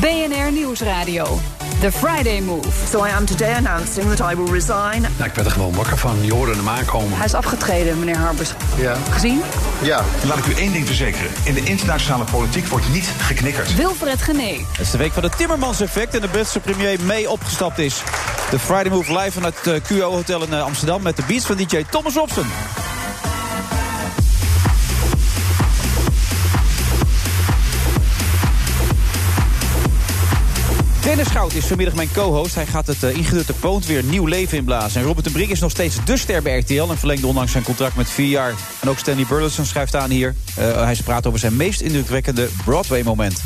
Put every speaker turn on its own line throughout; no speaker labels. BNR Nieuwsradio. The Friday Move.
So I am today announcing that I will resign.
Nou, ik werd er gewoon wakker van. Je hoorde hem aankomen.
Hij is afgetreden, meneer Harbers.
Ja.
Gezien?
Ja.
Laat ik u één ding verzekeren. In de internationale politiek wordt niet geknikkerd.
Wilfred Genee.
Het is de week van het Timmermans-effect en de Britse premier mee opgestapt is. De Friday Move live vanuit het QO Hotel in eh, Amsterdam met de beats van DJ Thomas Robson. Dennis Schout is vanmiddag mijn co-host. Hij gaat het eh, ingedutte poont weer nieuw leven inblazen. En Robert de Brink is nog steeds de ster bij RTL... en verlengde onlangs zijn contract met vier jaar. En ook Stanley Burleson schrijft aan hier. Eh, hij praat over zijn meest indrukwekkende Broadway-moment.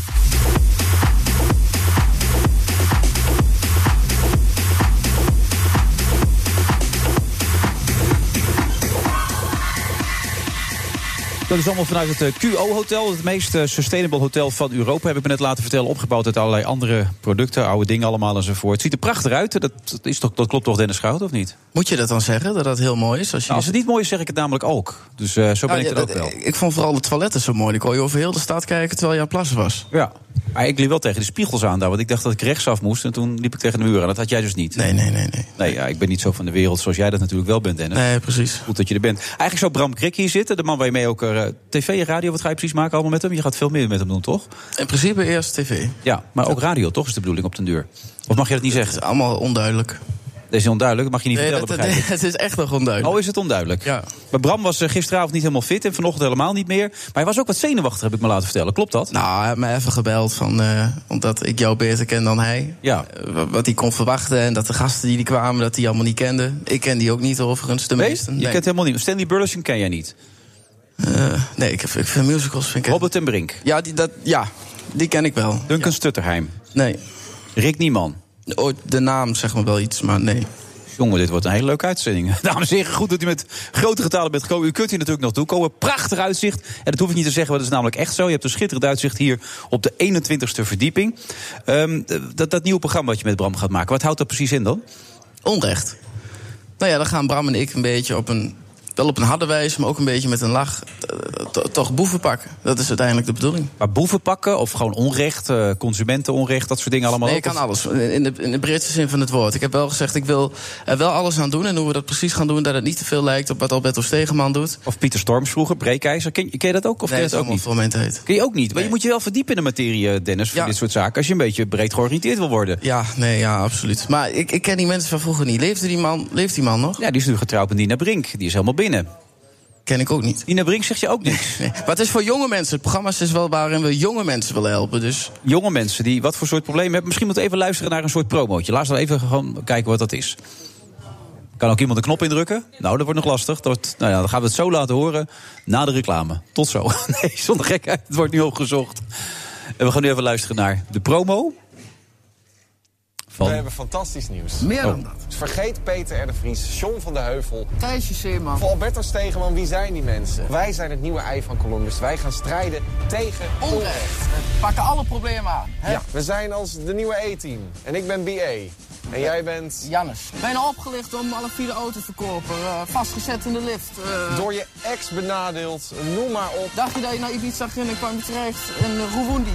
Dat is allemaal vanuit het eh, QO-hotel. Het meest eh, sustainable hotel van Europa. Heb ik me net laten vertellen. Opgebouwd uit allerlei andere producten. Oude dingen allemaal enzovoort. Het ziet er prachtig uit. Dat, dat is toch, dat klopt toch Dennis Schout, of niet?
Moet je dat dan zeggen, dat dat heel mooi is? Als, je...
Nou, als het niet mooi is, zeg ik het namelijk ook. Dus eh, zo ben
Nou,
ik
ja,
er ook
dat-
wel.
Ik vond vooral de toiletten zo mooi. Ik kon je over heel de stad kijken terwijl je aan het plassen was.
Ja. Maar ik liep wel tegen de spiegels aan daar. Want ik dacht dat ik rechtsaf moest. En toen liep ik tegen de muur aan. Dat had jij dus niet.
Nee, nee, nee. Nee,
Nee, ja, ik ben niet zo van de wereld zoals jij dat natuurlijk wel bent, Dennis.
nee precies.
Goed dat je er bent. Eigenlijk zou Bram Krik hier zitten. De man waar je mee ook eh, tv en radio... Wat ga je precies maken allemaal met hem? Je gaat veel meer met hem doen, toch?
In principe eerst tv. Het
Ja, maar ook radio, toch? Is de bedoeling op den duur. Of mag je dat niet zeggen?
is allemaal onduidelijk.
Dat is onduidelijk, dat mag je niet
Nee, dat,
vertellen, begrijp ik.
het is echt nog onduidelijk.
Oh, is het onduidelijk?
Ja.
Maar Bram was eh, gisteravond niet helemaal fit en vanochtend helemaal niet meer. Maar hij was ook wat zenuwachtig, heb ik me laten vertellen. Klopt dat?
Nou, hij heeft mij even gebeld van, eh, omdat ik jou beter ken dan hij.
Ja.
Eh, wa- Wat hij kon verwachten en dat de gasten die die kwamen, dat die allemaal niet kenden. Ik ken die ook niet overigens, de
Nee?
meesten.
Je kent helemaal niet. Stanley Burleson ken jij niet.
Eh, nee, ik, heb- ik vind musicals vind ik...
Robert en Brink.
Ja, die, dat, ja, die ken ik wel.
Duncan Stutterheim.
Nee,
Rick Nieman.
Eh, ooit de naam zeg maar wel iets, maar nee.
Jongen, dit wordt een hele leuke uitzending. Dames en heren, goed dat u met grote getalen bent gekomen. U kunt hier natuurlijk nog toe komen. Prachtig uitzicht. En dat hoef ik niet te zeggen, want dat is namelijk echt zo. Je hebt een schitterend uitzicht hier op de 21ste verdieping. Ehm, dat, dat nieuwe programma wat je met Bram gaat maken, wat houdt dat precies in dan?
Onrecht. Nou ja, dan gaan Bram en ik een beetje op een... wel op een harde wijze, maar ook een beetje met een lach... eh, to- toch boeven pakken. Dat is uiteindelijk de bedoeling.
Maar boeven pakken of gewoon onrecht, eh, consumentenonrecht, dat soort dingen allemaal
Nee,
ook?
ik kan
Of-
alles. In de, in de Britse zin van het woord. Ik heb wel gezegd, ik wil er wel alles aan doen. En hoe we dat precies gaan doen, dat het niet te veel lijkt op wat Alberto Stegeman doet.
Of Pieter Storms vroeger, breekijzer. Ken, ken je dat ook? Of
nee, dat
ken je
is
dat ook
allemaal
niet?
voor mijn tijd.
Ken je ook niet. Maar je
Nee.
moet je wel verdiepen in de materie, eh, Dennis, voor
Ja.
dit soort zaken. Als je een beetje breed georiënteerd wil worden.
Ja, nee, ja, absoluut. Maar ik, ik ken die mensen van vroeger niet. Leefde die man, leeft die man nog?
Ja, die is nu getrouwd met Nina Brink. Die is helemaal binnen.
Ken ik ook niet.
Nina Brink zegt je ook niks.
Nee. Maar het is voor jonge mensen. Het programma is wel waarin we jonge mensen willen helpen. Dus
Jonge mensen die wat voor soort problemen hebben. Misschien moet even luisteren naar een soort promootje. Laat dan even gewoon kijken wat dat is. Kan ook iemand een knop indrukken? Nou, dat wordt nog lastig. Dat wordt, nou ja, dan gaan we het zo laten horen na de reclame. Tot zo. Nee, zonder gekheid. Het wordt nu opgezocht. En we gaan nu even luisteren naar de promo.
We
Van Oh.
hebben fantastisch nieuws.
meer dan dat.
Dus vergeet Peter R. de Vries, John van de Heuvel.
Thijsje Zeeman.
Voor Alberto Stegeman, wie zijn die mensen? Wij zijn het nieuwe ei van Columbus. Wij gaan strijden tegen onrecht.
We pakken alle problemen aan. Hè?
Ja. We zijn als de nieuwe E-team. En ik ben BA. En jij bent
Jannes. Bijna opgelicht om alle vier de auto te verkopen. eh, vastgezet in de lift. eh,
door je ex benadeeld. Noem maar op.
Dacht je dat je naar Ibiza ging en kwam je terecht in eh, Rwandi?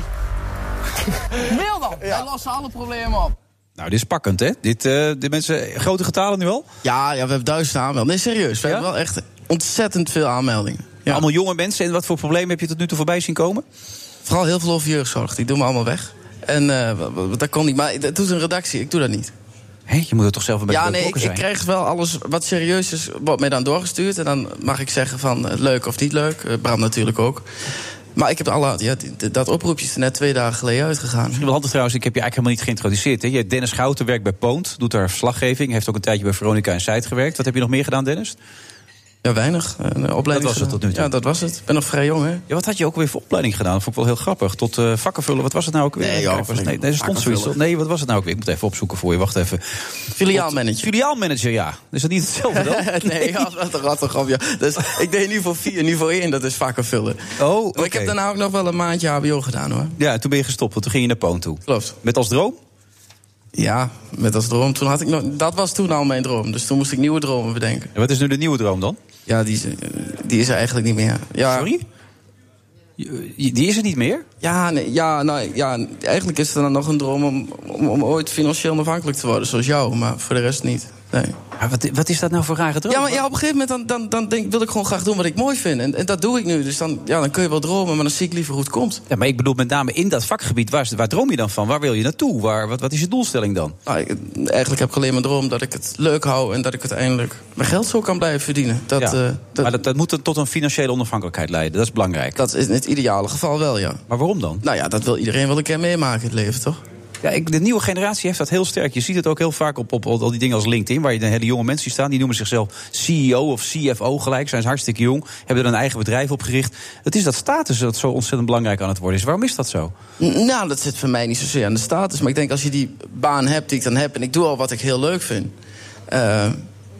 Mail dan. Wij lossen alle problemen op.
Nou, dit is pakkend, hè? Dit, eh dit mensen, grote getalen nu al.
Ja, ja, we hebben duizenden aanmeldingen. Nee, serieus. We
Ja?
hebben wel echt ontzettend veel aanmeldingen. Ja.
Allemaal jonge mensen. En wat voor problemen heb je tot nu toe voorbij zien komen?
Vooral heel veel over jeugdzorg. Die doen we allemaal weg. En eh, w- w- dat kon niet. Maar dat doet een redactie. Ik doe dat niet.
Hé, je moet er toch zelf een beetje
Ja,
bij
nee, ik,
betrokken
ik
zijn?
krijg wel alles wat serieus is, wordt mij dan doorgestuurd. En dan mag ik zeggen van eh, leuk of niet leuk. Eh, Bram natuurlijk ook. Maar ik heb alle, ja, die- die- dat oproepje is er net twee dagen geleden uitgegaan.
Wel handig trouwens, ik heb je eigenlijk helemaal niet geïntroduceerd. Hè? Je hebt Dennis Schouten werkt bij Poont, doet daar verslaggeving. Heeft ook een tijdje bij Veronica en Site gewerkt. Wat heb je nog meer gedaan, Dennis?
Ja, weinig. Een opleiding
was het tot nu toe.
Ja, dat was het. Ik ben nog vrij jong, hè?
Ja, wat had je ook weer voor opleiding gedaan? Dat vond ik wel heel grappig. Tot eh vakkenvullen, wat was het nou ook weer?
Nee, joh,
Kijk, was, nee, nee, er stond zoiets.
vakkenvullen.
toch? Nee, wat was het nou ook weer? Ik moet even opzoeken voor je, wacht even.
Filiaalmanager.
Filiaalmanager, ja. Is dat niet hetzelfde dan?
nee, ja, wat een rattig op, ja. Dus ik deed niveau 4, niveau 1, dat is vakken vullen.
Oh,
Maar Ik
oké.
heb daarna ook nog wel een maandje HBO gedaan, hoor.
Ja, toen ben je gestopt, want toen ging je naar Poon toe.
Klopt.
Met als droom?
Ja, met als droom. Toen had ik nog, dat was toen al mijn droom, dus toen moest ik nieuwe dromen bedenken.
En wat is nu de nieuwe droom dan?
Ja, die, is- eh, die is er eigenlijk niet meer. Ja,
Sorry? Je- je- Die is er niet meer?
Ja, nee, ja, nou, ja, eigenlijk is er dan nog een droom om, om, om ooit financieel onafhankelijk te worden, zoals jou, maar voor de rest niet. Nee.
Maar wat, wat is dat nou voor rare droom?
Ja, maar ja, op een gegeven moment dan, dan, dan denk, wil ik gewoon graag doen wat ik mooi vind. En, en dat doe ik nu. Dus dan, ja, dan kun je wel dromen, maar dan zie ik liever hoe het komt.
Ja, maar ik bedoel met name in dat vakgebied, waar, waar droom je dan van? Waar wil je naartoe? Waar, wat, wat is je doelstelling dan?
Nou, ik- eigenlijk heb ik alleen mijn droom dat ik het leuk hou en dat ik uiteindelijk mijn geld zo kan blijven verdienen. Dat,
Ja.
eh, dat,
maar
dat,
dat, dat moet dan tot een financiële onafhankelijkheid leiden, dat is belangrijk.
is in het ideale geval wel, ja.
Maar waarom dan?
Nou ja, dat wil iedereen wel een keer meemaken in het leven, toch?
Ja, ik, de nieuwe generatie heeft dat heel sterk. Je ziet het ook heel vaak op, op, al die dingen als LinkedIn, waar je de hele jonge mensen die staan, die noemen zichzelf CEO of CFO gelijk, zijn ze hartstikke jong, hebben er een eigen bedrijf opgericht. Het is dat status dat zo ontzettend belangrijk aan het worden is. Waarom is dat zo?
N- Nou, dat zit voor mij niet zozeer aan de status. Maar ik denk als je die baan hebt die ik dan heb en ik doe al wat ik heel leuk vind. eh,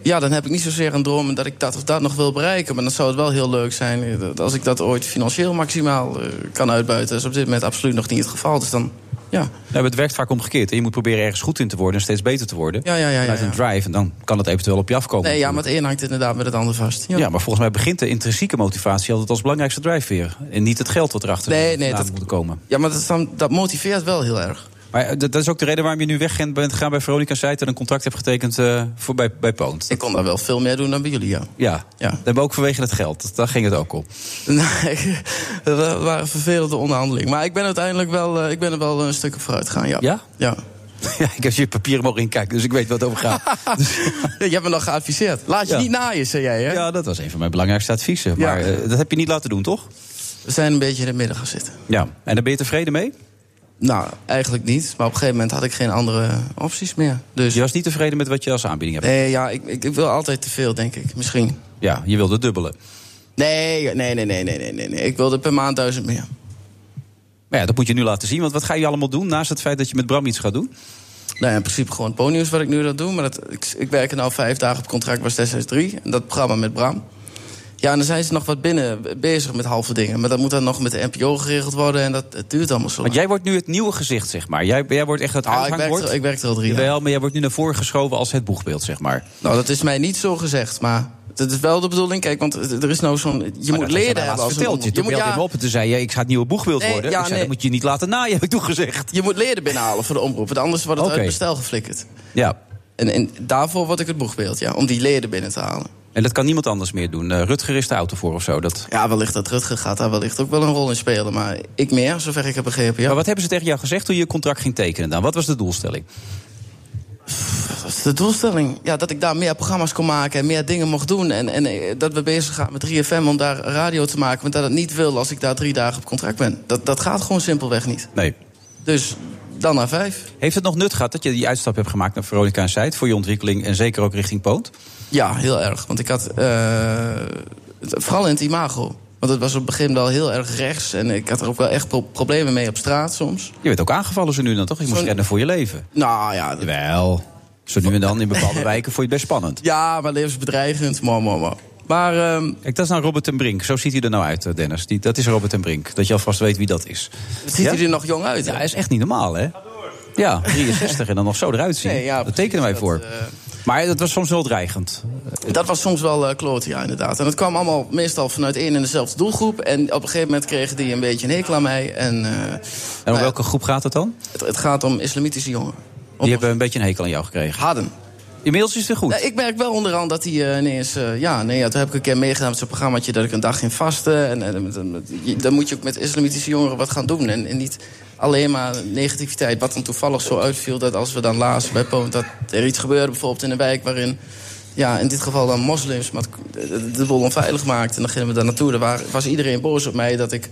ja, dan heb ik niet zozeer een droom dat ik dat of dat nog wil bereiken. Maar dan zou het wel heel leuk zijn eh, dat als ik dat ooit financieel maximaal eh, kan uitbuiten. Dat is op dit moment absoluut nog niet het geval. Dus dan, ja.
Nou, het werkt vaak omgekeerd. hè. Je moet proberen ergens goed in te worden en steeds beter te worden.
Ja, ja, ja, ja,
Vanuit een
ja.
drive en dan kan het eventueel op je afkomen.
Nee, ja, maar het een hangt inderdaad met het ander vast. Ja.
Ja, maar volgens mij begint de intrinsieke motivatie altijd als belangrijkste drijfveer. En niet het geld wat erachter
Nee, nee,
aan
dat-
moet komen.
Ja, maar dat, is dan- dat motiveert wel heel erg.
Maar eh, dat dat is ook de reden waarom je nu weg bent gegaan bij Veronica Seid... en een contract hebt getekend eh, voor bij, bij Poont.
Ik kon daar wel veel meer doen dan bij jullie, ja.
Ja,
Ja.
dat hebben we ook vanwege het geld. Dat- Daar ging het ook om.
Nee, dat waren vervelende onderhandelingen. Maar ik ben uiteindelijk wel, eh, ik ben er wel een stuk op vooruit gegaan, ja.
Ja?
Ja.
ja, ik heb je papieren mogen inkijken, dus ik weet wat het over gaat. Dus-
Ja, Je hebt me nog geadviseerd. Laat je
Ja.
niet naaien, zei jij, hè?
ja, dat was een van mijn belangrijkste adviezen.
Ja.
Maar eh, dat heb je niet laten doen, toch?
We zijn een beetje in het midden gaan zitten.
Ja. En daar ben je tevreden mee?
Nou, eigenlijk niet. Maar op een gegeven moment had ik geen andere opties meer. Dus
Je was niet tevreden met wat je als aanbieding hebt?
nee, ja, ik, ik, ik wil altijd te veel, denk ik. Misschien.
Ja, je wilde dubbelen.
Nee, nee, nee, nee, nee, nee, nee. nee. Ik wilde per maand duizend meer.
Maar ja, dat moet je nu laten zien. Want wat ga je allemaal doen naast het feit dat je met Bram iets gaat doen?
Nou ja, in principe gewoon pony's wat ik nu dat doe. Maar dat, ik, ik werk nu al vijf dagen op contract bij 663. En dat programma met Bram. Ja, en dan zijn ze nog wat binnen bezig met halve dingen. Maar dat moet dan nog met de NPO geregeld worden. En dat het duurt allemaal zo
Want
lang.
jij wordt nu het nieuwe gezicht, zeg maar. Jij, jij wordt echt het
Ah, ik, werk
uithangbord.
er, ik werk er al drie jaar.
Jawel, maar jij wordt nu naar voren geschoven als het boegbeeld, zeg maar.
Nou, dat is mij niet zo gezegd, maar dat is wel de bedoeling. Kijk, want er is nou zo'n... Je moet leren hebben als een
verteld. Je
omroep.
toen belde je
ja,
me op en toen zei je... ik ga het nieuwe boegbeeld
Nee,
worden.
ja,
ik zei,
nee.
dat moet je niet laten naaien, heb ik toen gezegd.
je moet leren binnenhalen voor de omroep, want anders wordt het
Oké.
uit het bestel geflikkerd.
Ja,
En, en daarvoor word ik het boegbeeld, ja, om die leden binnen te halen.
en dat kan niemand anders meer doen. Eh, Rutger is de auto voor of zo. Dat...
Ja, wellicht dat Rutger gaat daar wellicht ook wel een rol in spelen, maar ik meer, zover ik heb begrepen. Ja.
Maar wat hebben ze tegen jou gezegd toen je je contract ging tekenen dan? Wat was de doelstelling?
Dat is de doelstelling. Ja, dat ik daar meer programma's kon maken en meer dingen mocht doen. En, en eh, dat we bezig gaan met 3FM om daar radio te maken. Want dat het niet wil als ik daar drie dagen op contract ben. Dat, dat gaat gewoon simpelweg niet.
Nee.
Dus dan naar vijf.
Heeft het nog nut gehad dat je die uitstap hebt gemaakt naar Veronica en Seid... voor je ontwikkeling en zeker ook richting Poont?
Ja, heel erg. Want ik had. eh, het- vooral in het imago. Want het was op het begin wel heel erg rechts. En ik had er ook wel echt pro- problemen mee op straat soms.
Je werd ook aangevallen zo nu en dan, toch? Je moest
Zo'n-
rennen voor je leven.
Nou ja. dat-
Wel, zo nu en dan in bepaalde wijken vond je het best spannend.
Ja, maar levensbedreigend. Maar, maar, maar. Maar ehm,
Kijk, dat is nou Robert en Brink. Zo ziet hij er nou uit, eh, Dennis. Die, dat is Robert en Brink. Dat je alvast weet wie dat is.
ziet
Ja?
hij er nog jong uit?
Ja,
hè?
hij is echt niet normaal, hè? Ja, 63 en dan nog zo eruit zien.
Nee, ja,
dat
precies,
tekenen wij
dat,
voor.
eh,
Maar dat was soms wel dreigend.
Dat was soms wel eh kloten, ja, inderdaad. En dat kwam allemaal meestal vanuit één en dezelfde doelgroep. En op een gegeven moment kregen die een beetje een hekel aan mij. En eh,
En
nou
om
ja,
welke groep gaat het dan?
het, het gaat om islamitische jongeren. Om
Die hebben een beetje een hekel aan jou gekregen.
Hadden.
Inmiddels is het weer
Ja,
goed.
ik merk wel onderhand dat hij eh, ineens... eh, ja, nee, ja, toen heb ik een keer meegedaan met zo'n programmaatje... dat ik een dag ging vasten. En, en, met- met- je- dan moet je ook met islamitische jongeren wat gaan doen. En, en niet alleen maar negativiteit. Wat dan toevallig zo uitviel dat als we dan lazen bij Poont... dat er iets gebeurde bijvoorbeeld in een wijk waarin... Ja, in dit geval dan moslims, maar het- de, de boel onveilig maakte. En dan gingen we daar naartoe. Daar waren- was iedereen boos op mij dat ik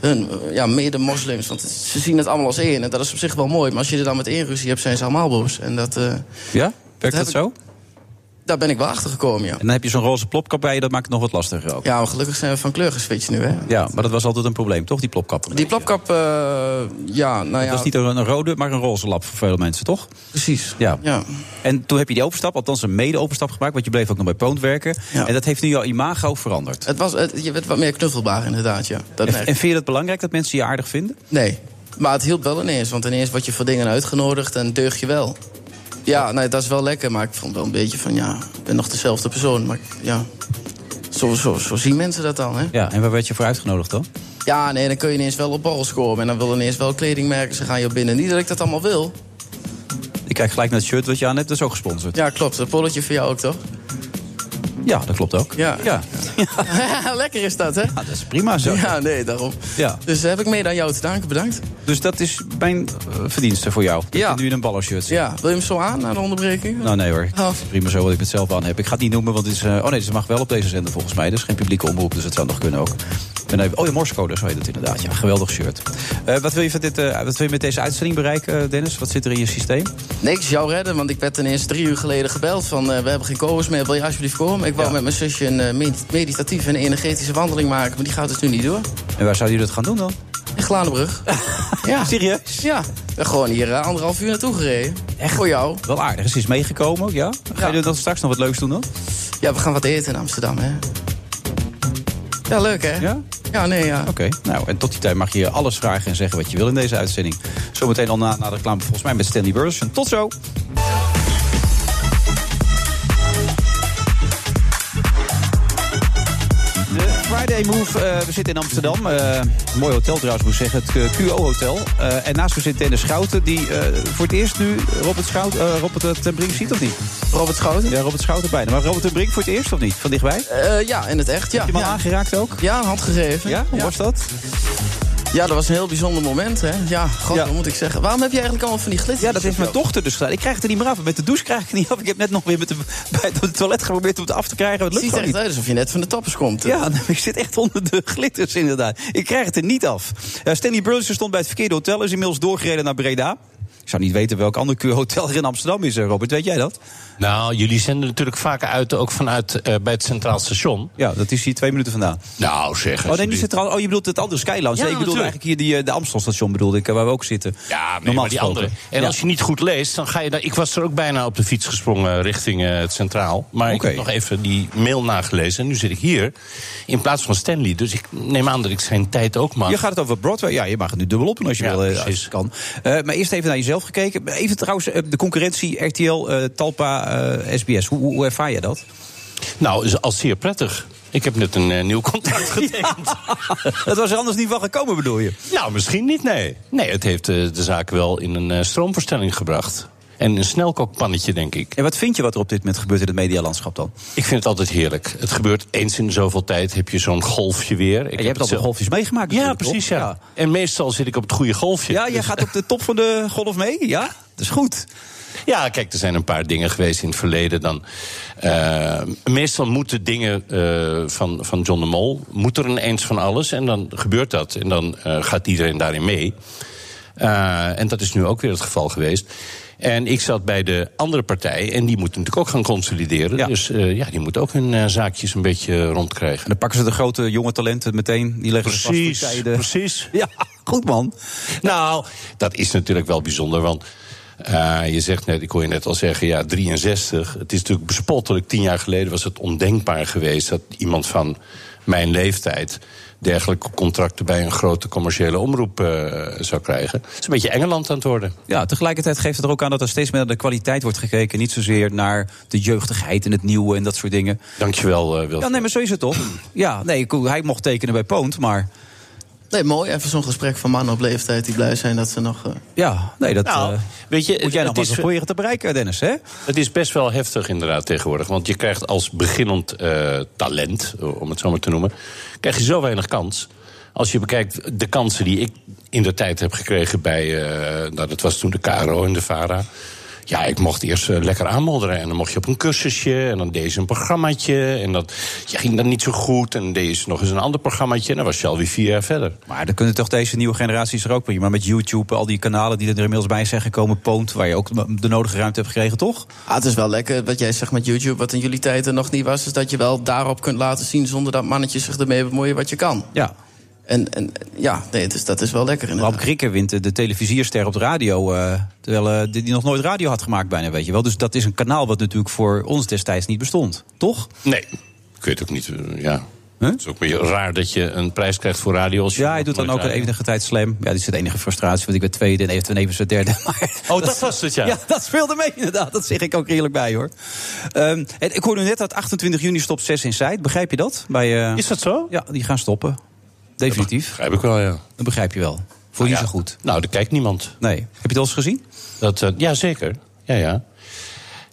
hun, eh, ja, mede-moslims... want ze zien het allemaal als één en dat is op zich wel mooi. Maar als je er dan met één ruzie hebt, zijn ze allemaal boos. En dat... eh,
Ja? Werkt dat
heb ik-
zo?
Daar ben ik wel achter gekomen, ja.
En dan heb je zo'n roze plopkap bij je, dat maakt het nog wat lastiger ook.
Ja, maar gelukkig zijn we van kleur geswitcht nu, hè.
Ja, maar dat was altijd een probleem, toch? Die plopkap.
Die plopkap, eh, ja, nou ja.
Dat is niet een rode, maar een roze lap voor veel mensen, toch?
precies.
Ja.
Ja.
En toen heb je die overstap, althans een mede-overstap gemaakt, want je bleef ook nog bij Poont werken.
Ja.
En dat heeft nu jouw imago veranderd.
Het was, het- je werd wat meer knuffelbaar, inderdaad, ja. Dat
En,
merk ik.
en vind je dat belangrijk dat mensen je aardig vinden?
Nee, maar het hielp wel ineens. Want ineens word je voor dingen uitgenodigd en deug je wel. Ja, nee, dat is wel lekker. Maar ik vond wel een beetje van, ja, ik ben nog dezelfde persoon. Maar ik- ja, zo, zo, zo zien mensen dat dan, hè?
Ja, en waar werd je voor uitgenodigd dan?
Ja, nee, dan kun je ineens wel op borrels komen. En dan willen ineens wel kledingmerken, ze gaan je binnen. Niet dat ik dat allemaal wil.
Ik kijk gelijk naar het shirt wat je aan hebt, dat is ook gesponsord.
Ja, klopt. Dat polletje voor jou ook, toch?
Ja, dat klopt ook.
Ja.
ja.
lekker is dat, hè?
Ah, dat is prima zo.
Ja, nee, daarom.
Ja.
Dus daar heb ik mee aan jou te danken, bedankt.
Dus dat is mijn eh, verdienste voor jou. Dat
Ja.
je nu in een ballershirt zit.
Ja, wil je hem zo aan, na de onderbreking?
Nou nee hoor,
Oh.
het is prima zo wat ik het zelf aan heb. Ik ga het niet noemen, want het is... eh, oh nee, ze mag wel op deze zender volgens mij. Dat is geen publieke omroep, dus dat zou nog kunnen ook. En dan heb- oh ja, morsecode, zo heet het inderdaad. Ja, geweldig shirt. Eh, wat, wil je van dit, eh, wat wil je met deze uitzending bereiken, eh, Dennis? Wat zit er in je systeem?
Niks, jou redden, want ik werd ten eerste drie uur geleden gebeld van... eh, we hebben geen co meer, wil je alsjeblieft komen? Ik wou
Ja.
met mijn zusje een eh, med- meditatieve en energetische wandeling maken... maar die gaat dus nu niet door.
En waar zou je dat gaan doen dan?
In Glanenbrug. ja.
Serieus?
Ja, Ik ben gewoon hier eh, anderhalf uur naartoe gereden. Echt? Voor jou.
Wel aardig, ze is meegekomen, ja? Ga je
Ja.
dan straks nog wat leuks doen dan?
Ja, we gaan wat eten in Amsterdam, hè. Ja, leuk, hè?
Ja?
Ja, nee, ja.
Oké, nou en tot die tijd mag je alles vragen en zeggen wat je wil in deze uitzending. Zometeen al na, na de reclame volgens mij met Stanley Burleson. Tot zo! De Friday Move, eh, we zitten in Amsterdam. Eh, een mooi hotel trouwens, moet ik zeggen. Het eh, QO-hotel. en naast me zit Dennis Schouten, die eh, voor het eerst nu Robert, Schout, eh, Robert eh, ten Brink ziet, of niet?
Robert Schouten?
Ja, Robert Schouten bijna. Maar Robert ten Brink voor het eerst, of niet? Van dichtbij?
Eh, ja, in het echt, ja.
Heb je hem al
ja.
aangeraakt ook?
Ja, een hand gegeven.
Ja, hoe
ja.
was dat?
Ja, dat was een heel bijzonder moment, hè. Ja, god,
Ja.
wat moet ik zeggen? Waarom heb je eigenlijk allemaal van die glitters?
Ja, dat heeft mijn dochter dus gedaan. Ik krijg het er niet meer af. Met de douche krijg ik het niet af. Ik heb net nog weer met de, bij het toilet geprobeerd om het af te krijgen. maar Het
Het
lukt
ziet er
gewoon
echt
niet.
uit alsof je net van de toppers komt.
Ja, nou, ik zit echt onder de glitters inderdaad. Ik krijg het er niet af. Eh, Stanley Burleson stond bij het verkeerde hotel. Is inmiddels doorgereden naar Breda. Ik zou niet weten welk ander hotel er in Amsterdam is, eh, Robert. Weet jij dat?
Nou, jullie zenden natuurlijk vaak uit, ook vanuit eh, bij het Centraal Station.
Ja, dat is hier twee minuten vandaan.
Nou, zeg
Oh, nee, die zit er al- oh, je bedoelt het andere Skylounge. nee, ik bedoelde
natuurlijk.
eigenlijk hier die, eh, de Amstelstation, bedoelde ik, eh, waar we ook zitten.
Ja, nee,
Normaal
maar die
gesproken.
andere. En
Ja.
als je niet goed leest, dan ga je daar... Ik was er ook bijna op de fiets gesprongen richting eh, het Centraal. Maar
Oké.
ik heb nog even die mail nagelezen. En nu zit ik hier, in plaats van Stanley. Dus ik neem aan dat ik zijn tijd ook mag.
Je gaat het over Broadway. Ja, je mag het nu dubbel opdoen als je
Ja,
wil, eh,
precies.
als je kan. Eh, maar eerst even naar jezelf gekeken. Even trouwens, eh, de concurrentie RTL, eh, Talpa, eh, SBS. Hoe, hoe, hoe ervaar je dat?
Nou, is al zeer prettig. Ik heb net een eh, nieuw contract getekend.
dat was er anders niet van gekomen, bedoel je?
Nou, misschien niet, nee. Nee, het heeft eh, de zaak wel in een eh, stroomverstelling gebracht. En een snelkookpannetje, denk ik.
En wat vind je wat er op dit moment gebeurt in het medialandschap dan?
Ik vind het altijd heerlijk. Het gebeurt eens in zoveel tijd, heb je zo'n golfje weer. Ik heb
je hebt al
het
de
zelf-
golfjes meegemaakt.
Ja,
natuurlijk, toch?
precies, ja. En meestal zit ik op het goede golfje.
Ja, jij
Dus-
gaat op de top van de golf mee? Ja, dat is goed.
Ja, kijk, er zijn een paar dingen geweest in het verleden. Dan, eh, meestal moeten dingen eh, van, van John de Mol... moet er ineens van alles en dan gebeurt dat. En dan eh, gaat iedereen daarin mee. Eh, en dat is nu ook weer het geval geweest. En ik zat bij de andere partij en die moet natuurlijk ook gaan consolideren.
Ja.
Dus eh, ja, die moet ook hun eh, zaakjes een beetje rondkrijgen.
En dan pakken ze de grote jonge talenten meteen. Die leggen ze vast voor tijden.
precies.
Ja, goed man.
Nou, dat is natuurlijk wel bijzonder, want eh, je zegt net, ik hoor je net al zeggen, ja, 63. Het is natuurlijk bespottelijk. Tien jaar geleden was het ondenkbaar geweest dat iemand van mijn leeftijd dergelijke contracten bij een grote commerciële omroep eh, zou krijgen. Het is een beetje Engeland aan het worden.
Ja, tegelijkertijd geeft het er ook aan dat er steeds meer naar de kwaliteit wordt gekeken. Niet zozeer naar de jeugdigheid en het nieuwe en dat soort dingen.
Dankjewel, eh Wilfried.
Ja, nee, maar zo is het toch? Ja, nee, ik- hij mocht tekenen bij Poont, maar
Nee, mooi. Even zo'n gesprek van mannen op leeftijd die blij zijn dat ze nog... eh,
ja, nee, dat
Nou,
eh,
weet je,
moet jij nog
het
maar
is-
eens proberen te bereiken, Dennis, hè?
Het is best wel heftig inderdaad tegenwoordig. Want je krijgt als beginnend eh, talent, om het zo maar te noemen... krijg je zo weinig kans. Als je bekijkt de kansen die ik in de tijd heb gekregen bij... eh, nou, dat was toen de KRO en de VARA. Ja, ik mocht eerst eh, lekker aanmodderen. En dan mocht je op een cursusje. En dan deed ze een programmaatje. En dat ja, ging dan niet zo goed. En dan deed ze nog eens een ander programmaatje. En dan was je alweer vier jaar verder.
Maar dan kunnen toch deze nieuwe generaties er ook prima. Met YouTube, al die kanalen die er inmiddels bij zijn gekomen. Poont, waar je ook de nodige ruimte hebt gekregen, toch?
Ah, het is wel lekker wat jij zegt met YouTube. Wat in jullie tijd er nog niet was. Is dat je wel daarop kunt laten zien zonder dat mannetjes zich ermee bemoeien wat je kan.
Ja.
En, en ja, nee, dus dat is wel lekker.
Bram Krikke wint de- de televisierster op de radio. eh, terwijl eh, die die nog nooit radio had gemaakt, bijna, weet je wel. Dus dat is een kanaal wat natuurlijk voor ons destijds niet bestond, toch?
Nee, ik weet ook niet. eh, ja. Het is ook een beetje raar dat je een prijs krijgt voor radio. Als je
Ja, hij doet dan ook een enige tijd slam. Ja, dit is de enige frustratie, want ik ben tweede en eventueel even zijn derde. Maar
Oh, dat was het, ja.
Ja, dat speelde mee inderdaad. Dat zeg ik ook eerlijk bij, hoor. Ehm, en ik hoorde net dat 28 juni stopt 6 in Zuid. Begrijp je dat? Bij, eh,
Is dat zo?
Ja, die gaan stoppen. Definitief.
Begrijp ik wel, ja.
Dat begrijp je wel. Voor
Nou
niet
ja,
zo goed.
Nou, daar kijkt niemand.
Nee. Heb je het al eens gezien?
Dat, eh, ja, zeker. Ja, ja.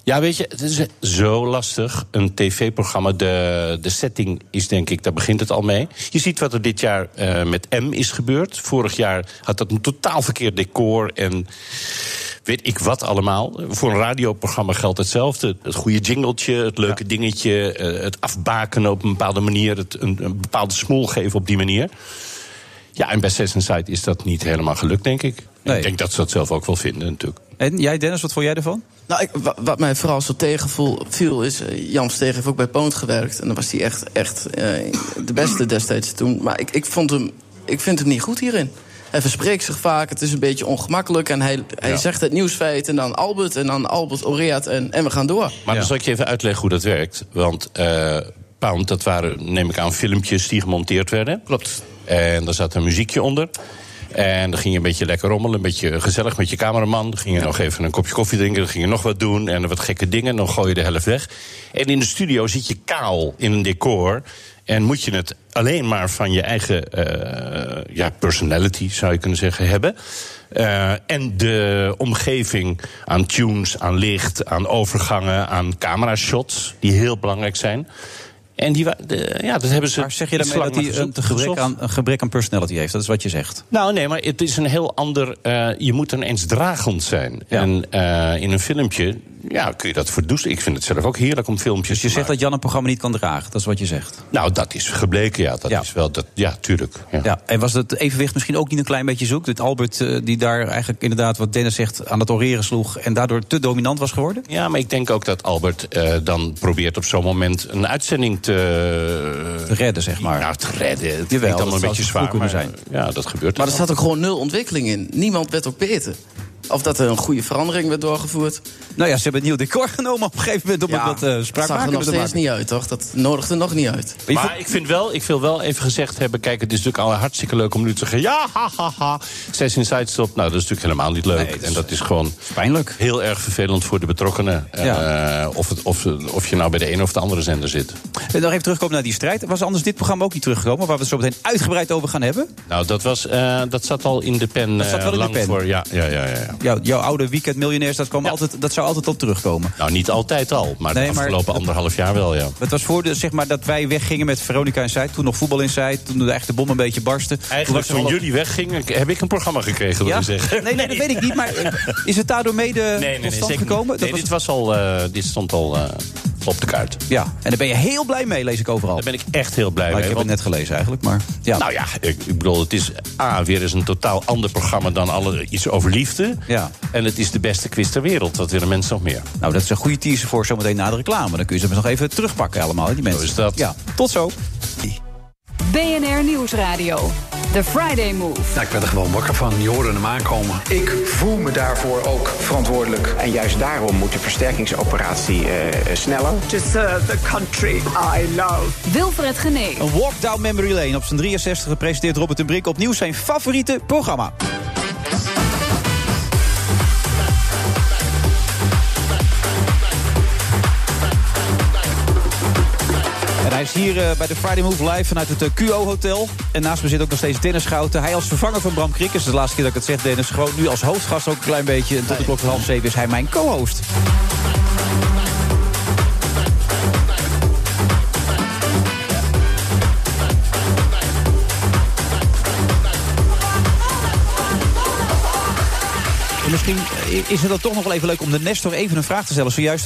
Ja, weet je, het is eh, zo lastig. Een tv-programma, de, de setting is denk ik, daar begint het al mee. Je ziet wat er dit jaar eh, met M is gebeurd. Vorig jaar had dat een totaal verkeerd decor en weet ik wat allemaal. Voor een radioprogramma geldt hetzelfde. Het goede jingletje, het leuke dingetje, eh, het afbakenen op een bepaalde manier, het een, een bepaalde smoel geven op die manier. Ja, en bij Sess Side is dat niet helemaal gelukt, denk ik. En
Nee.
Ik denk dat ze dat zelf ook wel vinden, natuurlijk.
En jij, Dennis, wat vond jij ervan?
Nou, ik, wa- wat mij vooral zo tegenviel viel is... eh, Jan Steeg heeft ook bij Poont gewerkt. En dan was hij echt, echt eh, de beste destijds toen. Maar ik, ik, vond hem, ik vind hem niet goed hierin. Hij verspreekt zich vaak, het is een beetje ongemakkelijk. En hij, hij zegt het nieuwsfeit en dan Albert en dan Albert Oreat en, en we gaan door.
Ja.
Maar dan zal ik je even uitleggen hoe dat werkt. Want eh, Pound, dat waren, neem ik aan, filmpjes die gemonteerd werden. Klopt. En daar zat een muziekje onder. En dan ging je een beetje lekker rommelen, een beetje gezellig met je cameraman. Dan ging je nog even een kopje koffie drinken, dan ging je nog wat doen... en wat gekke dingen, dan gooi je de helft weg. En in de studio zit je kaal in een decor... en moet je het alleen maar van je eigen eh, ja, personality, zou je kunnen zeggen, hebben... Eh, en de omgeving aan tunes, aan licht, aan overgangen, aan camera-shots, die heel belangrijk zijn. En die, wa- de- ja, dat hebben ze.
Maar zeg je
iets
daarmee
lang
dat hij
maar
een
gezocht-
gebrek
gezocht.
aan, een gebrek aan personality heeft? Dat is wat je zegt.
Nou, nee, maar het is een heel ander. eh, je moet dan eens dragend zijn.
Ja.
En eh, in een filmpje, ja, kun je dat verdoezelen. Ik vind het zelf ook heerlijk om filmpjes
Dus je
te
zegt
maken.
dat Jan een programma niet kan dragen. Dat is wat je zegt.
Nou, dat is gebleken, ja. Dat
Ja.
is wel. Dat, ja, tuurlijk. Ja.
Ja, en was het evenwicht misschien ook niet een klein beetje zoek? Dat Albert, eh, die daar eigenlijk inderdaad, wat Dennis zegt, aan het oreren sloeg... en daardoor te dominant was geworden?
Ja, maar ik denk ook dat Albert eh, dan probeert op zo'n moment een uitzending te,
Te redden, zeg maar.
Nou, te redden. Het
Jawel,
klinkt
dat
allemaal een
zou
beetje
goed
zwaar
kunnen
maar,
zijn.
Ja, dat gebeurt.
Maar er
dan.
zat ook gewoon nul ontwikkeling in. Niemand werd ook beter. Of dat er een goede verandering werd doorgevoerd.
Nou ja, ze hebben een nieuw decor genomen op een gegeven moment... om het wat
dat zag
eh
er nog
spraakmakender te
steeds
maken.
niet uit, toch? Dat nodigde nog niet uit.
Maar je
Maar ik vind, wel, ik wil wel even gezegd hebben... kijk, het is natuurlijk al hartstikke leuk om nu te zeggen... ja, ha, ha, ha, zes inside stop. Nou, dat is natuurlijk helemaal niet leuk.
Nee, dat is-
en dat is gewoon
Pijnlijk.
heel erg vervelend voor de betrokkenen.
Ja.
Eh, of, het, of, of je nou bij de ene of de andere zender zit.
En nog even terugkomen naar die strijd. Was anders dit programma ook niet teruggekomen? Waar we het zo meteen uitgebreid over gaan hebben.
Nou, dat, was, eh, dat zat al in de pen.
Dat zat
eh,
wel in de
lang
pen.
Voor, ja, ja, ja, ja, ja.
Jouw, jouw oude Weekend Miljonairs, dat, kwam
Ja.
altijd, dat zou altijd op terugkomen.
Nou, niet altijd al, maar
Nee,
de
maar-
afgelopen anderhalf jaar wel, ja.
Het was voor de, zeg maar, dat wij weggingen met Veronica en Zij. Toen nog voetbal in Zij. Toen de echte bom een beetje barstte. Toen
Eigenlijk
was er
toen
al-
jullie weggingen, heb ik een programma gekregen, wil
Ja?
je zeggen.
Nee, nee, dat weet ik niet. Maar eh, is het daardoor mede
Nee, nee,
tot
nee,
stand
zeker
gekomen?
niet.
Dat
Nee,
was-
dit, was al, eh, dit stond al eh, op de kaart.
Ja, en daar ben je heel blij mee, lees ik overal.
Daar ben ik echt heel blij
Maar ik
mee.
heb het
want-
net gelezen eigenlijk. Maar, ja.
Nou ja, ik, ik bedoel, het is A, weer eens een totaal ander programma dan alle, iets over liefde.
Ja.
En het is de beste quiz ter wereld. Wat willen mensen nog meer?
Nou, dat is een goede teaser voor zometeen na de reclame. Dan kun je ze nog even terugpakken allemaal, hè, die mensen.
is dat.
Ja, tot zo.
BNR Nieuwsradio. The Friday Move.
Nou, ik werd er gewoon wakker van. Je hoorde hem aankomen.
Ik voel me daarvoor ook verantwoordelijk. En juist daarom moet de versterkingsoperatie eh, sneller.
To serve the country I love.
Wilfred Genee.
Een walk down memory lane. Op zijn 63 presenteert Robert en Brink opnieuw zijn favoriete programma. En hij is hier eh, bij de Friday Move live vanuit het eh, QO Hotel. En naast me zit ook nog steeds Dennis Schouten. Hij als vervanger van Bram Krikkers. De laatste keer dat ik het zeg, Dennis. Gewoon nu als hoofdgast ook een klein beetje. En tot de klok van half zeven is hij mijn co-host. En misschien richting. eh, Is het dan toch nog wel even leuk om de Nestor even een vraag te stellen? Zojuist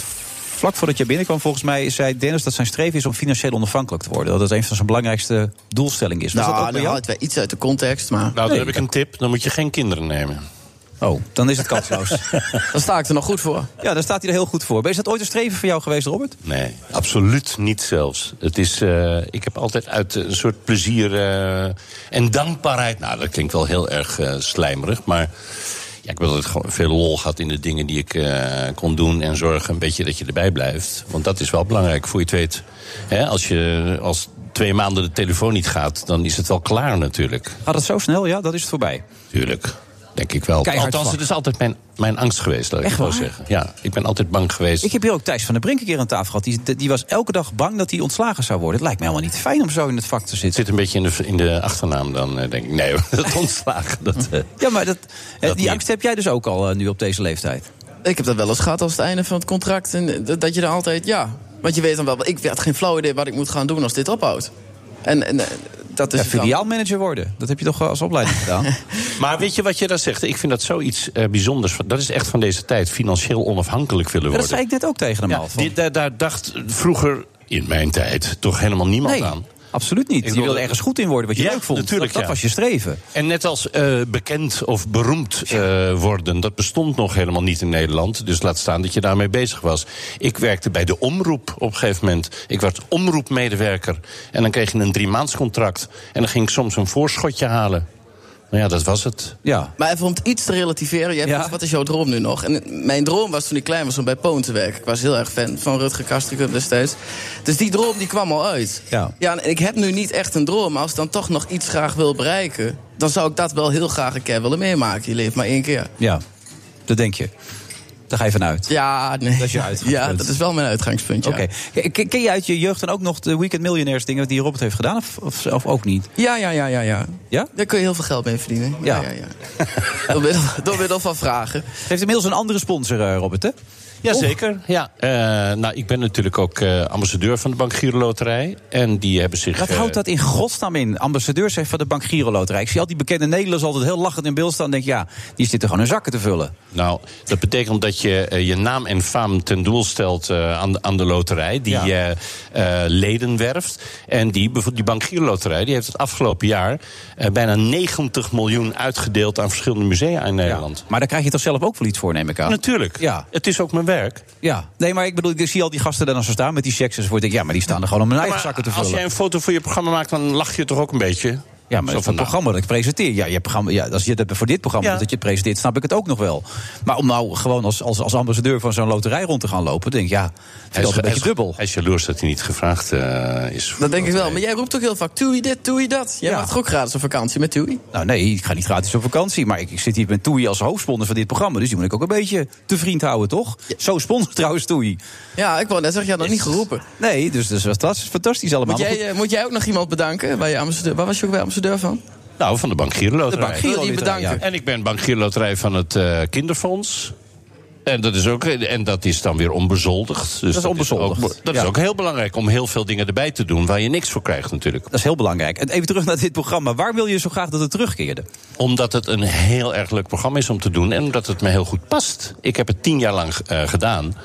vlak voordat je binnenkwam, volgens mij zei Dennis dat zijn streven is om financieel onafhankelijk te worden. Dat dat een van zijn belangrijkste doelstellingen is. Was dat ook bij
Nou, dan haal
jou?
het wel iets uit de context, maar...
Nou, dan heb ik een tip. Dan moet je geen kinderen nemen.
Oh, dan is het kansloos.
dan sta ik er nog goed voor.
Ja, daar staat hij er heel goed voor. Is dat ooit een streven voor jou geweest, Robert?
Nee, absoluut niet zelfs. Het is, eh, ik heb altijd uit een soort plezier eh, en dankbaarheid. Nou, dat klinkt wel heel erg eh, slijmerig, maar. Ja, ik heb altijd gewoon veel lol gehad in de dingen die ik eh, kon doen. En zorgen een beetje dat je erbij blijft. Want dat is wel belangrijk voor je het weet. Hè, als je als twee maanden de telefoon niet gaat, dan is het wel klaar natuurlijk.
Gaat het zo snel? Ja, dat is het voorbij.
Tuurlijk, denk ik wel.
Keihard
Althans,
vak.
het is altijd mijn, mijn angst geweest, laat ik
Echt
het wel
waar?
zeggen. Ja, ik ben altijd bang geweest.
Ik heb hier ook Thijs van der Brink een keer aan tafel gehad. Die, die was elke dag bang dat hij ontslagen zou worden. Het lijkt me helemaal niet fijn om zo in het vak te
Het
zitten.
zit een beetje in de, in de achternaam dan, eh, denk ik. Nee, hoor, dat ontslagen. Dat, eh,
Ja, maar dat, eh, die
niet.
angst heb jij dus ook al eh, nu op deze leeftijd.
Ik heb dat wel eens gehad als het einde van het contract. En dat- dat je er altijd, ja. Want je weet dan wel, ik had geen flauw idee wat ik moet gaan doen als dit ophoudt. En, en eh, dat is.
Ja,
het dan.
filiaalmanager worden. Dat heb je toch eh, als opleiding gedaan?
maar weet je wat je daar zegt? Ik vind dat zoiets eh, bijzonders. van- Dat is echt van deze tijd. Financieel onafhankelijk willen
Ja,
worden.
dat zei ik net ook tegen hem
Ja,
al. Van,
dit, daar, daar dacht vroeger, in mijn tijd, toch helemaal niemand
Nee.
aan.
absoluut niet.
Ik
je
bedoel-
wilde ergens goed in worden wat je
Ja,
leuk vond.
natuurlijk,
dat dat
ja.
was je streven.
En net als eh, bekend of beroemd eh, worden, dat bestond nog helemaal niet in Nederland. Dus laat staan dat je daarmee bezig was. Ik werkte bij de omroep op een gegeven moment. Ik werd omroepmedewerker. En dan kreeg je een driemaanscontract. En dan ging ik soms een voorschotje halen. Nou ja, dat was het.
Ja.
Maar even om het iets te relativeren. Je hebt
Ja.
iets- wat is jouw droom nu nog? En eh, mijn droom was toen ik klein was om bij Poon te werken. Ik was heel erg fan van Rutger Kastrikum destijds. Dus die droom die kwam al uit.
Ja.
en ik heb nu niet echt een droom. Maar als ik dan toch nog iets graag wil bereiken... dan zou ik dat wel heel graag een keer willen meemaken. Je leeft maar één keer.
ja, dat denk je. Daar ga je vanuit.
Ja, Ah, nee.
Dat is je uitgangspunt.
Ja, dat is wel mijn uitgangspunt, ja.
Oké. Ken- Ken je uit je jeugd dan ook nog de Weekend Millionaires dingen die Robert heeft gedaan? Of, of, of ook niet?
Ja, ja, ja, ja, ja.
Ja?
Daar kun je heel veel geld mee verdienen.
Ja.
door, middel, door middel van vragen.
Het heeft inmiddels een andere sponsor, eh, Robert, hè?
Jazeker. Ja. Eh, nou, ik ben natuurlijk ook eh, ambassadeur van de Bank Giro Loterij. En die hebben zich...
Wat
eh,
houdt dat in godsnaam in? Ambassadeur zegt van de Bank Giro Loterij. Ik zie al die bekende Nederlanders altijd heel lachend in beeld staan. en denk, ja, die zitten gewoon hun zakken te vullen.
Nou, dat betekent dat je eh, je naam en faam ten doel stelt eh, aan, de, aan de loterij. Die eh, eh, leden werft. En die, bijvoorbeeld die Bank Giro Loterij die heeft het afgelopen jaar... eh, bijna 90 miljoen uitgedeeld aan verschillende musea in Nederland.
Maar daar krijg je toch zelf ook wel iets voor, neem ik aan?
Natuurlijk.
Ja.
Het is ook mijn werk.
Ja. Nee, maar ik bedoel, ik zie al die gasten daar dan zo staan met die checks enzovoort. Ik denk, ja, maar die staan er gewoon om hun eigen
Maar
zakken te
als
vullen.
jij een foto voor je programma maakt, dan lach je toch ook een beetje?
Ja, maar
Zo
dat is
van,
een
nou,
programma dat ik presenteer. Ja, je programma, ja, als je dat voor dit programma
Ja.
doet, dat je het presenteert, snap ik het ook nog wel. Maar om nou gewoon als, als, als ambassadeur van zo'n loterij rond te gaan lopen, denk ik, ja, vind ik
Hij
dat
is,
een
hij,
beetje
is,
dubbel.
hij is jaloers dat hij niet gevraagd eh, is. voor
Dat denk ik wel.
loterij.
Maar jij roept ook heel vaak, doe je dit, doe je dat. Jij
Ja.
maakt toch ook gratis een vakantie met Toei.
Nou nee, ik ga niet gratis op vakantie. Maar ik, ik zit hier met Toei als hoofdsponsor van dit programma. Dus die moet ik ook een beetje te vriend houden, toch? Zo sponsor trouwens Toei.
Ja, ik wou net zeggen, jij had nog niet geroepen.
Nee, dus, dus dat is fantastisch allemaal.
Moet jij,
Maar goed,
eh, moet jij ook nog iemand bedanken? Bij je ambassadeur, waar was je ook bij ambassadeur van?
Nou, van de Bank Giro Loterij.
de bank Giro
wil die
Loterij,
bedanken.
En ik ben bankierloterij van het eh, Kinderfonds. En dat, is ook, en dat is dan weer onbezoldigd. Dus dat
onbezoldigd,
ook, dat
ja.
is ook heel belangrijk om heel veel dingen erbij te doen waar je niks voor krijgt natuurlijk.
Dat is heel belangrijk. En even terug naar dit programma. Waar wil je zo graag dat het terugkeerde?
Omdat het een heel erg leuk programma is om te doen. En omdat het me heel goed past. Ik heb het tien jaar lang eh, gedaan.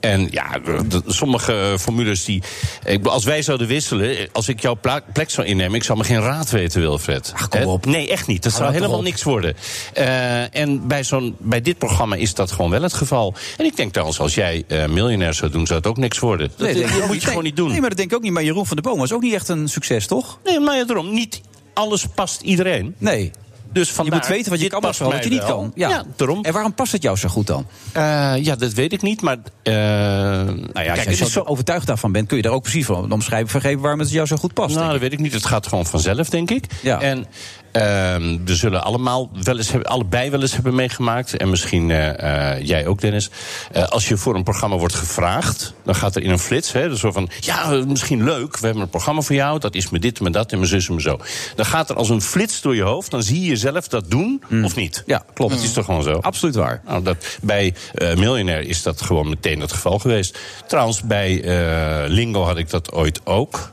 En ja, de- sommige formules die. Ik, bedoel, als wij zouden wisselen. Als ik jouw pla- plek zou innemen. Ik zou me geen raad weten, Wilfred.
Ach, kom
Hè?
op.
Nee, echt niet. Dat zou
nou toch
helemaal
op.
niks worden. Eh, en bij, zo'n, bij dit programma is dat gewoon wel het geval. En ik denk trouwens, als jij eh miljonair zou doen, zou het ook niks worden.
eh,
Dat,
denk ik
dat
ook
moet je
niet.
gewoon
Nee,
niet doen.
Nee, maar dat denk ik ook niet. Maar Jeroen van der Boom was ook niet echt een succes, toch?
nee, maar ja, daarom. Niet alles past iedereen.
Nee.
Dus
Je
vandaar,
moet weten wat je
dit
kan, maar
past
vooral wat je
mij
niet
wel.
kan.
ja, daarom.
En waarom past het jou zo goed dan?
Eh, ja, dat weet ik niet, maar... eh nou ja,
Als
kijk,
je
het
zo
is zo...
overtuigd daarvan bent, kun je daar ook precies van omschrijven vergeven waarom het jou zo goed past.
Nou, dat weet ik niet. Het gaat gewoon vanzelf, denk ik.
Ja.
En ehm, we zullen allemaal wel eens hebben, allebei wel eens hebben meegemaakt. En misschien eh, eh, jij ook, Dennis. Eh, als je voor een programma wordt gevraagd, dan gaat er in een flits. Hè, zo van, ja, eh, misschien leuk. We hebben een programma voor jou. Dat is me dit, me dat en mijn zus en me zo. Dan gaat er als een flits door je hoofd. Dan zie je jezelf dat doen of niet.
Mm. Ja, klopt.
Het is toch gewoon zo.
Absoluut waar.
Nou, dat, bij eh Miljonair is dat gewoon meteen het geval geweest. Trouwens, bij eh, Lingo had ik dat ooit ook.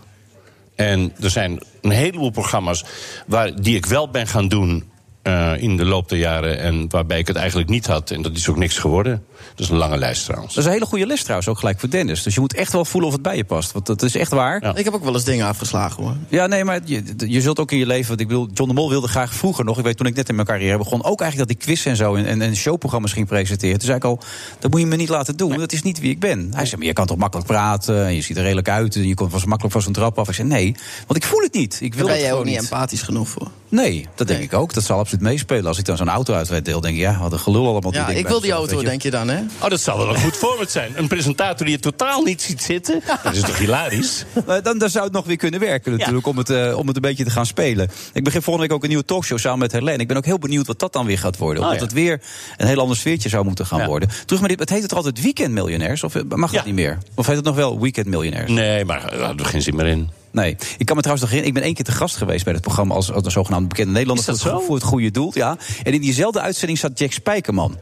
En er zijn een heleboel programma's waar, die ik wel ben gaan doen. eh, in de loop der jaren en waarbij ik het eigenlijk niet had. En dat is ook niks geworden. Dat is een lange lijst trouwens.
Dat is een hele goede les trouwens, ook gelijk voor Dennis. Dus je moet echt wel voelen of het bij je past. Want dat is echt waar.
Ik heb ook wel eens dingen afgeslagen hoor.
Ja, nee, maar je, je zult ook in je leven. Want ik bedoel, John de Mol wilde graag vroeger nog. Ik weet toen ik net in mijn carrière begon. Ook eigenlijk dat ik quiz en zo. En, en, en showprogramma's ging presenteren. Toen zei ik al: dat moet je me niet laten doen. want Dat is niet wie ik ben. Hij zei: maar je kan toch makkelijk praten. En je ziet er redelijk uit. En je komt vast makkelijk van zo'n trap af. Ik zei: nee, want ik voel het niet. Ik wil
Daar ben
het
jij ook
gewoon
niet empathisch genoeg voor.
Nee, dat denk ik ook. Dat zal absoluut meespelen. Als ik dan zo'n auto uitrijd, deel, denk ik: ja, wat een gelul allemaal.
Ja, ik wil die auto, denk je dan, hè?
Oh, dat zal wel een goed voorbeeld zijn. Een presentator die het totaal niet ziet zitten. Dat is toch hilarisch?
Maar Dan, dan zou het nog weer kunnen werken natuurlijk, om, het, eh, om het een beetje te gaan spelen. Ik begin volgende week ook een nieuwe talkshow samen met Helene. Ik ben ook heel benieuwd wat dat dan weer gaat worden.
Oh,
Omdat
ja.
het weer een heel ander sfeertje zou moeten gaan worden. Terug maar dit, het heet het altijd Weekend Miljonairs? Of eh, mag het niet meer? Of heet het nog wel Weekend Miljonairs?
Nee, maar eh, daar hadden we geen zin meer in.
Nee, ik kan me trouwens nog herinneren, ik ben één keer te gast geweest bij het programma als, als een zogenaamde bekende Nederlander
Is dat
voor, het-
zo?
voor het goede doel. Ja. En in diezelfde uitzending zat Jack Spijkerman.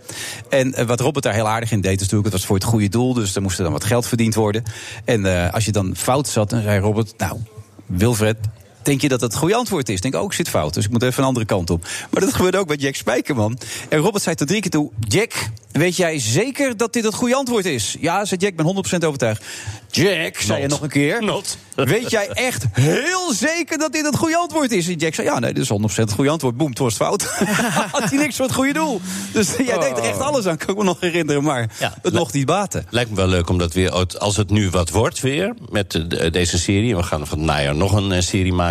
En eh, wat Robert daar heel aardig in deed, is natuurlijk, het was voor het goede doel, dus er moest er dan wat geld verdiend worden. En eh, als je dan fout zat, dan zei Robert, nou, Wilfred. Denk je dat dat het goede antwoord is? Ik Denk ook, ik zit fout, dus ik moet even een andere kant op. Maar dat gebeurde ook bij Jack Spijkerman. En Robert zei tot drie keer toe: Jack, weet jij zeker dat dit het goede antwoord is? Ja, zei Jack, ik ben 100% overtuigd. Jack, zei hij
Not.
nog een keer. Weet jij echt heel zeker dat dit het goede antwoord is? En Jack zei, ja, nee, dit is 100% het goede antwoord. Boem, het was fout. Had hij niks voor het goede doel. Dus jij
Oh.
deed er echt alles aan, kan ik me nog herinneren. Maar het mocht niet baten.
Lijkt me wel leuk om dat weer, uit- als het nu wat wordt weer, met eh, de- deze serie. We gaan van het najaar nog een eh, serie maken.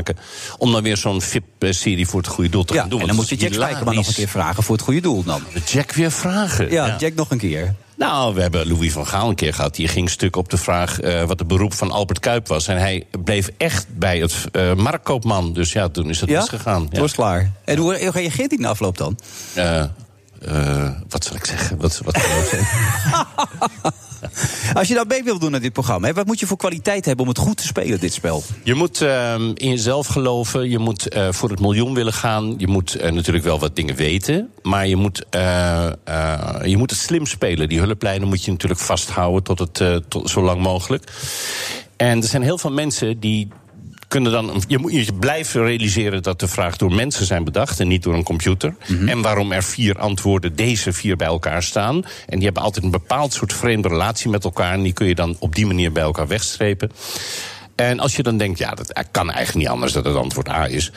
Om dan weer zo'n VIP-serie voor het goede doel te
Ja,
gaan doen.
en dan
want
moet je
het
Jack
is
Spijkerman nog een keer vragen voor het goede doel dan.
Jack weer vragen.
Ja, Jack nog een keer.
Nou, we hebben Louis van Gaal een keer gehad. Die ging stuk op de vraag eh, wat het beroep van Albert Kuip was. En hij bleef echt bij het eh marktkoopman. Dus ja, toen is het
Ja?
misgegaan.
Het was klaar. En hoe hoe reageert hij na afloop dan?
Eh, eh, wat zal ik zeggen? Wat, wat
Als je nou mee wilt doen aan dit programma, hè, wat moet je voor kwaliteit hebben om het goed te spelen, dit spel?
Je moet ehm, in jezelf geloven. Je moet eh, voor het miljoen willen gaan. Je moet eh, natuurlijk wel wat dingen weten. Maar je moet, eh, eh, je moet het slim spelen. Die hulplijnen moet je natuurlijk vasthouden tot het, eh, tot, zo lang mogelijk. En er zijn heel veel mensen die kunnen dan. Je moet je blijft realiseren dat de vraag door mensen zijn bedacht en niet door een computer. En waarom er vier antwoorden, deze vier bij elkaar staan. En die hebben altijd een bepaald soort vreemde relatie met elkaar. En die kun je dan op die manier bij elkaar wegstrepen. En als je dan denkt, ja, dat kan eigenlijk niet anders dat het antwoord A is.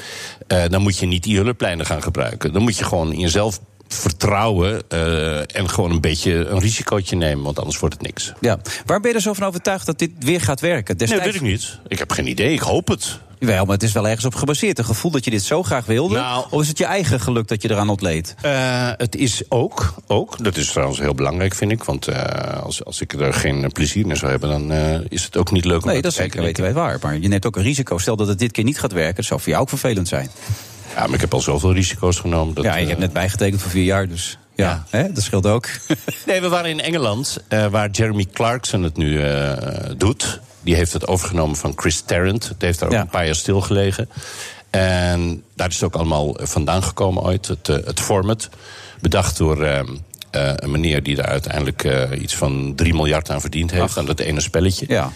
eh, dan moet je niet die hulplijnen gaan gebruiken. Dan moet je gewoon in jezelf vertrouwen. eh, en gewoon een beetje een risicootje nemen, want anders wordt het niks.
Ja. Waar ben je er zo van overtuigd dat dit weer gaat werken? Destijds...
Nee, weet ik niet. Ik heb geen idee. Ik hoop het.
Wel, maar het is wel ergens op gebaseerd. Een gevoel dat je dit zo graag wilde.
Nou-
Of is het je eigen geluk dat je eraan ontleed?
Eh, het is ook, ook, dat is trouwens heel belangrijk, vind ik. Want eh, als, als ik er geen eh, plezier in zou hebben, dan eh, is het ook niet leuk om
Nee,
naar
dat
te
zeker weten
kijken.
wij waar. Maar je neemt ook een risico. Stel dat het dit keer niet gaat werken, het zou voor jou ook vervelend zijn.
Ja, maar ik heb al zoveel risico's genomen. Dat, eh,
ja, ik heb net bijgetekend voor vier jaar, dus ja, Hè, dat scheelt ook.
Nee, we waren in Engeland, eh, waar Jeremy Clarkson het nu eh, doet. Die heeft het overgenomen van Chris Tarrant. Het heeft daar ook een paar jaar stilgelegen. En daar is het ook allemaal vandaan gekomen ooit, het, eh, het format. Bedacht door ehm, eh, een meneer die daar uiteindelijk eh, iets van 3 miljard aan verdiend heeft. Aan dat ene spelletje. Ehm,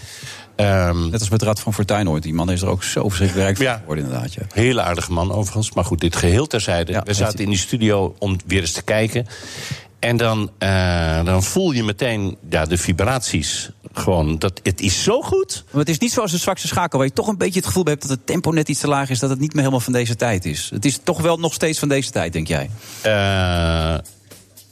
Ja.
Net
als met Rad van Fortuyn ooit. Die man is er ook zo verschrikkelijk rijk van
Mm. ja.
geworden, inderdaad. Ja.
Hele aardige man overigens. Maar goed, dit geheel terzijde. We zaten in die studio om weer eens te kijken. En dan, eh, dan voel je meteen ja, de vibraties. Gewoon, dat, het is zo goed.
Maar het is niet zoals een zwakste schakel, waar je toch een beetje het gevoel bij hebt dat het tempo net iets te laag is, dat het niet meer helemaal van deze tijd is. Het is toch wel nog steeds van deze tijd, denk jij?
Eh,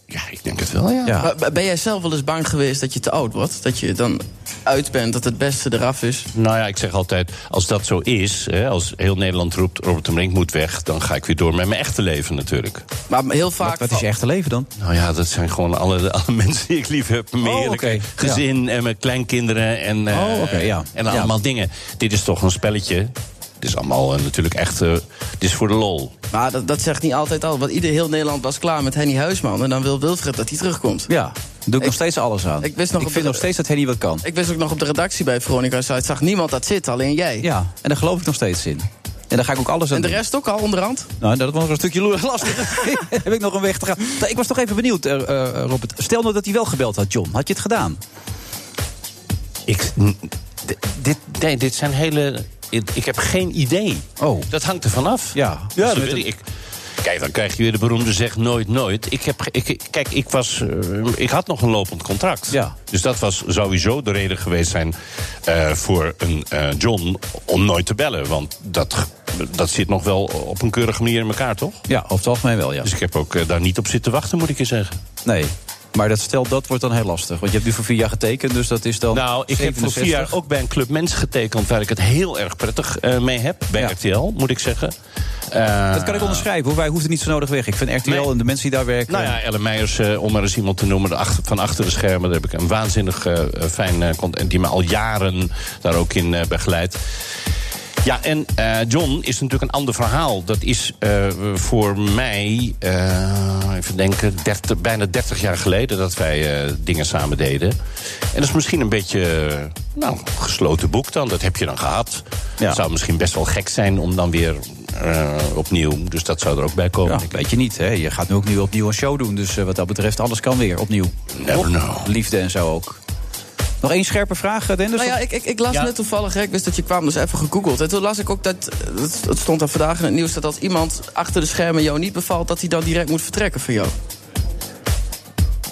ja, ik denk het wel, ja.
Maar b- Ben jij zelf wel eens bang geweest dat je te oud wordt? Dat je dan uit bent, dat het beste eraf is?
Nou ja, ik zeg altijd, als dat zo is... Hè, als heel Nederland roept, Robert de Brink moet weg... dan ga ik weer door met mijn echte leven natuurlijk.
Maar heel vaak...
Wat, is je echte leven dan?
Nou ja, dat zijn gewoon alle, alle mensen die ik lief heb. Mijn
Oh,
heerlijke
oké,
gezin en mijn kleinkinderen en, eh,
Oh, oké, ja.
en
Ja.
allemaal dingen. Dit is toch een spelletje. Het is allemaal eh, natuurlijk echt... eh, het is voor de lol.
Maar dat, dat zegt niet altijd al. Want ieder heel Nederland was klaar met Henny Huisman. En dan wil Wilfred dat hij terugkomt.
Ja, doe ik nog steeds alles aan.
Ik, wist nog
Ik
op
vind
de-
nog steeds dat hij niet wat kan.
ik wist ook nog op de redactie bij Veronica Zuid. Zag niemand dat zitten, alleen jij.
Ja, en daar geloof ik nog steeds in. En daar ga ik ook alles aan
En de
doen.
rest ook al onderhand?
Nou, dat was nog een stukje lo- lastig. Heb ik nog een weg te gaan. Nou, Ik was toch even benieuwd, eh, eh, Robert. Stel nou dat hij wel gebeld had, John. Had je het gedaan?
Ik, dit, nee, dit zijn hele... Ik, ik heb geen idee.
Oh.
Dat hangt er vanaf.
Ja.
ja dat weet ik. Ik Kijk, dan krijg je weer de beroemde zeg nooit nooit. Ik heb, ge- ik, kijk, ik, was, eh, ik had nog een lopend contract. Dus dat was sowieso de reden geweest zijn eh, voor een eh, John om nooit te bellen. Want dat, dat zit nog wel op een keurige manier in elkaar, toch?
Ja, over het algemeen wel, ja.
Dus ik heb ook eh, daar niet op zitten wachten, moet ik je zeggen.
Nee. Maar dat stel, dat wordt dan heel lastig. Want je hebt nu voor vier jaar getekend, dus dat is dan.
Nou, ik heb voor vier jaar ook bij een club mensen getekend... waar ik het heel erg prettig eh, mee heb, bij RTL, moet ik zeggen. Eh,
dat kan ik onderschrijven, hoor. wij hoeven niet zo nodig weg. Ik vind RTL en de mensen die daar werken.
Nou ja, Ellen Meijers, eh, om maar eens iemand te noemen, de achter- van achter de schermen. Daar heb ik een waanzinnig eh, fijn eh, cont- en die me al jaren daar ook in eh, begeleidt. Ja, en eh, John is natuurlijk een ander verhaal. Dat is eh, voor mij, eh, even denken, 30, bijna 30 jaar geleden dat wij eh, dingen samen deden. En dat is misschien een beetje, eh, nou, gesloten boek dan. Dat heb je dan gehad. Het zou misschien best wel gek zijn om dan weer eh, opnieuw. Dus dat zou er ook bij komen.
Ja, weet je niet, hè? Je gaat nu ook nu opnieuw een show doen. Dus eh, wat dat betreft, alles kan weer opnieuw. Toch? Liefde en zo ook. Nog één scherpe vraag, eh, Dennis?
Nou ja, ik, ik, ik las net toevallig, hè, ik wist dat je kwam, dus even gegoogeld. En toen las ik ook dat, dat, dat stond daar vandaag in het nieuws... dat als iemand achter de schermen jou niet bevalt... dat hij dan direct moet vertrekken van jou.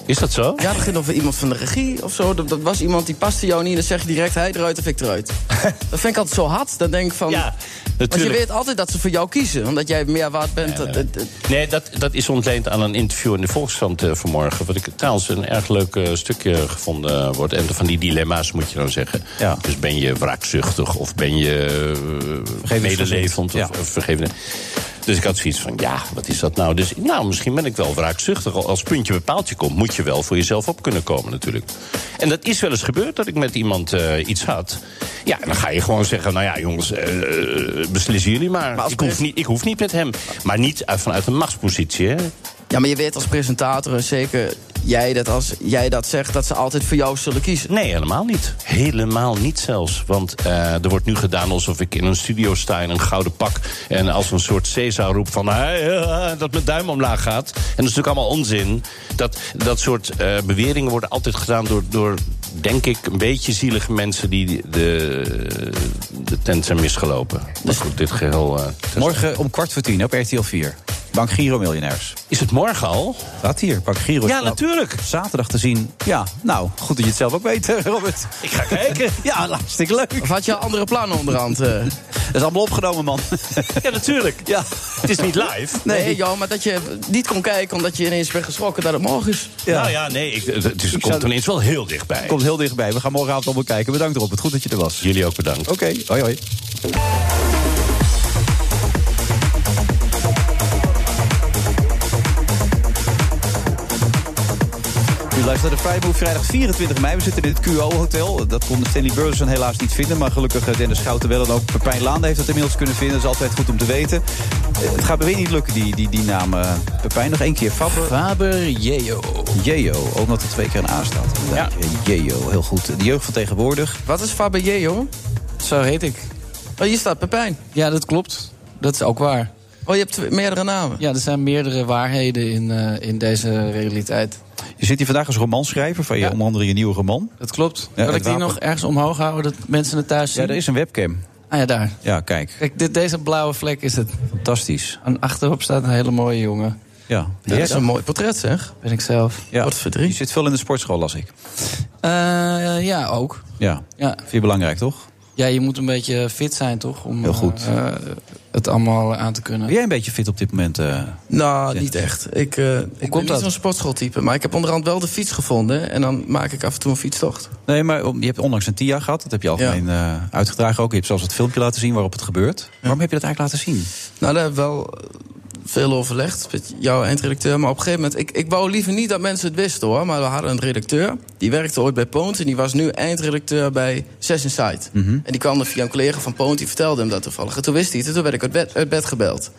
Is dat zo?
Ja, dat ging over iemand van de regie of zo. Dat, dat was iemand die paste jou niet en dan zeg je direct... hij eruit of ik eruit. dat vind ik altijd zo hard. Dan denk ik van... want je
natuurlijk.
weet altijd dat ze voor jou kiezen. Omdat jij meer waard bent. dat- dat- dat-
Nee, dat, dat is ontleend aan een interview in de Volkskrant eh, vanmorgen. Wat ik trouwens een erg leuk eh, stukje gevonden eh, wordt. En van die dilemma's moet je dan zeggen. Dus ben je wraakzuchtig of ben je eh, medelevend of, of vergevend. Dus ik had zoiets van, ja, wat is dat nou? Dus nou, misschien ben ik wel wraakzuchtig. Als puntje bij paaltje komt, moet je wel voor jezelf op kunnen komen natuurlijk. En dat is wel eens gebeurd, dat ik met iemand eh, iets had. Ja, en dan ga je gewoon zeggen, nou ja, jongens, eh, eh, beslissen jullie maar. ik, hoef niet, ik hoef niet met hem. Maar niet uit- vanuit een machtspositie, hè.
Ja, maar je weet als presentator en zeker jij dat als jij dat zegt... dat ze altijd voor jou zullen kiezen.
Nee, helemaal niet. Helemaal niet zelfs. Want eh, er wordt nu gedaan alsof ik in een studio sta in een gouden pak. En als een soort Caesar roep van. "Hey, eh, dat mijn duim omlaag gaat. En dat is natuurlijk allemaal onzin. Dat, dat soort eh, beweringen worden altijd gedaan door, door. Denk ik een beetje zielige mensen die de, de tent zijn misgelopen. Maar goed, dit geheel. eh,
Morgen om kwart voor tien op RTL 4. Bank Giro Miljonairs.
Is het morgen al?
Staat hier, Bank Giro.
Ja,
natuurlijk. Zaterdag te zien. Ja, nou, goed dat je het zelf ook weet, eh, Robert.
Ik ga kijken.
ja, hartstikke leuk. Of
had je al andere plannen onderhand? eh? Dat
is allemaal opgenomen, man.
ja, natuurlijk.
Ja.
Het is niet live.
Nee, joh, maar dat je niet kon kijken omdat je ineens bent geschrokken dat het morgen is.
Nou ja, nee, ik, het, het is,
Ik
komt
zou-
ineens wel heel dichtbij.
Komt heel dichtbij. We gaan morgenavond allemaal kijken. Bedankt, Robert. Goed dat je er was.
Jullie ook bedankt.
Oké, hoi hoi. U luistert naar de Friday Move vrijdag 24 mei. We zitten in het QO-hotel. Dat kon Stanley Burleson helaas niet vinden. Maar gelukkig eh, Dennis Schouten wel. En ook Pepijn Laan heeft dat inmiddels kunnen vinden. Dat is altijd goed om te weten. Eh, Het gaat me weer niet lukken, die, die, die naam. eh, Pepijn, nog één keer. Faber.
Faber Jeo.
Jeo, ook omdat er twee keer een A staat. Ja. Jeo, heel goed. De jeugd van tegenwoordig.
Wat is Faber Jeo?
Zo heet ik.
Oh, hier staat Pepijn.
Ja, dat klopt. Dat is ook waar.
Oh, je hebt tw- meerdere namen?
Ja, er zijn meerdere waarheden in, eh, in deze realiteit.
Je zit hier vandaag als romanschrijver van je, onder andere je nieuwe roman.
Dat klopt.
Ja,
Wil
het
ik die
wapen.
nog ergens omhoog houden, dat mensen het thuis zien?
Ja, er is een webcam.
Ah ja, daar.
Ja, kijk.
Kijk, dit, deze blauwe vlek is het.
Fantastisch.
En achterop staat een hele mooie jongen.
Ja.
Dat is een
mooi portret, zeg.
Ben ik zelf.
Ja. Wat verdriet. Je zit veel in de sportschool, las ik.
Eh, ja, ook.
Ja.
Ja.
Vind je belangrijk, toch?
Ja, je moet een beetje fit zijn, toch? Om,
Heel goed.
eh, eh, het
eh,
allemaal aan te kunnen.
Ben jij een beetje fit op dit moment? eh?
Nou, niet echt. Ik, eh ik ben
dat?
niet zo'n sportschooltype, maar ik heb onderhand wel de fiets gevonden. En dan maak ik af en toe een fietstocht.
Nee, maar om- je hebt onlangs een TIA gehad. Dat heb je algemeen eh, uitgedragen ook. Je hebt zelfs het filmpje laten zien waarop het gebeurt. Waarom heb je dat eigenlijk laten zien?
Nou, daar heb ik wel eh, veel overlegd met jouw eindredacteur. Maar op een gegeven moment, ik, ik wou liever niet dat mensen het wisten hoor. Maar we hadden een redacteur, die werkte ooit bij Poont... en die was nu eindredacteur bij Zes Inside. En die kwam er via een collega van Poont, die vertelde hem dat toevallig. En toen wist hij het, en toen werd ik uit bed, uit bed gebeld.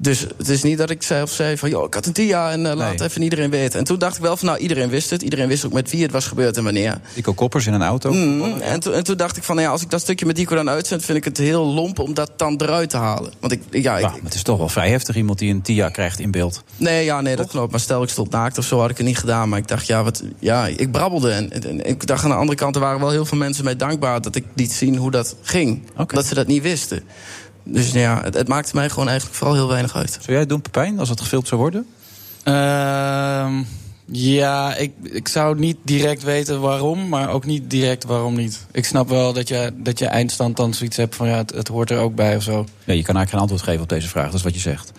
Dus het is niet dat ik zei of zei van... joh, ik had een TIA en eh, laat het even iedereen weten. En toen dacht ik wel van, nou, iedereen wist het. Iedereen wist ook met wie het was gebeurd en wanneer.
Nico Koppers in een auto.
Mm, en, toen- en toen dacht ik van, nou ja, als ik dat stukje met Dico dan uitzend... vind ik het heel lomp om dat dan eruit te halen. Want ik, ja, ik,
Ja, maar het is toch wel vrij heftig iemand die een TIA krijgt in beeld.
Nee, ja, nee, dat klopt. Maar stel ik stond naakt of zo, had ik het niet gedaan. Maar ik dacht, ja, wat, ja ik brabbelde. En, en- en ik dacht aan de andere kant, er waren wel heel veel mensen mij dankbaar... dat ik liet zien hoe dat ging. Dat ze dat niet wisten. Dus nou ja, het, het maakt mij gewoon eigenlijk vooral heel weinig uit.
Zou jij het doen, Pepijn, als het gefilmd zou worden?
Ehm, ja, ik, ik zou niet direct weten waarom, maar ook niet direct waarom niet. Ik snap wel dat je, dat je eindstand dan zoiets hebt van ja, het, het hoort er ook bij of zo.
Nee, je kan eigenlijk geen antwoord geven op deze vraag. Dat is wat je zegt.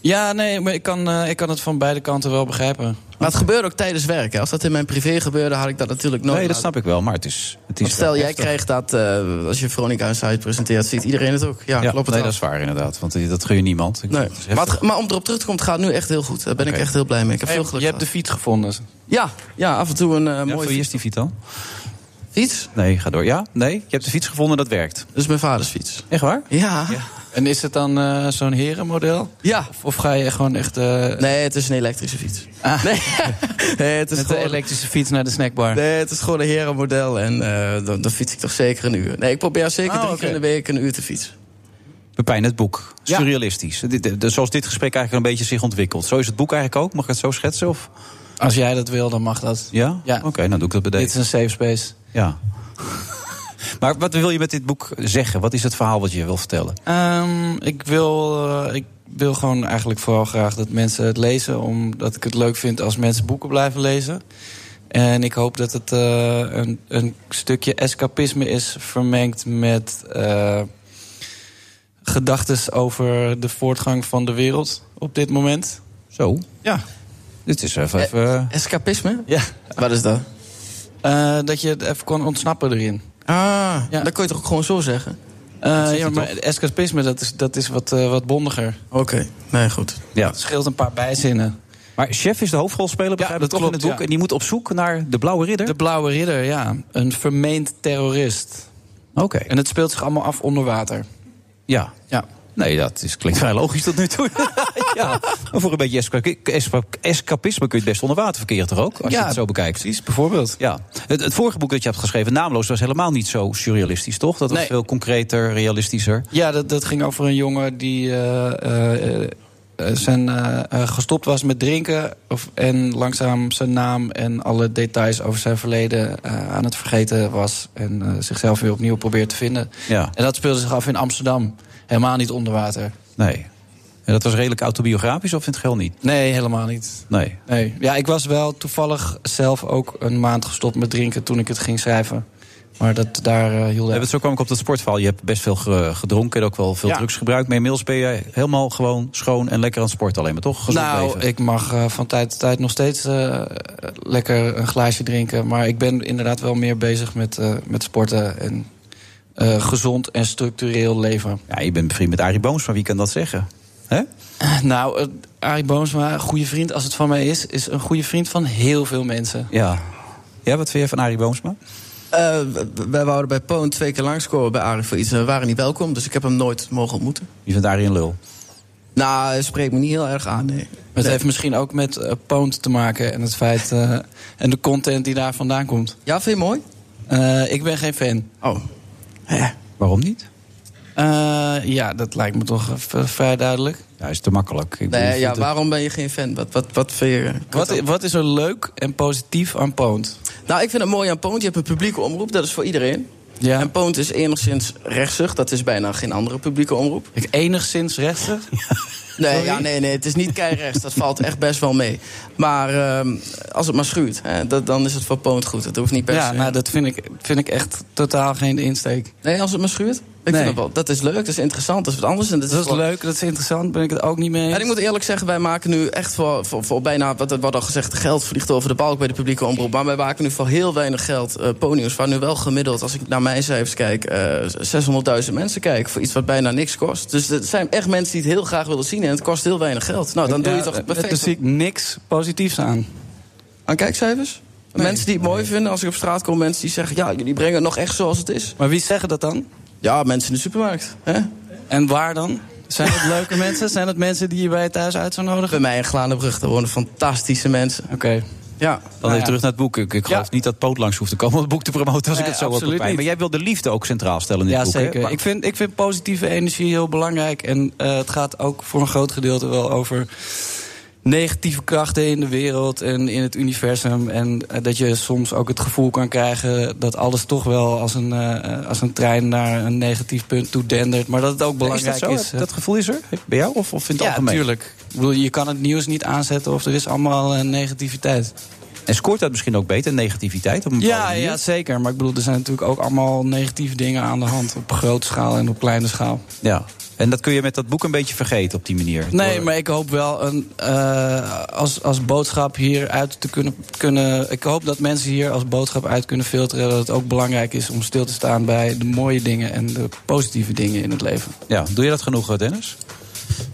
Ja, nee, maar ik kan, eh, ik kan het van beide kanten wel begrijpen.
Maar het gebeurt ook tijdens werk. Hè. Als dat in mijn privé gebeurde, had ik dat natuurlijk nooit.
nee, dat
laten-
snap ik wel, maar het is... Het is
Want stel,
wel
jij
heftig.
krijgt dat eh, als je Veronica een site presenteert, ziet iedereen het ook. Ja,
Ja,
klopt het
nee,
wel.
dat is waar inderdaad, want eh, dat gun je niemand. Ik-
Nee.
het is
Maar,
heftig.
het- maar om erop terug te komen, het gaat nu echt heel goed. Daar ben ik
Oké.
echt heel blij mee. Ik heb
Hey,
veel geluk
je hebt de fiets gevonden.
Ja, ja, af en toe een eh,
Ja,
mooie
voor wie is die fiets dan?
fiets.
Nee, ga door. Ja? Nee? Je hebt de fiets gevonden, dat werkt.
Dat is mijn vaders fiets.
Echt waar?
Ja.
En is het dan eh, zo'n herenmodel?
Ja.
Of, of ga je gewoon echt... eh, Ah.
Nee, het is een elektrische fiets. Nee. nee, het is
met de
gewoon...
elektrische fiets naar de snackbar.
Nee, het is gewoon een herenmodel en eh, dan, dan fiets ik toch zeker een uur. Nee, ik probeer zeker
Oh,
drie
oké.
keer in de week een uur te fietsen.
Pepijn, het boek. Surrealistisch. Dit- dit- dit- Zoals dit gesprek eigenlijk een beetje zich ontwikkelt. Zo is het boek eigenlijk ook. Mag ik het zo schetsen? Of?
Als jij dat wil, dan mag dat.
Ja?
Ja.
Oké, dan doe ik dat bij
Dit is
deze.
een safe space.
Ja. maar wat wil je met dit boek zeggen? Wat is het verhaal wat je wil vertellen?
Ehm, ik, wil, eh, ik wil gewoon eigenlijk vooral graag dat mensen het lezen. Omdat ik het leuk vind als mensen boeken blijven lezen. En ik hoop dat het eh, een, een stukje escapisme is vermengd met eh gedachten over de voortgang van de wereld op dit moment.
Zo.
Ja.
Dit is even... even
Eh, Escapisme?
ja.
Wat is dat?
Eh, dat je het even kon ontsnappen erin.
Ah,
Ja.
dat kun je toch ook gewoon zo zeggen?
Eh,
zegt
ja,
hij
maar escapisme, dat is, dat is wat, eh, wat bondiger.
Oké, nee, goed.
ja.
Het scheelt een paar bijzinnen.
Maar Chef is de hoofdrolspeler, begrijp ik
dat
toch in
klopt,
het boek.
ja.
En die moet op zoek naar de Blauwe Ridder?
De Blauwe Ridder, ja. Een vermeend terrorist.
Oké.
En het speelt zich allemaal af onder water.
Ja.
Ja.
Nee, dat is, klinkt vrij logisch tot nu toe. ja. Maar voor een beetje esca- esca- escapisme kun je het best onder water verkeren, toch ook? Als je
Ja,
het zo bekijkt.
Precies, bijvoorbeeld.
Ja, het, het vorige boek dat je hebt geschreven, Naamloos, was helemaal niet zo surrealistisch, toch? Dat was
Nee.
veel concreter, realistischer.
Ja, dat, dat ging over een jongen die eh, eh, eh, zijn, eh, eh, gestopt was met drinken. Of, en langzaam zijn naam en alle details over zijn verleden eh, aan het vergeten was. En eh, zichzelf weer opnieuw probeert te vinden.
Ja,
En dat speelde zich af in Amsterdam. Helemaal niet onder water.
nee. En dat was redelijk autobiografisch, of in het geheel niet?
Nee, helemaal niet.
Nee.
Nee, ja, ik was wel toevallig zelf ook een maand gestopt met drinken toen ik het ging schrijven. Maar dat, daar eh, hield
Nee,
hij.
want zo kwam ik op dat sportverhaal. Je hebt best veel ge- gedronken en ook wel veel
Ja.
drugs gebruikt. Maar inmiddels ben je helemaal gewoon schoon en lekker aan het sporten alleen maar, toch? Gezond
Nou,
leven.
ik mag eh, van tijd tot tijd nog steeds eh, lekker een glaasje drinken. Maar ik ben inderdaad wel meer bezig met, eh, met sporten en eh, gezond en structureel leven.
Ja, je bent bevriend met Arie Booms, maar wie kan dat zeggen? Hè?
Nou, eh, Arie Boomsma, een goede vriend als het van mij is, is een goede vriend van heel veel mensen.
Ja. Ja, wat vind jij van Arie Boomsma?
Eh, w- wij wouden bij Poon twee keer langskomen bij Arie voor iets. En we waren niet welkom, dus ik heb hem nooit mogen ontmoeten.
Je vindt Arie een lul.
Nou, hij spreekt me niet heel erg aan, nee.
Het heeft misschien ook met eh Poont te maken en het feit eh, en de content die daar vandaan komt.
Ja, vind je mooi?
Eh, ik ben geen fan.
Oh. Ja.
Waarom niet?
Eh, ja, dat lijkt me toch eh, v- vrij duidelijk.
Ja, is te makkelijk. Ik bedoel, je
Nee,
vindt
ja,
het-
waarom ben je geen fan? Wat, wat, wat vind je...
Wat, i- wat is er leuk en positief aan Poont?
Nou, ik vind het mooi aan Poont. Je hebt een publieke omroep, dat is voor iedereen.
Ja.
En Poont is enigszins rechtsig. Dat is bijna geen andere publieke omroep.
Ik enigszins rechter.
Nee,
Sorry?
ja, nee, nee, het is niet keirechts. dat valt echt best wel mee. Maar ehm, als het maar schuurt, hè, dat, dan is het voor Poont goed. Dat hoeft niet per
Ja,
se.
nou, dat vind ik, vind ik echt totaal geen insteek.
Nee, als het maar schuurt. Ik
Nee.
vind dat, wel, dat is leuk, dat is interessant, dat is wat anders. En dat is
Dat is
voor-
leuk, dat is interessant, ben ik het ook niet mee eens.
En ik moet eerlijk zeggen, wij maken nu echt voor, voor, voor bijna, wat er wordt al gezegd, geld vliegt over de balk bij de publieke omroep. Maar wij maken nu voor heel weinig geld eh pony's, waar nu wel gemiddeld, als ik naar mijn cijfers kijk, eh 600.000 mensen kijken voor iets wat bijna niks kost. Dus het zijn echt mensen die het heel graag willen zien en het kost heel weinig geld. Nou, dan doe je
Ja,
toch
eh, Daar
perfect.
zie ik niks positiefs aan.
Aan kijkcijfers? Mensen die het mooi vinden als ik op straat kom, mensen die zeggen, ja, jullie brengen het nog echt zoals het is.
Maar wie zeggen dat dan?
Ja, mensen in de supermarkt. Hè?
En waar dan? Zijn het leuke mensen? Zijn het mensen die je bij je thuis uit zou nodigen?
Bij mij in Glanenbrug, daar wonen fantastische mensen.
Oké.
Ja.
Nou
Dan even
ja.
terug naar het boek. Ik, ik geloof
Ja.
niet dat Poot langs hoeft te komen om het boek te promoten als ik
Nee,
het zo had
absoluut
Pepijn.
niet.
Maar jij wil de liefde ook centraal stellen in
Ja,
dit boek. hè?
zeker.
Maar-
Ik vind, ik vind positieve energie heel belangrijk. En eh, het gaat ook voor een groot gedeelte wel over negatieve krachten in de wereld en in het universum. En eh, dat je soms ook het gevoel kan krijgen dat alles toch wel als een, eh, als een trein naar een negatief punt toe dendert. Maar dat het ook belangrijk
is dat zo?
is. eh.
Dat gevoel is er? Bij jou of, of in het
ja,
algemeen?
natuurlijk. Ik bedoel, je kan het nieuws niet aanzetten of er is allemaal eh, negativiteit.
En scoort dat misschien ook beter, negativiteit? Op een
Ja,
bepaalde manier?
ja, zeker. Maar ik bedoel, er zijn natuurlijk ook allemaal negatieve dingen aan de hand. Op grote schaal en op kleine schaal.
ja. En dat kun je met dat boek een beetje vergeten op die manier.
Nee, maar ik hoop wel een, eh, als, als boodschap hieruit te kunnen, kunnen. Ik hoop dat mensen hier als boodschap uit kunnen filteren. Dat het ook belangrijk is om stil te staan bij de mooie dingen en de positieve dingen in het leven.
Ja, doe je dat genoeg, eh, Dennis?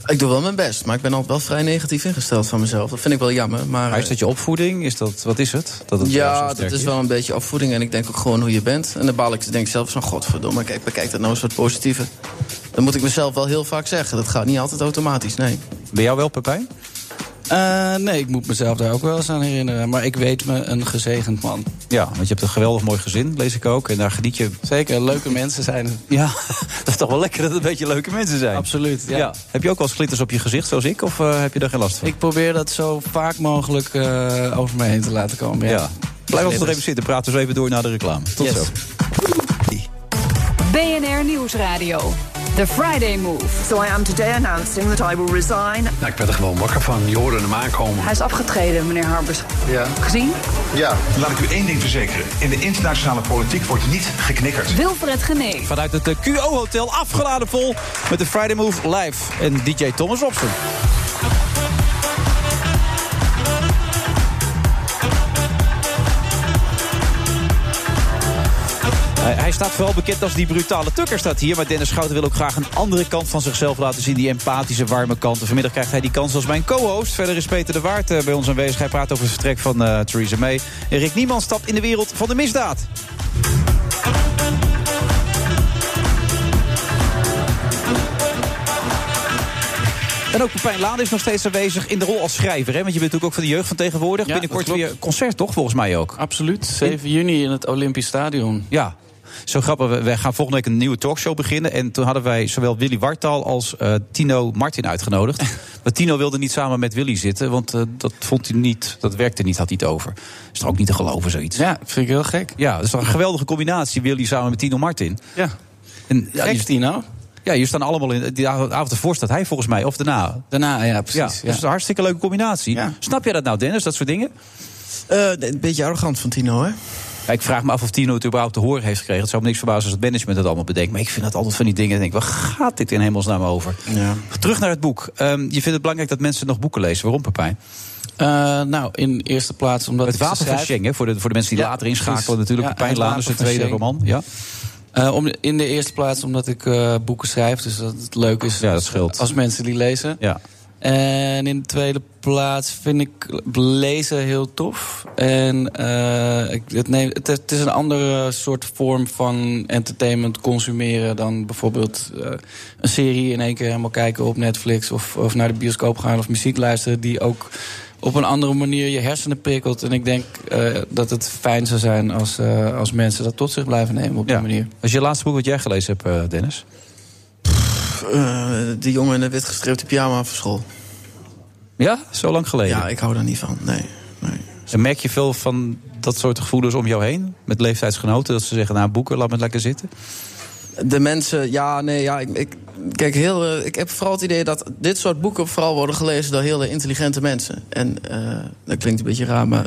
Ik doe wel mijn best, maar ik ben altijd wel vrij negatief ingesteld van mezelf. Dat vind ik wel jammer. Maar,
Maar is dat je opvoeding? Is dat, wat is het? Dat het eh, zo
ja,
sterk
dat is wel een beetje opvoeding. En ik denk ook gewoon hoe je bent. En dan baal ik denk ik zelf van godverdomme, kijk, bekijk dat nou eens wat positieve. Dat moet ik mezelf wel heel vaak zeggen. Dat gaat niet altijd automatisch, nee.
Bij jou wel, Pepijn?
Eh, nee, ik moet mezelf daar ook wel eens aan herinneren. Maar ik weet me een gezegend man.
Ja, want je hebt een geweldig mooi gezin, lees ik ook. En daar geniet je...
Zeker, leuke mensen zijn het.
Ja, dat is toch wel lekker dat het een beetje leuke mensen zijn.
Absoluut, ja.
Heb je ook wel splitters op je gezicht, zoals ik? Of eh, heb je daar geen last van?
Ik probeer dat zo vaak mogelijk eh, over me heen te laten komen. Ja.
Blijf ons nog even zitten. Praten we zo even door naar de reclame. Tot zo.
BNR Nieuwsradio. The Friday Move.
So I am today announcing that I will resign.
Nou, ik ben er gewoon wakker van. Je hoorde hem aankomen.
Hij is afgetreden, meneer Harbers.
Ja.
Gezien?
Ja. Laat ik u één ding verzekeren. In de internationale politiek wordt niet geknikkerd.
Wilfred Genee.
Vanuit het eh, QO Hotel afgeladen vol met de Friday Move live. En DJ Thomas Robson. Hij- Hij staat vooral bekend als die brutale tukker staat hier. Maar Dennis Schouten wil ook graag een andere kant van zichzelf laten zien. Die empathische, warme kant. En vanmiddag krijgt hij die kans als mijn co-host. Verder is Peter de Waard eh, bij ons aanwezig. Hij praat over het vertrek van eh, Theresa May. En Rick Niemann stapt in de wereld van de misdaad. En ook Pepijn Lade is nog steeds aanwezig in de rol als schrijver. Hè? Want je bent natuurlijk ook van de jeugd van tegenwoordig.
Ja,
Binnenkort
dat klopt.
weer concert, toch? Volgens mij ook.
Absoluut. 7 juni in het Olympisch Stadion.
Ja. Zo grappig, we- wij gaan volgende week een nieuwe talkshow beginnen. En toen hadden wij zowel Willy Wartal als eh, Tino Martin uitgenodigd. maar Tino wilde niet samen met Willy zitten, want eh, dat vond hij niet, dat werkte niet, had hij het over. Is toch ook niet te geloven, zoiets?
Ja, vind ik heel gek.
Ja, dat is toch een geweldige combinatie, Willy samen met Tino Martin.
Ja.
En, ja,
Gek, nou?
je-
Tino.
Ja, je staan allemaal in. Die av- avond ervoor staat hij volgens mij, of daarna.
Daarna, ja,
Ja, dat is een hartstikke leuke combinatie. Snap jij dat nou, Dennis, dat soort dingen?
Eh, een beetje arrogant van Tino, hè?
Ja, ik vraag me af of Tino het überhaupt te horen heeft gekregen. Het zou me niks verbazen als het management het allemaal bedenkt. Maar ik vind dat altijd van die dingen. Dan denk ik, waar gaat dit in hemelsnaam over? Terug naar het boek. Ehm, je vindt het belangrijk dat mensen nog boeken lezen. Waarom, Pepijn?
Eh, nou, in de eerste plaats omdat
Het
ik ze
wapen van
schrijf.
Schengen, hè, voor de, voor de mensen die
Ja,
later inschakelen.
precies.
Natuurlijk,
Ja,
Pepijn
Het
Laan
Wapen
is zijn
van
tweede
Schengen.
roman. Ja.
Eh, om, in de eerste plaats omdat ik eh, boeken schrijf. Dus dat het leuk is
Ja, dat scheelt.
als mensen die lezen.
Ja.
En in de tweede plaats vind ik lezen heel tof. En eh, ik, het, neem, het, het is een andere soort vorm van entertainment consumeren dan bijvoorbeeld eh, een serie in één keer helemaal kijken op Netflix of, of naar de bioscoop gaan of muziek luisteren die ook op een andere manier je hersenen prikkelt. En ik denk eh, dat het fijn zou zijn als, eh, als mensen dat tot zich blijven nemen op die manier.
Als je laatste boek wat jij gelezen hebt, eh, Dennis.
Eh, die jongen in de wit gestreepte pyjama van school.
Ja? Zo lang geleden.
Ja, ik hou daar niet van, nee.
En merk je veel van dat soort gevoelens om jou heen? Met leeftijdsgenoten, dat ze zeggen, nou boeken, laat me het lekker zitten.
De mensen, ja, nee, ja. Ik, ik, kijk, heel, eh, ik heb vooral het idee dat dit soort boeken vooral worden gelezen door hele intelligente mensen. En eh, dat klinkt een beetje raar, maar.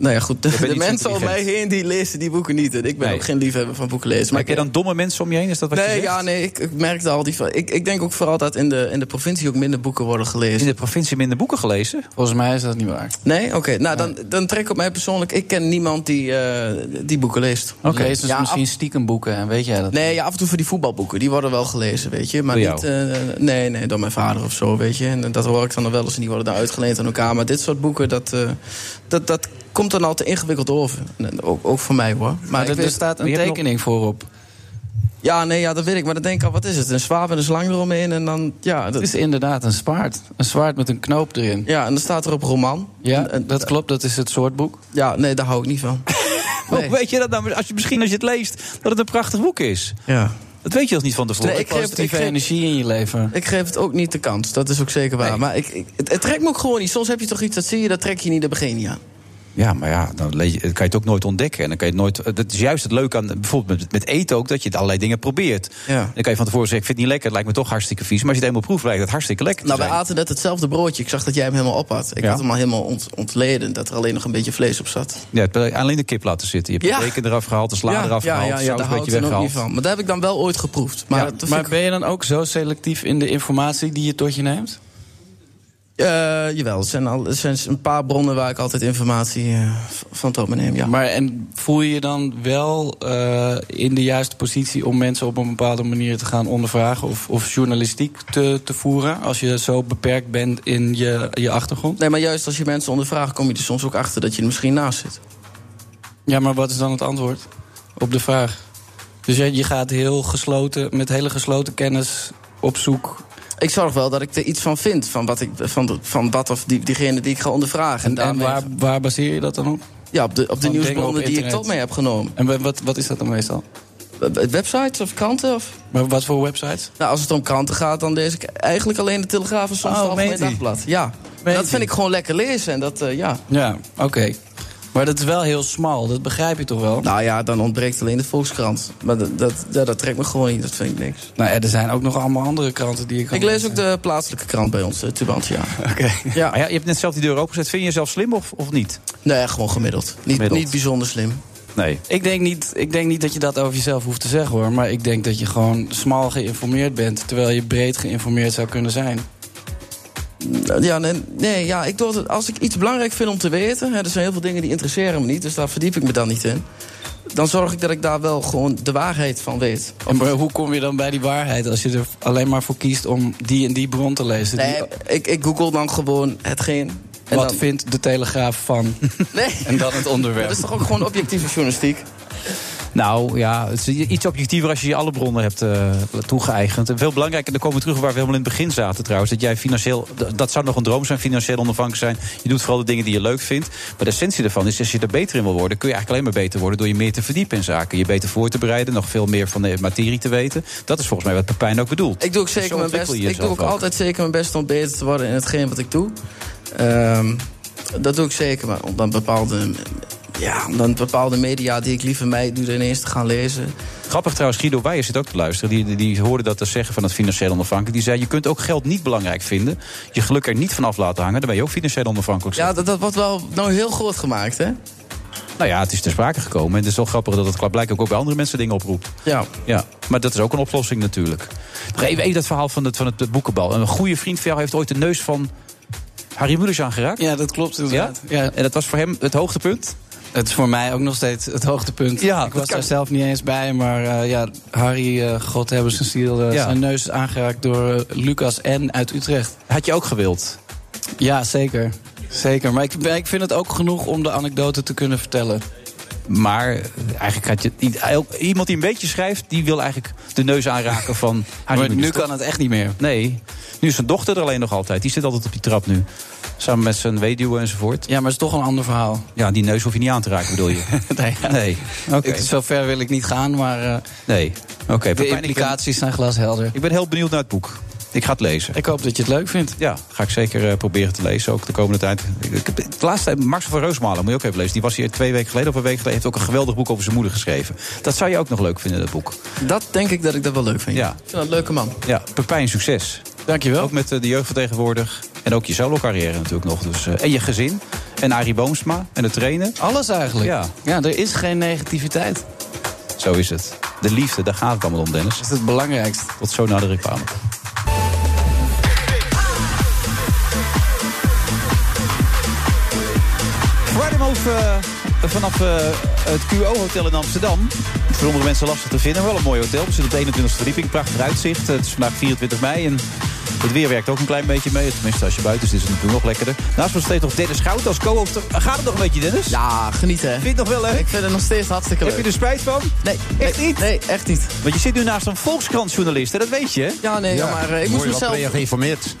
Nou ja, goed. De,
bent
de
niet zo
mensen om mij
intelligent.
heen die lezen die boeken niet. En ik ben
Nee.
ook geen liefhebber van boeken lezen.
Maar heb je
ik-
dan domme mensen om je heen? Is dat wat je
Nee,
zegt?
ja, nee, ik, ik merkte al die. van- Ik, ik denk ook vooral dat in de, in de provincie ook minder boeken worden gelezen.
In de provincie minder boeken gelezen?
Volgens mij is dat niet waar.
Nee? Oké, nou dan, dan trek op mij persoonlijk. Ik ken niemand die, eh, die boeken leest.
dus
Oké. Lezen ze
Ja,
misschien
af-
stiekem boeken en weet jij dat?
Nee, ja, af en toe voor die voetbalboeken. Die worden wel gelezen, weet je. Maar
Door
niet, eh, nee, nee, door mijn vader of zo, weet je. En dat hoor ik dan nog wel eens. En die worden dan uitgeleend aan elkaar. Maar dit soort boeken, dat, eh, dat, dat komt dan al te ingewikkeld over. En Ook, ook voor mij, hoor.
Maar
ik
er, er
weet-
staat een tekening voorop.
Ja, nee, ja, dat weet ik. Maar dan denk ik al, wat is het? Een zwaap en een slang eromheen. En dan, ja, dat...
Het is inderdaad een zwaard. Een zwaard met een knoop erin.
Ja, en dan staat er op roman.
Ja, dat klopt. Dat is het soortboek.
Ja, nee, daar hou ik niet van.
Hoe weet je dat nou? Als je, misschien als je het leest, dat het een prachtig boek is.
Ja.
Dat weet je toch niet van tevoren?
Nee, ik geef-
Positieve
ik geef-
energie in je leven.
Ik geef het ook niet de kans, dat is ook zeker waar. Maar ik, ik, het, het trekt me ook gewoon niet. Soms heb je toch iets, dat zie je, dat trek je niet, dat begin je niet aan.
Ja, maar ja, dan le- kan je het ook nooit ontdekken. En dan kan je het nooit. eh, Dat is juist het leuke aan bijvoorbeeld met, met eten ook, dat je allerlei dingen probeert.
Ja.
Dan kan je van tevoren zeggen, ik vind het niet lekker, het lijkt me toch hartstikke vies. Maar als je het eenmaal proeft, lijkt het hartstikke lekker. te
Nou, wij
zijn.
aten net hetzelfde broodje. Ik zag dat jij hem helemaal op had. Ik
Ja.
had hem al helemaal ont- ontleden, dat er alleen nog een beetje vlees op zat.
Ja, het- alleen de kip laten zitten. Je hebt
Ja.
de bacon eraf gehaald, de sla
Ja,
eraf
ja,
gehaald,
ja,
de
ja,
saus
daar
een beetje
hou ik dan ook
weggehaald.
niet van. Maar dat heb ik dan wel ooit geproefd. Maar,
Ja,
dat vind
maar
ik-
ben je dan ook zo selectief in de informatie die je tot je neemt?
Eh, jawel, het zijn, al, het zijn een paar bronnen waar ik altijd informatie eh, v- van tot me neem. Ja.
Maar en voel je je dan wel eh, in de juiste positie om mensen op een bepaalde manier te gaan ondervragen of, of journalistiek te, te voeren als je zo beperkt bent in je, je achtergrond?
Nee, maar juist als je mensen ondervraagt, kom je er soms ook achter dat je er misschien naast zit.
Ja, maar wat is dan het antwoord op de vraag? Dus je, je gaat heel gesloten, met hele gesloten kennis op zoek.
Ik zorg wel dat ik er iets van vind, van wat, ik, van de- van wat of die, diegene die ik ga ondervragen.
En, en
daarmee-
waar, waar baseer je dat dan op?
Ja, op de, op de
Van dingen
nieuwsbronnen
op
die ik
internet.
tot mee heb genomen.
En wa- wat, wat is dat dan meestal?
Websites of kranten? Of?
Maar wat voor websites?
Nou, als het om kranten gaat, dan lees ik eigenlijk alleen de Telegraaf en soms
Oh,
het Algemeen
meent ie.
Dagblad. Ja, dat vind ik gewoon lekker lezen. En dat, eh, ja.
Ja, oké. Maar dat is wel heel smal, dat begrijp je toch wel?
Nou ja, dan ontbreekt alleen de Volkskrant. Maar dat, dat, ja, dat trekt me gewoon niet, dat vind ik niks.
Nou, ja, er zijn ook nog allemaal andere kranten die ik kan
Ik lees ook de plaatselijke krant bij ons, de Tubantia. Ja.
Maar ja, je hebt net zelf die deur opengezet. Vind je jezelf slim of, of niet?
Nee, gewoon gemiddeld. Niet,
Gemiddeld.
niet bijzonder slim.
Nee.
Ik denk, niet, ik denk niet dat je dat over jezelf hoeft te zeggen hoor. Maar ik denk dat je gewoon smal geïnformeerd bent. Terwijl je breed geïnformeerd zou kunnen zijn.
Ja, nee, nee ja, ik doe het, als ik iets belangrijk vind om te weten... Hè, er zijn heel veel dingen die interesseren me niet, dus daar verdiep ik me dan niet in... dan zorg ik dat ik daar wel gewoon de waarheid van weet.
En maar hoe kom je dan bij die waarheid als je er alleen maar voor kiest om die en die bron te lezen? Die-
Nee, ik, ik google dan gewoon hetgeen... en
wat
dan-
vindt de Telegraaf van?
Nee,
en dan het onderwerp.
dat is toch ook gewoon objectieve journalistiek?
Nou ja, het is iets objectiever als je je alle bronnen hebt eh, toegeëigend. En veel belangrijker, dan komen we terug waar we helemaal in het begin zaten trouwens. Dat jij financieel, d- dat zou nog een droom zijn, financieel onafhankelijk zijn. Je doet vooral de dingen die je leuk vindt. Maar de essentie daarvan is, als je er beter in wil worden... kun je eigenlijk alleen maar beter worden door je meer te verdiepen in zaken. Je beter voor te bereiden, nog veel meer van de materie te weten. Dat is volgens mij wat Pepijn ook bedoelt.
Ik doe ook
Dus
zeker
zo
mijn best.
ontwikkel je
Ik doe ook
jezelf ook.
altijd zeker mijn best om beter te worden in hetgeen wat ik doe. Ehm, dat doe ik zeker, maar om dan bepaalde, ja, om dan bepaalde media die ik liever mij doe, ineens te gaan lezen.
Grappig trouwens, Guido Weijers zit ook te luisteren. Die, die, die hoorde dat te zeggen van het financieel onafhankelijk. Die zei, je kunt ook geld niet belangrijk vinden. Je geluk er niet van af laten hangen. Dan ben je ook financieel onafhankelijk.
Ja, dat, dat wordt wel nou heel groot gemaakt, hè?
Nou ja, het is ter sprake gekomen. En het is wel grappig dat het blijkbaar ook bij andere mensen dingen oproept.
Ja.
Ja, maar dat is ook een oplossing natuurlijk. Nog even, even dat verhaal van het, van het boekenbal. Een goede vriend van jou heeft ooit de neus van Harry Mulisch aangeraakt.
Ja, dat klopt
Ja?
inderdaad. Ja?
En dat was voor hem het hoogtepunt.
Het is voor mij ook nog steeds het hoogtepunt.
Ja,
ik
dat
was
kan.
daar zelf niet eens bij. Maar eh, ja, Harry, eh God hebben zijn ziel, eh,
Ja.
zijn neus is aangeraakt door eh, Lucas N. uit Utrecht.
Had je ook gewild.
Ja, zeker. Zeker. Maar ik, ik vind het ook genoeg om de anekdote te kunnen vertellen.
Maar eh, eigenlijk had je... niet- elk- Iemand die een beetje schrijft, die wil eigenlijk de neus aanraken van Harry
Maar
Mulisch.
nu kan het echt niet meer.
Nee, nu is zijn dochter er alleen nog altijd. Die zit altijd op die trap nu. Samen met zijn weduwe enzovoort.
Ja, maar het is toch een ander verhaal.
Ja, die neus hoef je niet aan te raken, bedoel je?
Nee, ja.
Nee, oké.
Ik- Zover wil ik niet gaan, maar eh,
Nee, oké.
de
Pepijn, ik, eh, ben,
implicaties zijn glashelder.
ik ben heel benieuwd naar het boek. Ik ga het lezen.
Ik hoop dat je het leuk vindt.
Ja, ga ik zeker eh, proberen te lezen, ook de komende tijd. Ik, ik heb- de laatste tijd, Max van Roosmalen, moet je ook even lezen. Die was hier twee weken geleden of een week geleden. Heeft ook een geweldig boek over zijn moeder geschreven. Dat zou je ook nog leuk vinden, dat boek.
Dat denk ik dat ik dat wel leuk vind.
Ja.
Ik vind dat een leuke man.
Ja, Pepijn, succes.
Dankjewel.
Ook met eh, de jeugd van tegenwoordig. En ook je solo-carrière natuurlijk nog. Dus, eh, en je gezin. En Arie Boomsma. En het trainen.
Alles eigenlijk.
Ja.
er is geen negativiteit.
Zo is het. De liefde, daar gaat het allemaal om, Dennis.
Dat is het belangrijkste.
Tot zo na de reclame. Friday Move eh, vanaf eh, het QO-hotel in Amsterdam. Voor andere mensen lastig te vinden, maar wel een mooi hotel. We zitten op de 21 e verdieping, prachtig uitzicht. Het is vandaag 24 mei en het weer werkt ook een klein beetje mee. Tenminste, als je buiten is, is het natuurlijk nog lekkerder. Naast me steeds nog Dennis Goud als co-host. Gaat het nog een beetje, Dennis?
Ja, genieten. hè?
Vind je het nog wel leuk?
Ik vind het nog steeds hartstikke leuk.
Heb je er spijt van?
Nee,
Echt
nee,
niet?
Nee, echt niet.
Want je zit nu naast een Volkskrant-journalist, hè? dat weet je. hè?
Ja, nee, ja. maar eh, ik, moest mezelf,
ben je geïnformeerd.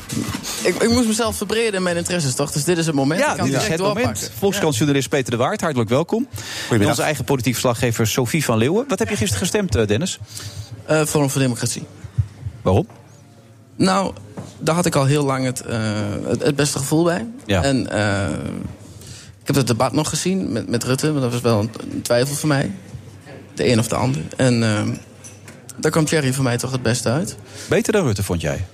ik, ik moest mezelf verbreden in mijn interesses, toch? Dus dit is het moment. ik
Ja,
kan
dit is
direct
het moment.
doorpakken.
Volkskrantjournalist Peter de Waard, hartelijk welkom. En
Goedemiddag.
onze eigen politiek verslaggever Sophie van Leeuwen. Wat heb je gisteren gestemd, eh, Dennis?
eh, Forum voor Democratie.
Waarom?
Nou, daar had ik al heel lang het, eh, het, het beste gevoel bij.
Ja.
En eh, ik heb het debat nog gezien met, met Rutte, want dat was wel een, een twijfel voor mij. De een of de ander. En eh, daar kwam Thierry voor mij toch het beste uit.
Beter dan Rutte, vond jij?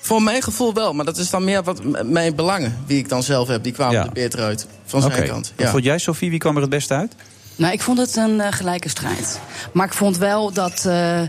Voor mijn gevoel wel, maar dat is dan meer wat m- mijn belangen, die ik dan zelf heb, die kwamen
Ja.
er beter uit. Van zijn
Oké.
kant.
Wat vond jij, Sofie? Wie kwam er het beste uit?
Nou, ik vond het een eh, gelijke strijd. Maar ik vond wel dat, eh,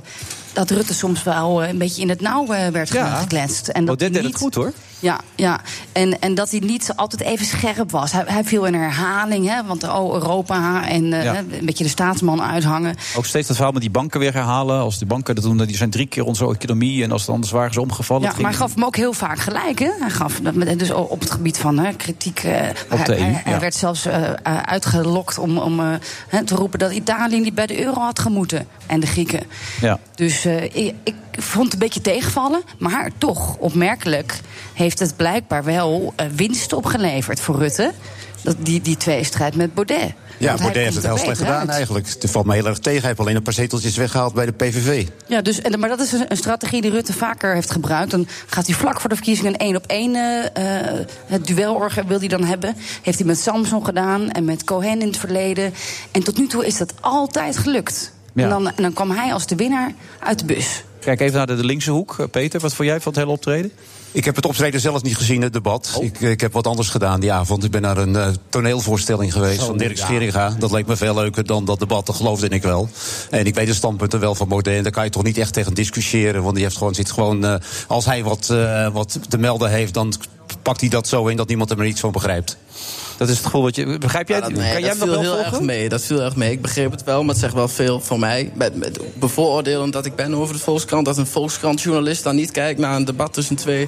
dat Rutte soms wel eh, een beetje in het nauw eh, werd ge- gekletst. En dat
Odette
hij
Oh, deed het
niet-
goed, hoor.
Ja, ja. En, en dat hij niet zo altijd even scherp was. Hij, hij viel in herhaling, hè, want oh, Europa en eh,
Ja.
hè, een beetje de staatsman uithangen.
Ook steeds dat verhaal met die banken weer herhalen. Als die banken dat doen, dan die zijn drie keer onze economie. En als het anders waren ze omgevallen.
Ja,
het
maar
ging-
hij gaf hem ook heel vaak gelijk. Hè? Hij gaf dat met- dus op het gebied van hè, kritiek. eh, hij,
de EU,
hij- hij
ja.
werd zelfs eh, eh, uitgelokt om, om eh, hè, te roepen dat Italië niet bij de euro had gemoeten. En de Grieken.
Ja.
Dus eh, ik, ik vond het een beetje tegenvallen. Maar toch, opmerkelijk, heeft het blijkbaar wel eh, winst opgeleverd voor Rutte. Dat, die, die tweestrijd met Baudet.
Ja,
Want hij
Baudet heeft
komt
het
er
heel slecht
beter
gedaan
uit.
eigenlijk. Het valt me heel erg tegen. Hij heeft alleen een paar zeteltjes weggehaald bij de PVV.
Ja, dus, en, maar dat is een, een strategie die Rutte vaker heeft gebruikt. Dan gaat hij vlak voor de verkiezingen een één op één eh, eh, het duel orgen wil hij dan hebben. Heeft hij met Samson gedaan en met Cohen in het verleden. En tot nu toe is dat altijd gelukt.
Ja.
En, dan, en dan kwam hij als de winnaar uit de bus.
Kijk even naar de, de linkse hoek. Eh, Peter, wat vond jij van het hele optreden?
Ik heb het optreden zelf niet gezien, het debat. Ik, ik heb wat anders gedaan die avond. Ik ben naar een eh, toneelvoorstelling geweest
Zo,
van Dirk
ja.
Scheringa. Dat leek me veel leuker dan dat debat, dat geloofde ik wel. En ik weet de standpunten wel van Baudet. En daar kan je toch niet echt tegen discussiëren. Want die heeft gewoon, zit gewoon... eh, als hij wat, eh, wat te melden heeft, dan pakt hij dat zo in... dat niemand er maar iets van begrijpt.
Dat is het gevoel wat je... Begrijp jij
Ja, dat, nee, dat viel heel erg mee. Dat viel erg mee. Ik begreep het wel, maar het zegt wel veel voor mij. Met, met bevooroordelend dat ik ben over de Volkskrant. Dat een Volkskrant-journalist dan niet kijkt naar een debat tussen twee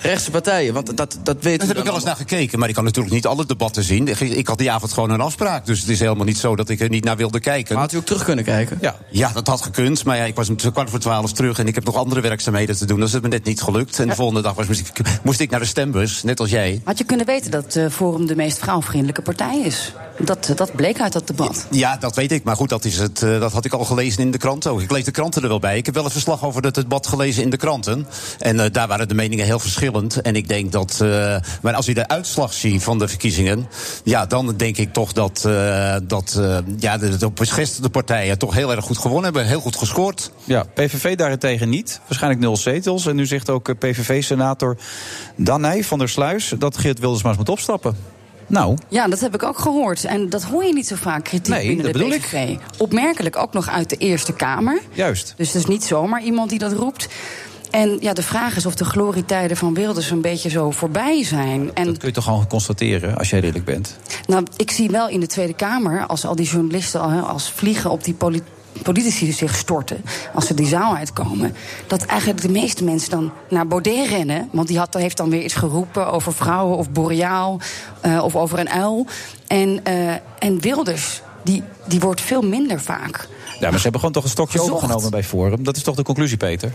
rechtse partijen. Want dat, dat weten
Daar
we
heb ik wel
dan
eens naar gekeken, maar ik kan natuurlijk niet alle debatten zien. Ik had die avond gewoon een afspraak, dus het is helemaal niet zo dat ik er niet naar wilde kijken. Maar
had u ook terug kunnen kijken?
Ja,
ja dat had gekund, maar ja, ik was om t- kwart voor twaalf terug... en ik heb nog andere werkzaamheden te doen, dus het is me net niet gelukt. En de volgende dag was, moest, ik, moest ik naar de stembus, net als jij.
Had je kunnen weten dat eh, Forum de meest vrouwvriendelijke partij is? Dat, eh, dat bleek uit dat debat.
Ja, dat weet ik, maar goed, dat, is het, eh, dat had ik al gelezen in de krant ook. Ik lees de kranten er wel bij. Ik heb wel het verslag over het debat gelezen in de kranten. En eh, daar waren de meningen heel verschillend. En ik denk dat... eh, maar als u de uitslag ziet van de verkiezingen... ja, dan denk ik toch dat, eh, dat eh, ja, de, de beschestigde partijen toch heel erg goed gewonnen hebben. Heel goed gescoord.
Ja, PVV daarentegen niet. Waarschijnlijk nul zetels. En nu zegt ook eh, PVV-senator Danij van der Sluis... dat Geert Wilders maar eens moet opstappen. Nou,
Ja, dat heb ik ook gehoord. En dat hoor je niet zo vaak, kritiek
Nee,
binnen
dat
de
bedoel
PVV. Opmerkelijk ook nog uit de Eerste Kamer.
juist.
Dus het is niet zomaar iemand die dat roept. En ja, de vraag is of de glorietijden van Wilders een beetje zo voorbij zijn. En
Dat kun je toch gewoon constateren, als jij eerlijk bent.
nou, ik zie wel in de Tweede Kamer, als al die journalisten al, hè, als vliegen op die poli- politici zich storten, als ze die zaal uitkomen, dat eigenlijk de meeste mensen dan naar Baudet rennen. Want die had, heeft dan weer iets geroepen over vrouwen of boreaal eh, of over een uil. En, eh, en Wilders, die, die wordt veel minder vaak.
Ja, maar ze hebben gewoon toch een stokje
Gezocht.
overgenomen bij Forum. Dat is toch de conclusie, Peter?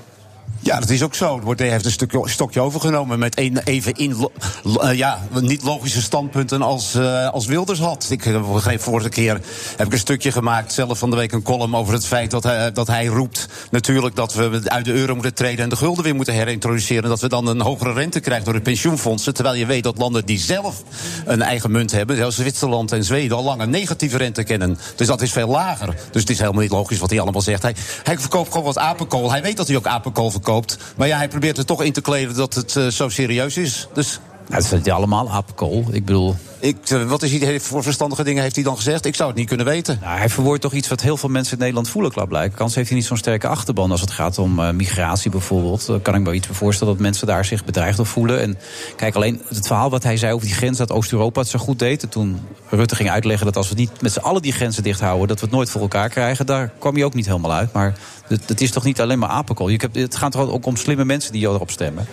Ja, dat is ook zo. Het wordt- Hij heeft een stukje- stokje overgenomen met een, even in, lo- lo- eh, ja, niet logische standpunten als, eh, als Wilders had. Ik eh, begreep vorige keer, heb ik een stukje gemaakt, zelf van de week een column over het feit dat hij, eh, dat hij roept natuurlijk dat we uit de euro moeten treden en de gulden weer moeten herintroduceren. Dat we dan een hogere rente krijgen door de pensioenfondsen. Terwijl je weet dat landen die zelf een eigen munt hebben, zoals Zwitserland en Zweden, al lang een negatieve rente kennen. Dus dat is veel lager. Dus het is helemaal niet logisch wat hij allemaal zegt. Hij, hij verkoopt gewoon wat apenkool. Hij weet dat hij ook apenkool verkoopt. Maar ja, hij probeert er toch in te kleden dat het eh, zo serieus is. Dus.
het is allemaal apenkool. Ik bedoel.
Ik, eh, wat is hij, voor verstandige dingen heeft hij dan gezegd? Ik zou het niet kunnen weten.
Nou, hij verwoordt toch iets wat heel veel mensen in Nederland voelen, klaarblijkelijk. Kans heeft hij niet zo'n sterke achterban als het gaat om eh, migratie bijvoorbeeld. Dan kan ik me wel iets bij voorstellen dat mensen daar zich bedreigd op voelen. En kijk, alleen het verhaal wat hij zei over die grens dat Oost-Europa het zo goed deed. En toen Rutte ging uitleggen dat als we niet met z'n allen die grenzen dicht houden, dat we het nooit voor elkaar krijgen. Daar kwam hij ook niet helemaal uit. Maar het, het is toch niet alleen maar apenkool. Je hebt, het gaat toch ook om slimme mensen die erop stemmen.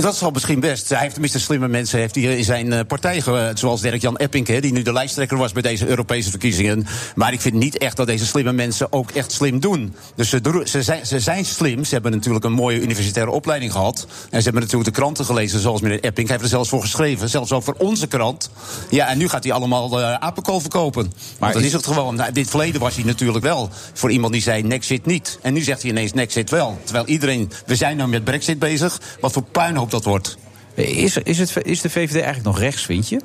Dat zal misschien best. Hij heeft tenminste slimme mensen heeft hij in zijn eh, partij, ge- zoals de Dirk-Jan Epping, hè, die nu de lijsttrekker was bij deze Europese verkiezingen. Maar ik vind niet echt dat deze slimme mensen ook echt slim doen. Dus ze, doen- ze, zijn, ze zijn slim. Ze hebben natuurlijk een mooie universitaire opleiding gehad. En ze hebben natuurlijk de kranten gelezen, zoals meneer Epping. Hij heeft er zelfs voor geschreven, zelfs ook voor onze krant. Ja, en nu gaat hij allemaal eh, apenkool verkopen. Maar dat is het gewoon. Nou, dit verleden was hij natuurlijk wel voor iemand die zei Nexit niet. En nu zegt hij ineens Nexit wel. Terwijl iedereen, we zijn nou met Brexit bezig. Wat voor puinhoop dat wordt.
Is, is, het, is de VVD eigenlijk nog rechts, vind je?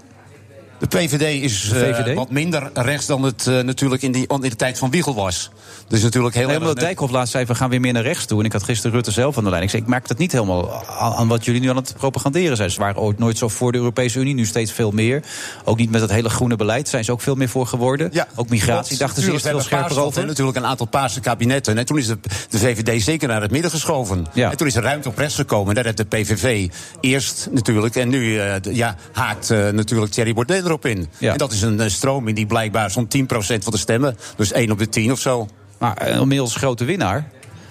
De PVD is
De
eh,
VVD?
wat minder rechts dan het eh, natuurlijk in, die, in de tijd van Wiegel was. Dus natuurlijk heel
Nee,
erg...
omdat Dijkhoff laatst zei, we gaan weer meer naar rechts toe. En ik had gisteren Rutte zelf aan de lijn. Ik zei, ik merk dat niet helemaal aan, aan wat jullie nu aan het propaganderen zijn. Ze waren ooit nooit zo voor de Europese Unie, nu steeds veel meer. Ook niet met dat hele groene beleid zijn ze ook veel meer voor geworden. ook migratie
Klopt.
dachten ze
Tuurlijk,
eerst
we
veel
hebben
scherper
paars gehad,
over.
hè, natuurlijk een aantal paarse kabinetten. En toen is de, de VVD zeker naar het midden geschoven. En toen is er ruimte op rechts gekomen. En daar heeft de PVV eerst natuurlijk. En nu eh, d- ja, haakt eh, natuurlijk Thierry Baudet erop in. En dat is een eh, stroming die blijkbaar zo'n 10% van de stemmen... dus 1 op de 10 of zo...
Maar eh, inmiddels grote winnaar.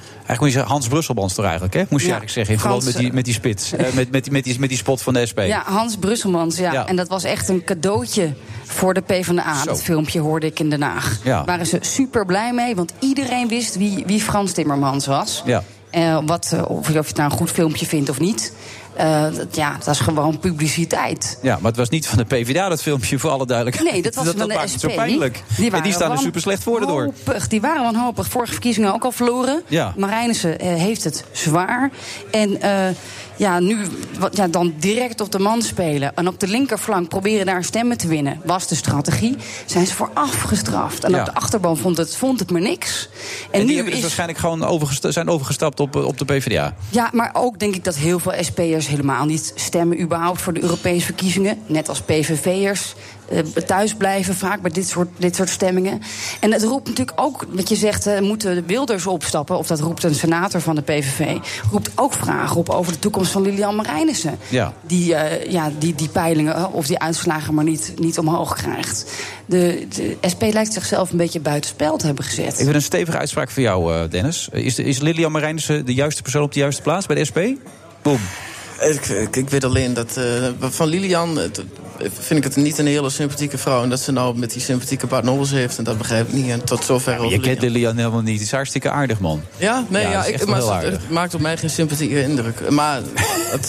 Eigenlijk moet je zeggen, Hans Brusselmans toch eigenlijk, hè? Moest je
Ja,
eigenlijk zeggen, in verband met
Frans,
die, met die spits. eh, met, met, die- met, die, met die spot van de SP.
Ja, Hans Brusselmans, ja. En dat was echt een cadeautje voor de PvdA.
Zo.
Dat filmpje hoorde ik in Den Haag.
Ja.
Waren ze super blij mee, want iedereen wist wie, wie Frans Timmermans was.
Ja.
Eh, wat, eh, of, je- of je het nou een goed filmpje vindt of niet. Eh, dat, ja, dat is gewoon publiciteit.
Ja, maar het was niet van de PvdA, dat filmpje, voor alle duidelijkheid.
Nee, dat was van de
maakt
SP.
het zo pijnlijk. en die
waren Oh.
staan er super slecht voor door.
wanhopig. Die waren wanhopig. Vorige verkiezingen ook al verloren.
Ja.
Marijnissen eh, heeft het zwaar. En eh, ja, nu wat, ja, dan direct op de man spelen. En op de linkerflank proberen daar stemmen te winnen. Was de strategie. Zijn ze voor afgestraft. En
Ja.
op de achterban vond het, vond het maar niks.
En, die
nu
hebben dus
is-
waarschijnlijk gewoon overgesta- zijn overgestapt op, eh, op de PvdA.
ja, maar ook denk ik dat heel veel SP'ers helemaal niet stemmen überhaupt voor de Europese verkiezingen. Net als PVV'ers eh, thuis blijven vaak bij dit soort, dit soort stemmingen. En het roept natuurlijk ook, wat je zegt, eh, moeten de Wilders opstappen? Of dat roept een senator van de PVV. Roept ook vragen op over de toekomst van Lilian Marijnissen.
Ja.
Die, eh, ja, die, die peilingen eh, of die uitslagen maar niet, niet omhoog krijgt. De, de SP lijkt zichzelf een beetje buitenspel te hebben gezet.
Ik wil een stevige uitspraak voor jou, eh, Dennis. Eh, Is, de- is Lilian Marijnissen de juiste persoon op de juiste plaats bij de SP? Boom.
Ik, ik, ik weet alleen dat eh, van Lilian eh, t- vind ik het niet een hele sympathieke vrouw. En dat ze nou met die sympathieke Bart Nobbels heeft, en dat begrijp ik niet. En tot zover over
Je kent
Lilian.
Lilian helemaal niet. Die is hartstikke aardig, man.
Ja, nee,
Ja,
ja,
dat is echt
ik,
wel
maar
heel
het,
aardig.
het maakt op mij geen sympathieke indruk. Maar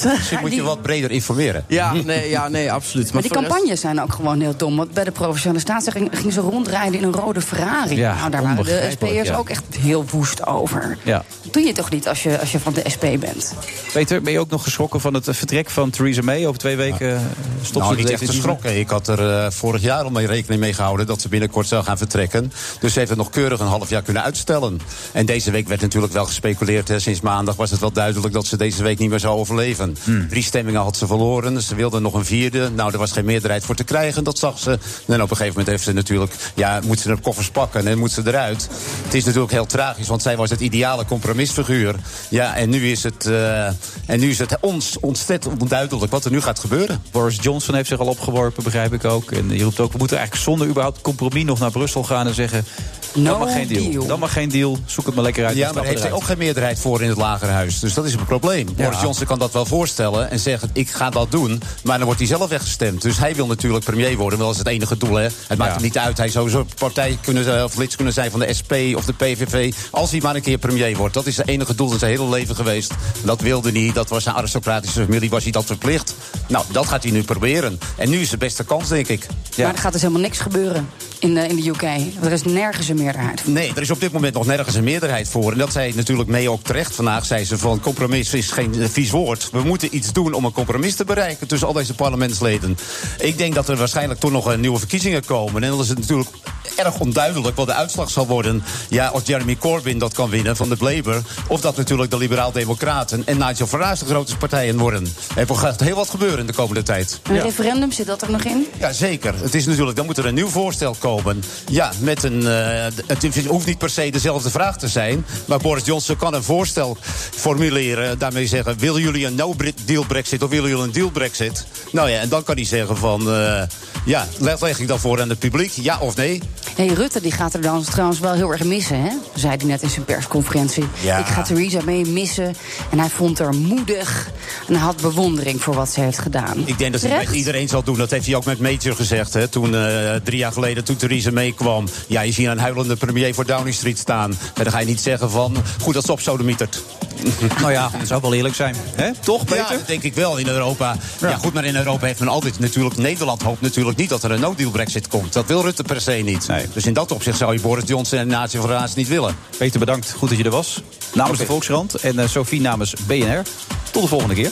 misschien
moet je wat breder informeren.
Ja, nee, ja, nee absoluut.
Maar die
voor de rest-
campagnes zijn ook gewoon heel dom. Want bij de provinciale staatsrecht ging ze rondrijden in een rode Ferrari.
Ja,
nou, daar waren de
onbegrijpelijk,
SP'ers
ja.
ook echt heel woest over.
Ja.
Dat doe je toch niet als je, als je van de SP bent?
Peter, ben je ook nog geschrokken van het eh, vertrek van Theresa May? Over twee weken eh, stopt
nou,
ze
niet
de
echt
definitieve-
geschrokken. Ik had er eh, vorig jaar al mee rekening mee gehouden dat ze binnenkort zou gaan vertrekken. Dus ze heeft het nog keurig een half jaar kunnen uitstellen. En deze week werd natuurlijk wel gespeculeerd. Hè. Sinds maandag was het wel duidelijk dat ze deze week niet meer zou overleven.
Hmm.
Drie stemmingen had ze verloren. Ze wilde nog een vierde. Nou, er was geen meerderheid voor te krijgen. Dat zag ze. En op een gegeven moment heeft ze natuurlijk. Ja, moet ze haar koffers pakken en moet ze eruit. Het is natuurlijk heel tragisch, want zij was het ideale compromisfiguur. Ja, en nu is het, eh, en nu is het ons ontzettend onduidelijk wat er nu gaat gebeuren.
Boris Johnson heeft zich al opgeworpen, begrijp ik ook. En die roept ook, we moeten eigenlijk zonder überhaupt compromis nog naar Brussel gaan en zeggen...
No
dan maar geen deal.
deal.
Dan maar geen deal. Zoek het maar lekker uit.
Ja,
we
maar daar
stappen
heeft hij
eruit.
ook geen meerderheid voor in het lagerhuis. Dus dat is een probleem.
Ja.
Boris Johnson kan dat wel voorstellen en zeggen: ik ga dat doen. Maar dan wordt hij zelf weggestemd. Dus hij wil natuurlijk premier worden. Wel is het enige doel. Hè. Het maakt hem niet uit. Hij zou zo partij kunnen, zijn- of lid kunnen zijn van de SP of de PVV. Als hij maar een keer premier wordt. Dat is het enige doel in zijn hele leven geweest. Dat wilde hij. Dat was zijn aristocratische familie. Was hij dat verplicht? Nou, dat gaat hij nu proberen. En nu is de beste kans, denk ik.
Maar er gaat dus helemaal niks gebeuren in de, in de UK. Er is nergens een meerderheid.
Nee, er is op dit moment nog nergens een meerderheid voor. En dat zei natuurlijk mee ook terecht vandaag. Zei ze van compromis is geen eh, vies woord. We moeten iets doen om een compromis te bereiken tussen al deze parlementsleden. Ik denk dat er waarschijnlijk toch nog eh, nieuwe verkiezingen komen. En dan is het natuurlijk erg onduidelijk wat de uitslag zal worden. Ja, of Jeremy Corbyn dat kan winnen van de Labour. Of dat natuurlijk de Liberaal-Democraten en Nigel Farage de grootste partijen worden. Er gaat heel wat gebeuren in de komende tijd.
Een referendum, zit dat er nog in?
Ja, zeker. Het is natuurlijk, dan moet er een nieuw voorstel komen. Ja, met een. eh, het hoeft niet per se dezelfde vraag te zijn. Maar Boris Johnson kan een voorstel formuleren. Daarmee zeggen: willen jullie een no-deal Brexit of willen jullie een deal Brexit? Nou ja, en dan kan hij zeggen van. eh, Ja, leg, leg ik dan voor aan het publiek, ja of nee?
Hey, Rutte die gaat er dan trouwens wel heel erg missen, hè? zei hij net in zijn persconferentie.
Ja.
Ik ga Theresa mee missen. En hij vond haar moedig en hij had bewondering voor wat ze heeft gedaan.
Ik denk dat hij
Terecht?
met iedereen zal doen. Dat heeft hij ook met Major gezegd. Hè, toen, eh, drie jaar geleden, toen Theresa meekwam. Ja, je ziet een huilende premier voor Downing Street staan. En dan ga je niet zeggen van, goed dat ze opsodemietert.
Nou ja, dat zou wel eerlijk zijn. Hè? Toch,
Peter? Ja, dat denk ik wel in Europa. Ja. goed, maar in Europa heeft men altijd natuurlijk... Nederland hoopt natuurlijk niet dat er een no-deal brexit komt. Dat wil Rutte per se niet. Dus in dat opzicht zou je Boris Johnson en de Natie van Raas niet willen.
Peter, bedankt. Goed dat je er was. Namens de Volkskrant en eh, Sophie namens BNR. Tot de volgende keer.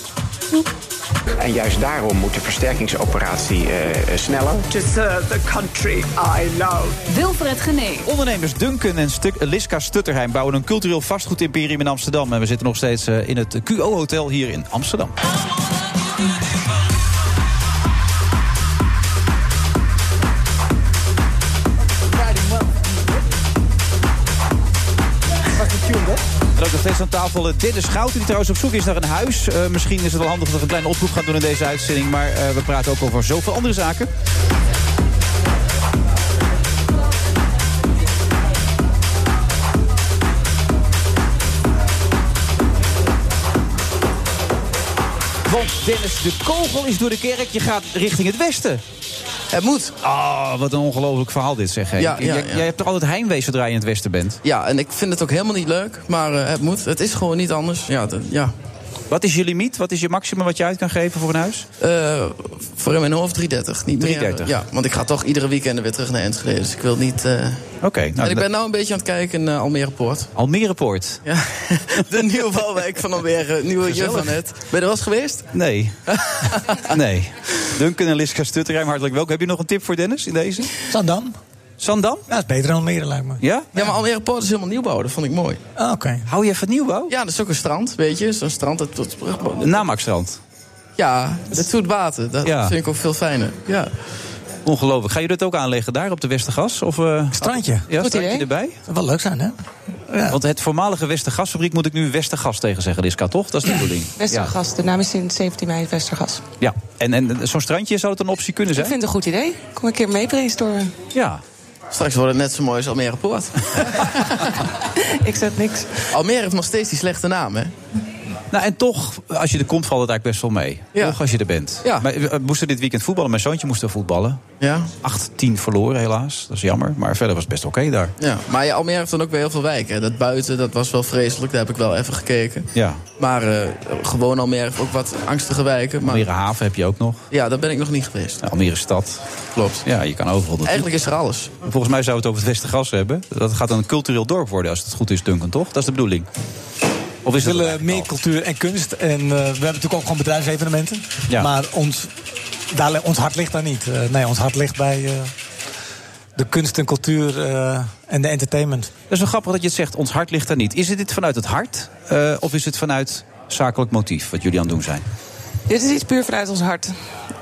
En juist daarom moet de versterkingsoperatie eh, eh, sneller.
To serve the country I love.
Wilfred Genee.
Ondernemers Duncan en Stuk- Liska Stutterheim bouwen een cultureel vastgoedimperium in Amsterdam. En we zitten nog steeds eh, in het QO-hotel hier in Amsterdam. En ook nog steeds aan tafel eh, Dennis Schouten, die trouwens op zoek is naar een huis. Eh, misschien is het wel handig dat we een kleine oproep gaan doen in deze uitzending. Maar eh, we praten ook over zoveel andere zaken. Want Dennis, de kogel is door de kerk. Je gaat richting het westen.
Het moet.
Oh, wat een ongelooflijk verhaal dit zeg. hè.
Ja, ja,
Jij,
ja.
jij hebt toch altijd heimwee zodra je in het westen bent?
Ja, en ik vind het ook helemaal niet leuk, maar eh, het moet. Het is gewoon niet anders. Ja, dat- ja.
Wat is je limiet? Wat is je maximum wat je uit kan geven voor een huis?
Eh, voor in mijn hoofd 330. Niet meer, eh,
330.
ja, want ik ga toch iedere weekend weer terug naar Enschede. Dus ik wil niet... eh,
Oké. nou,
en ik ben
dat-
nou een beetje aan het kijken naar Almere Poort.
Almere Poort.
De nieuwe bouwwijk van Almere, nieuwe juf van het. Ben je er wel eens geweest?
Nee. nee. Duncan en Liska Stutterheim, hartelijk welkom. Heb je nog een tip voor Dennis in deze?
Zandam.
Zandam?
Ja, dat is beter dan Almere, lijkt me.
Ja?
Ja, maar Almere Poort is helemaal nieuwbouw. Dat vond ik mooi.
Ah, oké.
Hou je van nieuwbouw?
Ja, dat is ook een strand, weet je. Zo'n strand. Dat, dat,
Namakstrand.
ja, dat doet water. Dat
Ja.
vind ik ook veel fijner. Ja.
Ongelooflijk. Ga je dat ook aanleggen daar op de Westergas? Of, eh,
Strandje.
Ja,
Goed
strandje
idee.
erbij?
Dat wel leuk zijn, hè?
Want het voormalige Westergasfabriek moet ik nu Westergas tegen zeggen, Liska, toch? Dat is de bedoeling. Ja.
Westergas, de naam is sinds 17 mei Westergas.
Ja, en, en zo'n strandje zou het een optie kunnen
Ik
zijn?
vind het een goed idee. Kom een keer mee brainstormen.
Ja.
Straks wordt het net zo mooi als Almere Poort.
ik zeg niks.
Almere heeft nog steeds die slechte naam, hè?
Nou, en toch, als je er komt, valt het eigenlijk best wel mee.
Ja.
Toch als je er bent.
Ja.
Maar, eh, we moesten dit weekend voetballen. Mijn zoontje moest er voetballen.
Ja.
8-10 verloren, helaas. Dat is jammer. Maar verder was het best oké daar.
Ja, maar ja, Almere heeft dan ook weer heel veel wijken. hè. Dat buiten, dat was wel vreselijk. Daar heb ik wel even gekeken.
Ja.
Maar eh, gewoon Almere heeft ook wat angstige wijken. Maar
Almere haven heb je ook nog.
ja, daar ben ik nog niet geweest.
Nou, Almere stad.
Klopt.
Ja, je kan overal naartoe.
Eigenlijk is er alles.
Volgens mij zou het over het Westergas hebben. Dat gaat dan een cultureel dorp worden, als het goed is, Duncan, toch? Dat is de bedoeling. Of is
we
dat
willen meer cultuur en kunst. En eh, we hebben natuurlijk ook gewoon bedrijfsevenementen.
Ja.
Maar ons, daar, li- ons hart ligt daar niet. Eh, nee, ons hart ligt bij eh, de kunst en cultuur eh, en de entertainment.
Dat is wel grappig dat je het zegt, ons hart ligt daar niet. Is het dit vanuit het hart eh, of is het vanuit zakelijk motief wat jullie aan het doen zijn?
Dit is iets puur vanuit ons hart.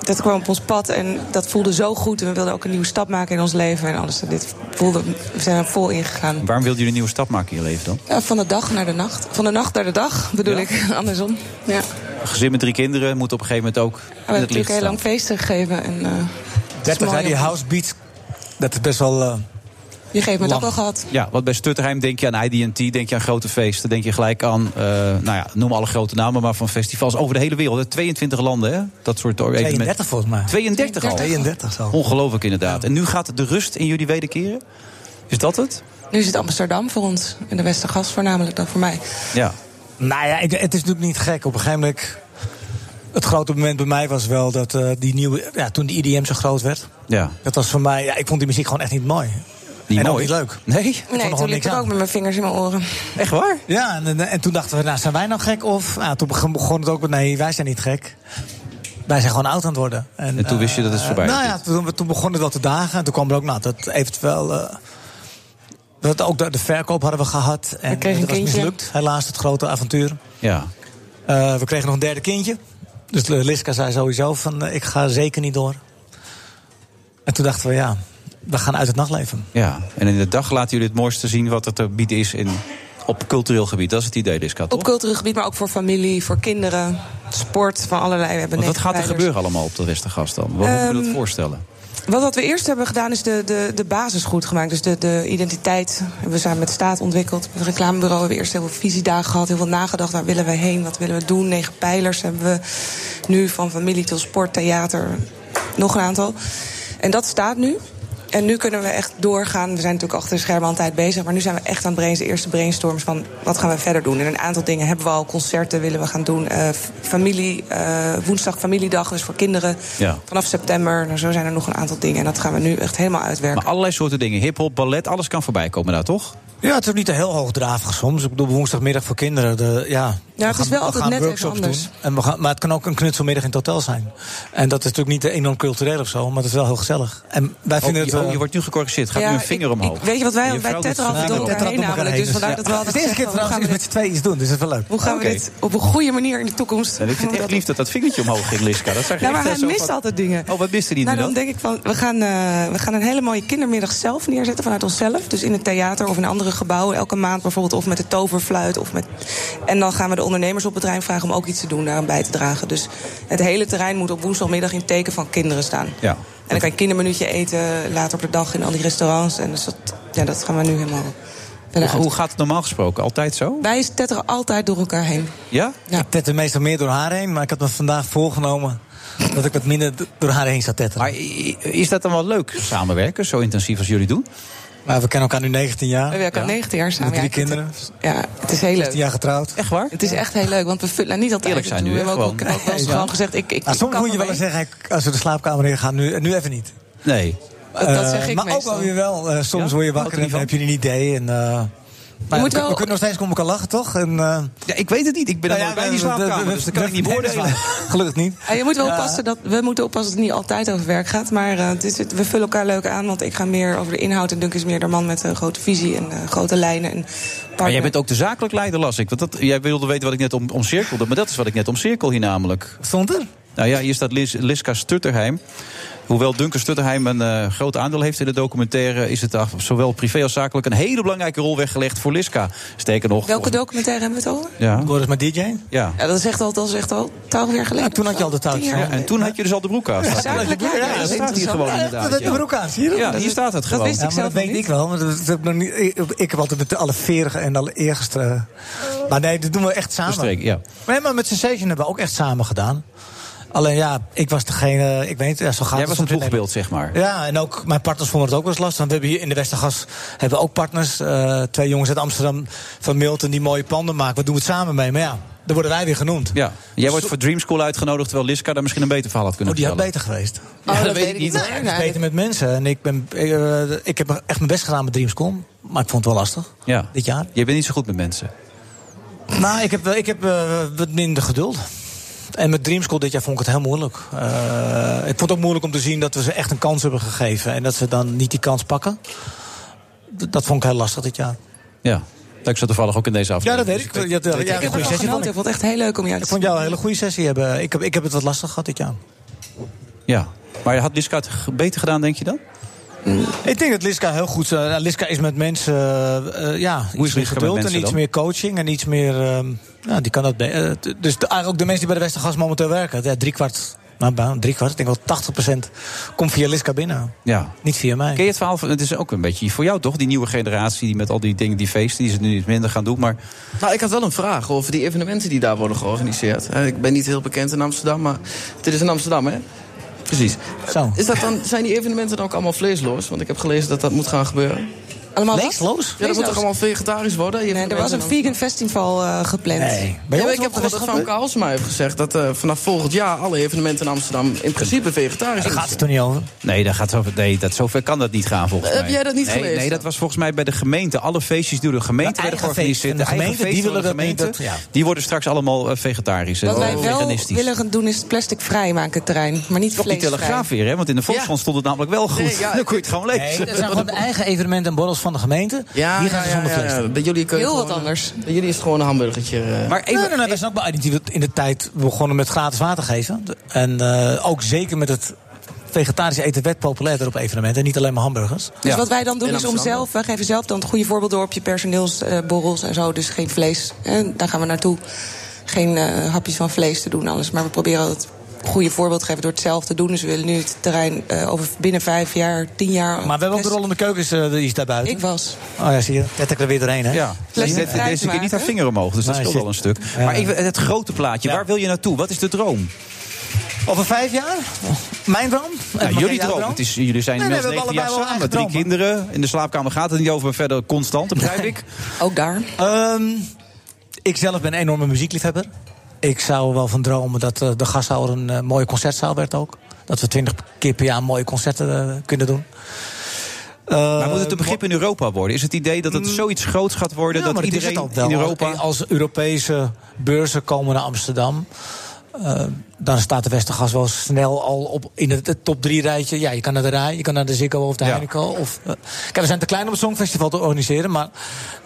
Dat kwam op ons pad en dat voelde zo goed. En we wilden ook een nieuwe stap maken in ons leven en alles. Dit voelde, we zijn er vol in gegaan.
En waarom wilden jullie een nieuwe stap maken in je leven dan?
Ja, van de dag naar de nacht. Van de nacht naar de dag, bedoel ik. Andersom. Ja.
Een gezin met drie kinderen moet op een gegeven moment ook
We
in
hebben
het licht
natuurlijk
staan.
heel lang feesten gegeven. En, eh, het is
30
mooi
jaar die
om-
house beats, dat is best wel... eh,
Die geeft me het ook
lang.
al gehad.
Ja, want bij Stutterheim denk je aan IDT, denk je aan grote feesten, denk je gelijk aan, eh, nou ja, noem alle grote namen, maar van festivals over de hele wereld. hè. 22 landen, hè? dat soort evenementen.
32 volgens mij.
32 al?
32 al.
Ongelooflijk inderdaad. En nu gaat de rust in jullie wederkeren? Is dat het?
Nu is het Amsterdam voor ons. En de Westergas voornamelijk dan voor mij.
Ja.
Nou ja, ik- het is natuurlijk niet gek. Op een gegeven moment... Het grote moment bij mij was wel dat eh, die nieuwe... Ja, toen de IDM zo groot werd.
Ja.
Dat was voor mij... Ja, ik vond die muziek gewoon echt niet mooi.
Niet
en ook
mooi?
niet leuk.
Nee?
Ik vond er
Nee,
gewoon
toen
niks
liep ik
aan.
ook met mijn vingers in mijn oren.
Echt waar?
Ja, en, en- en toen dachten we, nou, zijn wij nou gek? Of nou, toen begon- begon het ook met, nee, wij zijn niet gek. Wij zijn gewoon oud aan het worden. En,
toen wist je dat het
eh,
voorbij
nou
was,
ja, toen, toen begon het wel te dagen. En toen kwam er ook, nou, dat eventueel... eh dat ook de, de verkoop hadden we gehad. En
kregen
dat
een
was
kindje.
mislukt, helaas, het grote avontuur.
Ja.
Eh, we kregen nog een derde kindje. Dus Liska zei sowieso van, eh, ik ga zeker niet door. En toen dachten we, ja, we gaan uit het nachtleven.
Ja, en in de dag laten jullie het mooiste zien wat er te bieden is in, op cultureel gebied. Dat is het idee, Liska, toch?
Op cultureel gebied, maar ook voor familie, voor kinderen, sport, van allerlei. We hebben
Want wat
negen
gaat er
pijlers.
gebeuren allemaal op de Westergas dan? Hoe moet je
Ehm,
dat voorstellen?
Wat, wat we eerst hebben gedaan is de, de, de basis goed gemaakt. Dus de, de identiteit hebben we samen met de staat ontwikkeld. Met het reclamebureau hebben we eerst heel veel visiedagen gehad. Heel veel nagedacht. Waar willen we heen? Wat willen we doen? Negen pijlers hebben we nu van familie tot sport, theater. Nog een aantal. En dat staat nu. En nu kunnen we echt doorgaan. We zijn natuurlijk achter de schermen al een tijd bezig. Maar nu zijn we echt aan het brains, de eerste brainstorms van wat gaan we verder doen. En een aantal dingen hebben we al. Concerten willen we gaan doen. Eh, f- familie, eh, woensdag familiedag, dus voor kinderen.
Ja.
Vanaf september, nou, zo zijn er nog een aantal dingen. En dat gaan we nu echt helemaal uitwerken.
Maar allerlei soorten dingen. Hip-hop, ballet, alles kan voorbij komen daar, toch?
Ja, het is ook niet te heel hoogdravig soms. Ik bedoel, woensdagmiddag voor kinderen. De, ja, we
het is wel
we
altijd net even anders.
En we gaan, maar het kan ook een knutselmiddag in het hotel zijn. En dat is natuurlijk niet enorm cultureel of zo, maar het is wel heel gezellig. En wij
Oh,
vinden
je,
het...
oh,
eh,
je wordt nu gecorrigeerd. Gaat
Ja,
nu een vinger
ik-
omhoog.
ik-
Weet je wat wij
Je
bij
vrouw
Tetra
doet
altijd
het
door
samen.
elkaar heen namelijk? Dus vandaar dat we altijd
Het is de
zeggen,
eerste keer
hoe
trouwens
gaan we
dat we met z'n tweeën iets doen, dus dat is wel leuk.
Hoe gaan
Oké.
we dit op een goede manier in de toekomst...
En ik vind het echt lief dat dat vingertje omhoog ging, Liska. Dat zag je
Ja, maar
echt, eh,
hij
zo
mist
van-
altijd dingen.
Oh, wat miste hij nu
Nou,
dan?
dan denk ik van, we gaan, eh, we gaan een hele mooie kindermiddag zelf neerzetten vanuit onszelf. Dus in het theater of in andere gebouwen. Elke maand bijvoorbeeld, of met de toverfluit. Of met... En dan gaan we de ondernemers op het terrein vragen om ook iets te doen, daaraan bij te dragen. Dus het hele terrein moet op woensdagmiddag in het teken van kinderen staan.
Ja.
En dan kan je kindermenuutje eten later op de dag in al die restaurants. En dus dat, ja, dat gaan we nu helemaal
Hoe,
verder uit.
hoe gaat het normaal gesproken? Altijd zo?
Wij tetteren altijd door elkaar heen.
Ja?
Ik tette meestal meer door haar heen, maar ik had me vandaag voorgenomen... dat ik wat minder d- door haar heen zou tetteren.
Maar i- is dat dan wel leuk, samenwerken, zo intensief als jullie doen?
Maar we kennen elkaar nu 19 jaar.
We werken al 19 jaar samen.
Met drie
ja, ik-
kinderen.
Ja, het is heel leuk.
19 jaar getrouwd.
Echt waar?
Het is echt heel leuk, want we vullen nou, niet altijd.
Eerlijk zijn
We
nu, hè,
hebben ook-
gewoon.
Ik heb ook wel eens
Ja.
gewoon gezegd... Ik, ik,
Maar
ik
Ah, soms
kap
moet je wel
ermee.
eens zeggen, als we de slaapkamer in gaan, nu, nu even niet.
Nee.
Dat- dat zeg
Eh,
ik
maar
meestal.
ook wel weer wel. eh, soms
Ja?
word je
Houdt
wakker
er
en
niet
dan heb je een idee. En, eh, maar
moet
we,
wel-
we kunnen nog steeds om elkaar lachen, toch? En, eh, Nou
ja, ik weet het niet. Ik ben er nooit bij die slaapkamer, dus dat kan ik niet beoordelen.
Gelukkig niet.
Ja, Ah, je moet wel
Ja.
oppassen dat we moeten oppassen dat het niet altijd over werk gaat. Maar eh, het is- het- we vullen elkaar leuk aan. Want ik ga meer over de inhoud. En Dunk is meer de man met een grote visie en eh, grote lijnen. En
Maar jij bent ook de zakelijk leider, las ik. Want dat, jij wilde weten wat ik net om, omcirkelde. Maar dat is wat ik net omcirkel hier namelijk.
Stond er?
Nou ja, hier staat Lis, Liska Stutterheim. Hoewel Duncan Stutterheim een eh, groot aandeel heeft in de documentaire... is het af- zowel privé als zakelijk een hele belangrijke rol weggelegd voor Liska. Steken nog.
Welke documentaire hebben we het over?
Ja.
Word eens maar DJ?
Ja.
Ja, dat is echt al, dat is echt al twaalf jaar geleden. toen had je al de touwtjes.
Ja, en toen had je dus al de broek aan.
Ja,
Staat hier.
zakelijk leider,
Ja,
dat
dat
is
staat hier
interessant.
gewoon
Ja,
inderdaad.
dat
ja.
heb ik ook aan, zie je dat?
Ja, hier staat het gewoon.
Ja, maar dat weet ik wel. Want dat, dat heb ik nog niet, ik, ik heb altijd met alle verige en alle eergeste... Maar nee, dat doen we echt samen.
Verstreken, ja.
Maar, nee, maar met Sensation hebben we ook echt samen gedaan. Alleen ja, ik was degene... Ik weet niet, ja, zo gaat
Jij
het
was
soms
het
in
boegbeeld, zeg maar.
Ja, en ook mijn partners vonden het ook wel eens lastig. Want we hebben hier in de Westergas hebben we ook partners. Eh, twee jongens uit Amsterdam van Milton die mooie panden maken. We doen het samen mee. Maar ja, daar worden wij weer genoemd.
Ja. Jij wordt voor Dream School uitgenodigd... terwijl Liska daar misschien een beter verhaal had kunnen
Oh, die had
vertellen.
beter geweest.
Ja, dat, weet ik niet.
Nee, het is beter met mensen. En ik, ben, eh, ik heb echt mijn best gedaan met Dreamscom. Maar ik vond het wel lastig.
Ja.
Dit jaar?
Jij bent niet zo goed met mensen.
Nou, ik heb, wel- ik heb eh, wat minder geduld. En met Dreamschool dit jaar vond ik het heel moeilijk. Eh, ik vond het ook moeilijk om te zien dat we ze echt een kans hebben gegeven. En dat ze dan niet die kans pakken. D- dat vond ik heel lastig dit jaar.
Ja. Ik zat toevallig ook in deze
Ja,
aflevering.
dat weet Dus ik. Ja, dat-
Ik
ja,
heb er
ja, een goede
wel
sessie vond
Ik vond het echt heel leuk om jou
Ik vond jou een hele goede sessie hebben. Ik heb, ik heb het wat lastig gehad dit jaar.
Ja. Maar had Liska het g- beter gedaan, denk je dan?
Ik denk dat Liska heel goed... eh, Liska is met mensen eh, eh, ja,
Hoe is
iets meer
Liska met
geduld en
mensen
iets
dan?
meer coaching en iets meer... ehm, nou, die kan dat... be- eh, t- dus de- eigenlijk ook de mensen die bij de Westergas momenteel werken. Ja, drie kwart, nou, bijna drie kwart, ik denk wel 80% komt via Liska binnen.
Ja.
Niet via mij.
Ken je het verhaal van, het is ook een beetje voor jou toch, die nieuwe generatie die met al die dingen, die feesten, die ze nu iets minder gaan doen, maar
Nou, ik had wel een vraag over die evenementen die daar worden georganiseerd. Eh, Ik ben niet heel bekend in Amsterdam, maar dit is in Amsterdam, hè? Eh,
Precies.
Zo.
Is dat dan, zijn die evenementen dan ook allemaal vleesloos? Want ik heb gelezen dat dat moet gaan gebeuren.
Allemaal wat?
Ja, dat moet
Vleesloos?
toch allemaal vegetarisch worden? Je
Nee, er was een vegan festival eh, gepland.
Nee. Ja, maar ik
dus
heb gehoord dat Van Kaalsma heeft gezegd... dat eh, vanaf volgend jaar alle evenementen in Amsterdam... in principe vegetarisch
Daar
moeten
gaat
zijn.
het toch
niet over?
Nee, dat gaat zo, nee dat, zover kan dat niet gaan volgens
Heb
mij.
jij dat niet
nee,
gelezen?
Nee, dat was volgens mij bij de gemeente. Alle feestjes die door de gemeente
De
werden
eigen
georganiseerd.
feesten. De
eigen
gemeente, die
feesten van
willen
de
dat niet,
gemeente,
dat-
Die worden straks allemaal eh, vegetarisch en
Wat wij wel
veganistisch.
willen gaan doen is plastic vrij maken het terrein. Maar niet
Op die
vleesvrij.
telegraaf weer, hè? want in de Volkskrant stond het namelijk wel goed.
Nee, ja,
Dan kon je het gewoon lezen.
Nee, dat zijn gewoon de eigen evenementen en borrels van de gemeente.
Ja,
die gaan ze
ja,
zonder
ja,
vlees.
ja. Bij jullie kun je Heel gewoon- wat
anders.
Bij jullie is het gewoon een hamburgertje. eh.
Maar even, nee, nee, nee, wij zijn ook bij Identity dat in de tijd begonnen met gratis water geven. En eh, ook zeker met het vegetarische eten werd populairder op evenementen. Niet alleen maar hamburgers.
Dus wat wij dan doen is om zelf, wij geven zelf dan het goede voorbeeld door op je personeelsborrels en zo. Dus geen vlees. En daar gaan we naartoe. Geen eh, hapjes van vlees te doen, alles. Maar we proberen het goede voorbeeld geven door hetzelfde te doen. Dus we willen nu het terrein eh, over binnen vijf jaar, tien jaar.
Maar we hebben ook de
best-
rollende keukens eh, die is daar buiten.
Oh, Ik was.
Oh ja, zie je. Dat ik er weer doorheen, hè?
Ja, Dus
Plastic
deze,
vrij
deze
te
keer niet haar
maken.
vinger omhoog, dus dat
Nee,
scheelt
shit.
al een stuk.
Ja.
Maar even het grote plaatje, waar wil je naartoe? Wat is de droom?
Over vijf jaar? Mijn droom?
Ja,
Eh, mag
jullie
jij jouw
droom. Het is, jullie zijn
Nee, nee, we
inmiddels 19
hebben
jaar
allebei wel
samen,
eigen
drie
dromen.
kinderen. In de slaapkamer gaat het niet over, maar verder constant, dat begrijp ik.
Ook daar.
Ehm, ik zelf ben een enorme muziekliefhebber. Ik zou er wel van dromen dat eh, de gashouder een eh, mooie concertzaal werd ook. Dat we twintig keer per jaar mooie concerten eh, kunnen doen. Eh,
maar moet het een begrip in Europa worden? Is het idee dat het zoiets groots gaat worden
Ja,
Mm. dat
maar die
iedereen
is het al
in
wel.
Europa...
Als- Als Europese beurzen komen naar Amsterdam... eh, dan staat de Westergas wel snel al op in het het top drie rijtje. Ja, je kan naar de Rai, je kan naar de Ziggo of de Heineken. Of, eh, kijk, we zijn te klein om het Songfestival te organiseren, maar...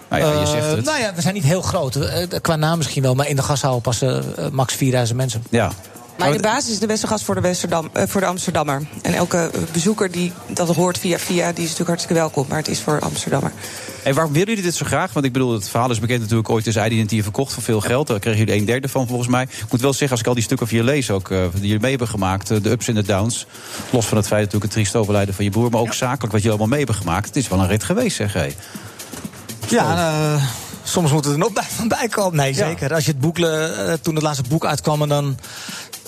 Nou ja, je
eh,
zegt het.
nou ja, we zijn niet heel groot. Eh, qua naam misschien wel, maar in de gashouw passen eh, max 4000 mensen. Oh,
Ja.
Maar de basis is de Westergas voor de, Westerdam, eh, voor de Amsterdammer. En elke eh, bezoeker die dat hoort via via, die is natuurlijk hartstikke welkom. Maar het is voor Amsterdammer.
En waarom willen jullie dit zo graag? Want ik bedoel, het verhaal is bekend natuurlijk ooit is Identity verkocht voor veel geld. Daar kregen jullie een derde van volgens mij. Ik moet wel zeggen, als ik al die stukken van je lees ook, eh, die jullie mee hebben gemaakt, eh, de ups en de downs. Los van het feit natuurlijk het triest overlijden van je broer, maar ook zakelijk wat jullie allemaal mee hebben gemaakt. Het is wel een rit geweest, zeg hé.
Ja,
Oh.
eh, soms moet er een opbij van bij komen. Nee, zeker. Als je het boek, eh, toen het laatste boek uitkwam, en dan.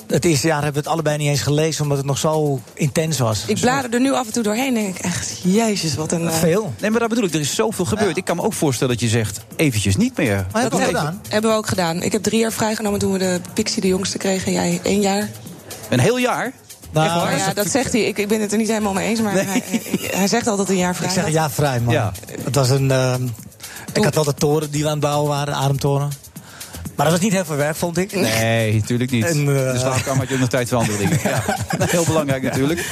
Het eerste jaar hebben we het allebei niet eens gelezen, omdat het nog zo intens was.
Ik blader er nu af en toe doorheen denk ik echt, jezus, wat een... eh,
Veel.
Oh. Nee, maar dat bedoel ik, er is zoveel gebeurd. Ik kan me ook voorstellen dat je zegt, eventjes niet meer.
Oh,
Maar dat hebben, hebben we ook gedaan. Ik heb drie jaar vrijgenomen toen we de Pixie de jongste kregen. Jij één jaar.
Een heel jaar? Echt waar?
ja, dat zegt hij. Ik, ik ben het er niet helemaal mee eens, maar hij, hij zegt altijd een jaar vrij.
Ik zeg
had.
ja, vrij, man. Het was een. eh, ik had wel de toren die we aan het bouwen waren, de ademtoren. Maar dat was niet heel veel werk, vond ik.
Nee, natuurlijk niet.
En, eh,
de slaapkamer had je ook nog tijd voor andere dingen. Ja. Heel belangrijk natuurlijk.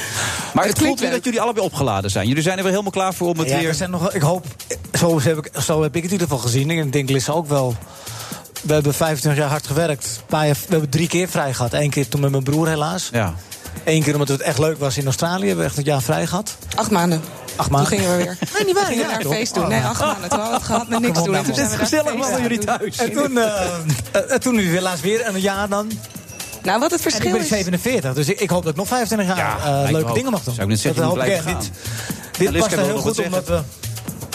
Maar het, voelt weer dat jullie allebei opgeladen zijn. Jullie zijn er weer helemaal klaar voor om het
Ja,
weer...
we zijn nog, wel- ik hoop, zo heb ik, zo heb ik het in ieder geval gezien. Ik denk Lissa ook wel. We hebben 25 jaar hard gewerkt. Een paar jaar- we hebben drie keer vrij gehad. Eén keer toen met mijn broer helaas.
Ja.
Eén keer omdat het echt leuk was in Australië. We hebben echt een jaar vrij gehad.
Acht maanden.
Acht maanden.
Toen gingen we weer.
Nee, niet waar.
Toen gingen we
Ja,
naar een
toch?
feest doen.
Oh.
Nee, acht maanden. Toen hadden we het gehad met niks
Kom op,
doen. En
nou,
toen
man.
zijn we naar een feest gaan doen.
En toen, eh, en toen nu weer laatst weer een jaar dan.
Nou, wat het
en
verschil
ik ben
is-
47, dus ik, ik hoop dat ik nog 25 jaar eh,
lijkt me
leuke
ook.
dingen mag doen.
Zou ik net zeggen,
Dat
moet
hoop ik
blijven
echt.
gaan. Nou,
Dit,
Ja,
dit
Liska
past er
wilde
heel
wat
goed
zeggen.
omdat we...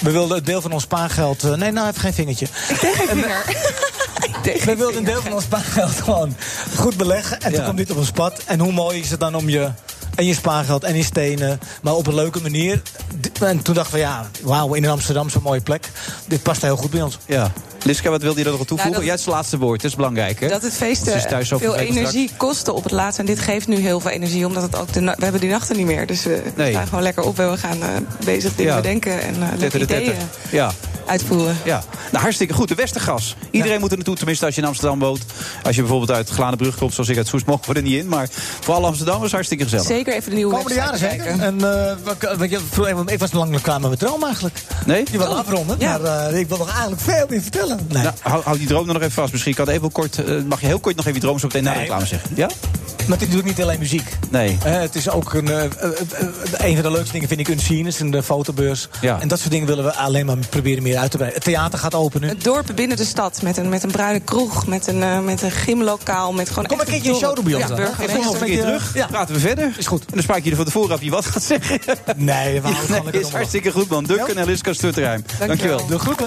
We wilden het deel van ons spaargeld... eh, nee, nou, hij heeft geen vingertje. eh, We wilden een deel van ons spaargeld gewoon goed beleggen. En toen
Ja.
komt dit op ons pad. En hoe mooi is het dan om je... En je spaargeld en je stenen, maar op een leuke manier. D- En toen dachten we, ja, wauw, in Amsterdam zo'n mooie plek. Dit past heel goed bij ons.
Ja. Liska, wat wilde je er nog aan toevoeegen?
Nou,
Jij hebt het laatste woord, dat is belangrijk. Hè?
Dat het feesten
Want ze is thuis zo
veel
vervelend
energie kostte op het laatst. En dit geeft nu heel veel energie, omdat het ook de na- we hebben die nachten niet meer. Dus eh, we
Nee.
zijn gewoon lekker op en we gaan eh, bezig dingen
dus Ja.
bedenken en eh,
straks.
leuke
Tetter de
ideeën
tetter. Ja.
uitvoeren.
Ja, nou hartstikke goed. De Westergas. Iedereen moet er naartoe, tenminste als je in Amsterdam woont. Als je bijvoorbeeld uit Glanenbrug komt, zoals ik uit Soest, mogen we er niet in. Maar voor alle Amsterdammers hartstikke gezellig.
Zeker even de nieuwe
Komende jaren
website
zeker. En, eh, wat- wat je vroeg even, ik was lang klaar met mijn droom eigenlijk.
Nee?
Je wil afronden, maar eh, ik wil nog eigenlijk veel meer vertellen.
Nou, hou, hou die droom dan nog even vast. Misschien kan het even kort, eh, mag je heel kort nog even je droom zo meteen na de reclame zeggen. Ja?
Maar het is natuurlijk niet alleen muziek.
Nee.
Eh, het is ook een, eh, eh, eh, een van de leukste dingen vind ik een scene, is een eh, fotobeurs.
Ja.
En dat soort dingen willen we alleen maar proberen meer uit te breiden. Het theater gaat open nu.
Het dorpen binnen de stad. Met een, met een bruine kroeg, met een, eh, met een gymlokaal. Met gewoon
Kom
echt
een keertje in
dorp.
showroom bij ons
Ja,
dan, hè?
burgermeester.
Ik kom nog eh,
Een keer terug, praten we verder. Is goed. En dan spaak je er van tevoren af je wat gaat zeggen.
Nee, we
houden nee, Is hartstikke goed, man. Duncan en Liska Stutterheim. Dankjewel.
De groeten.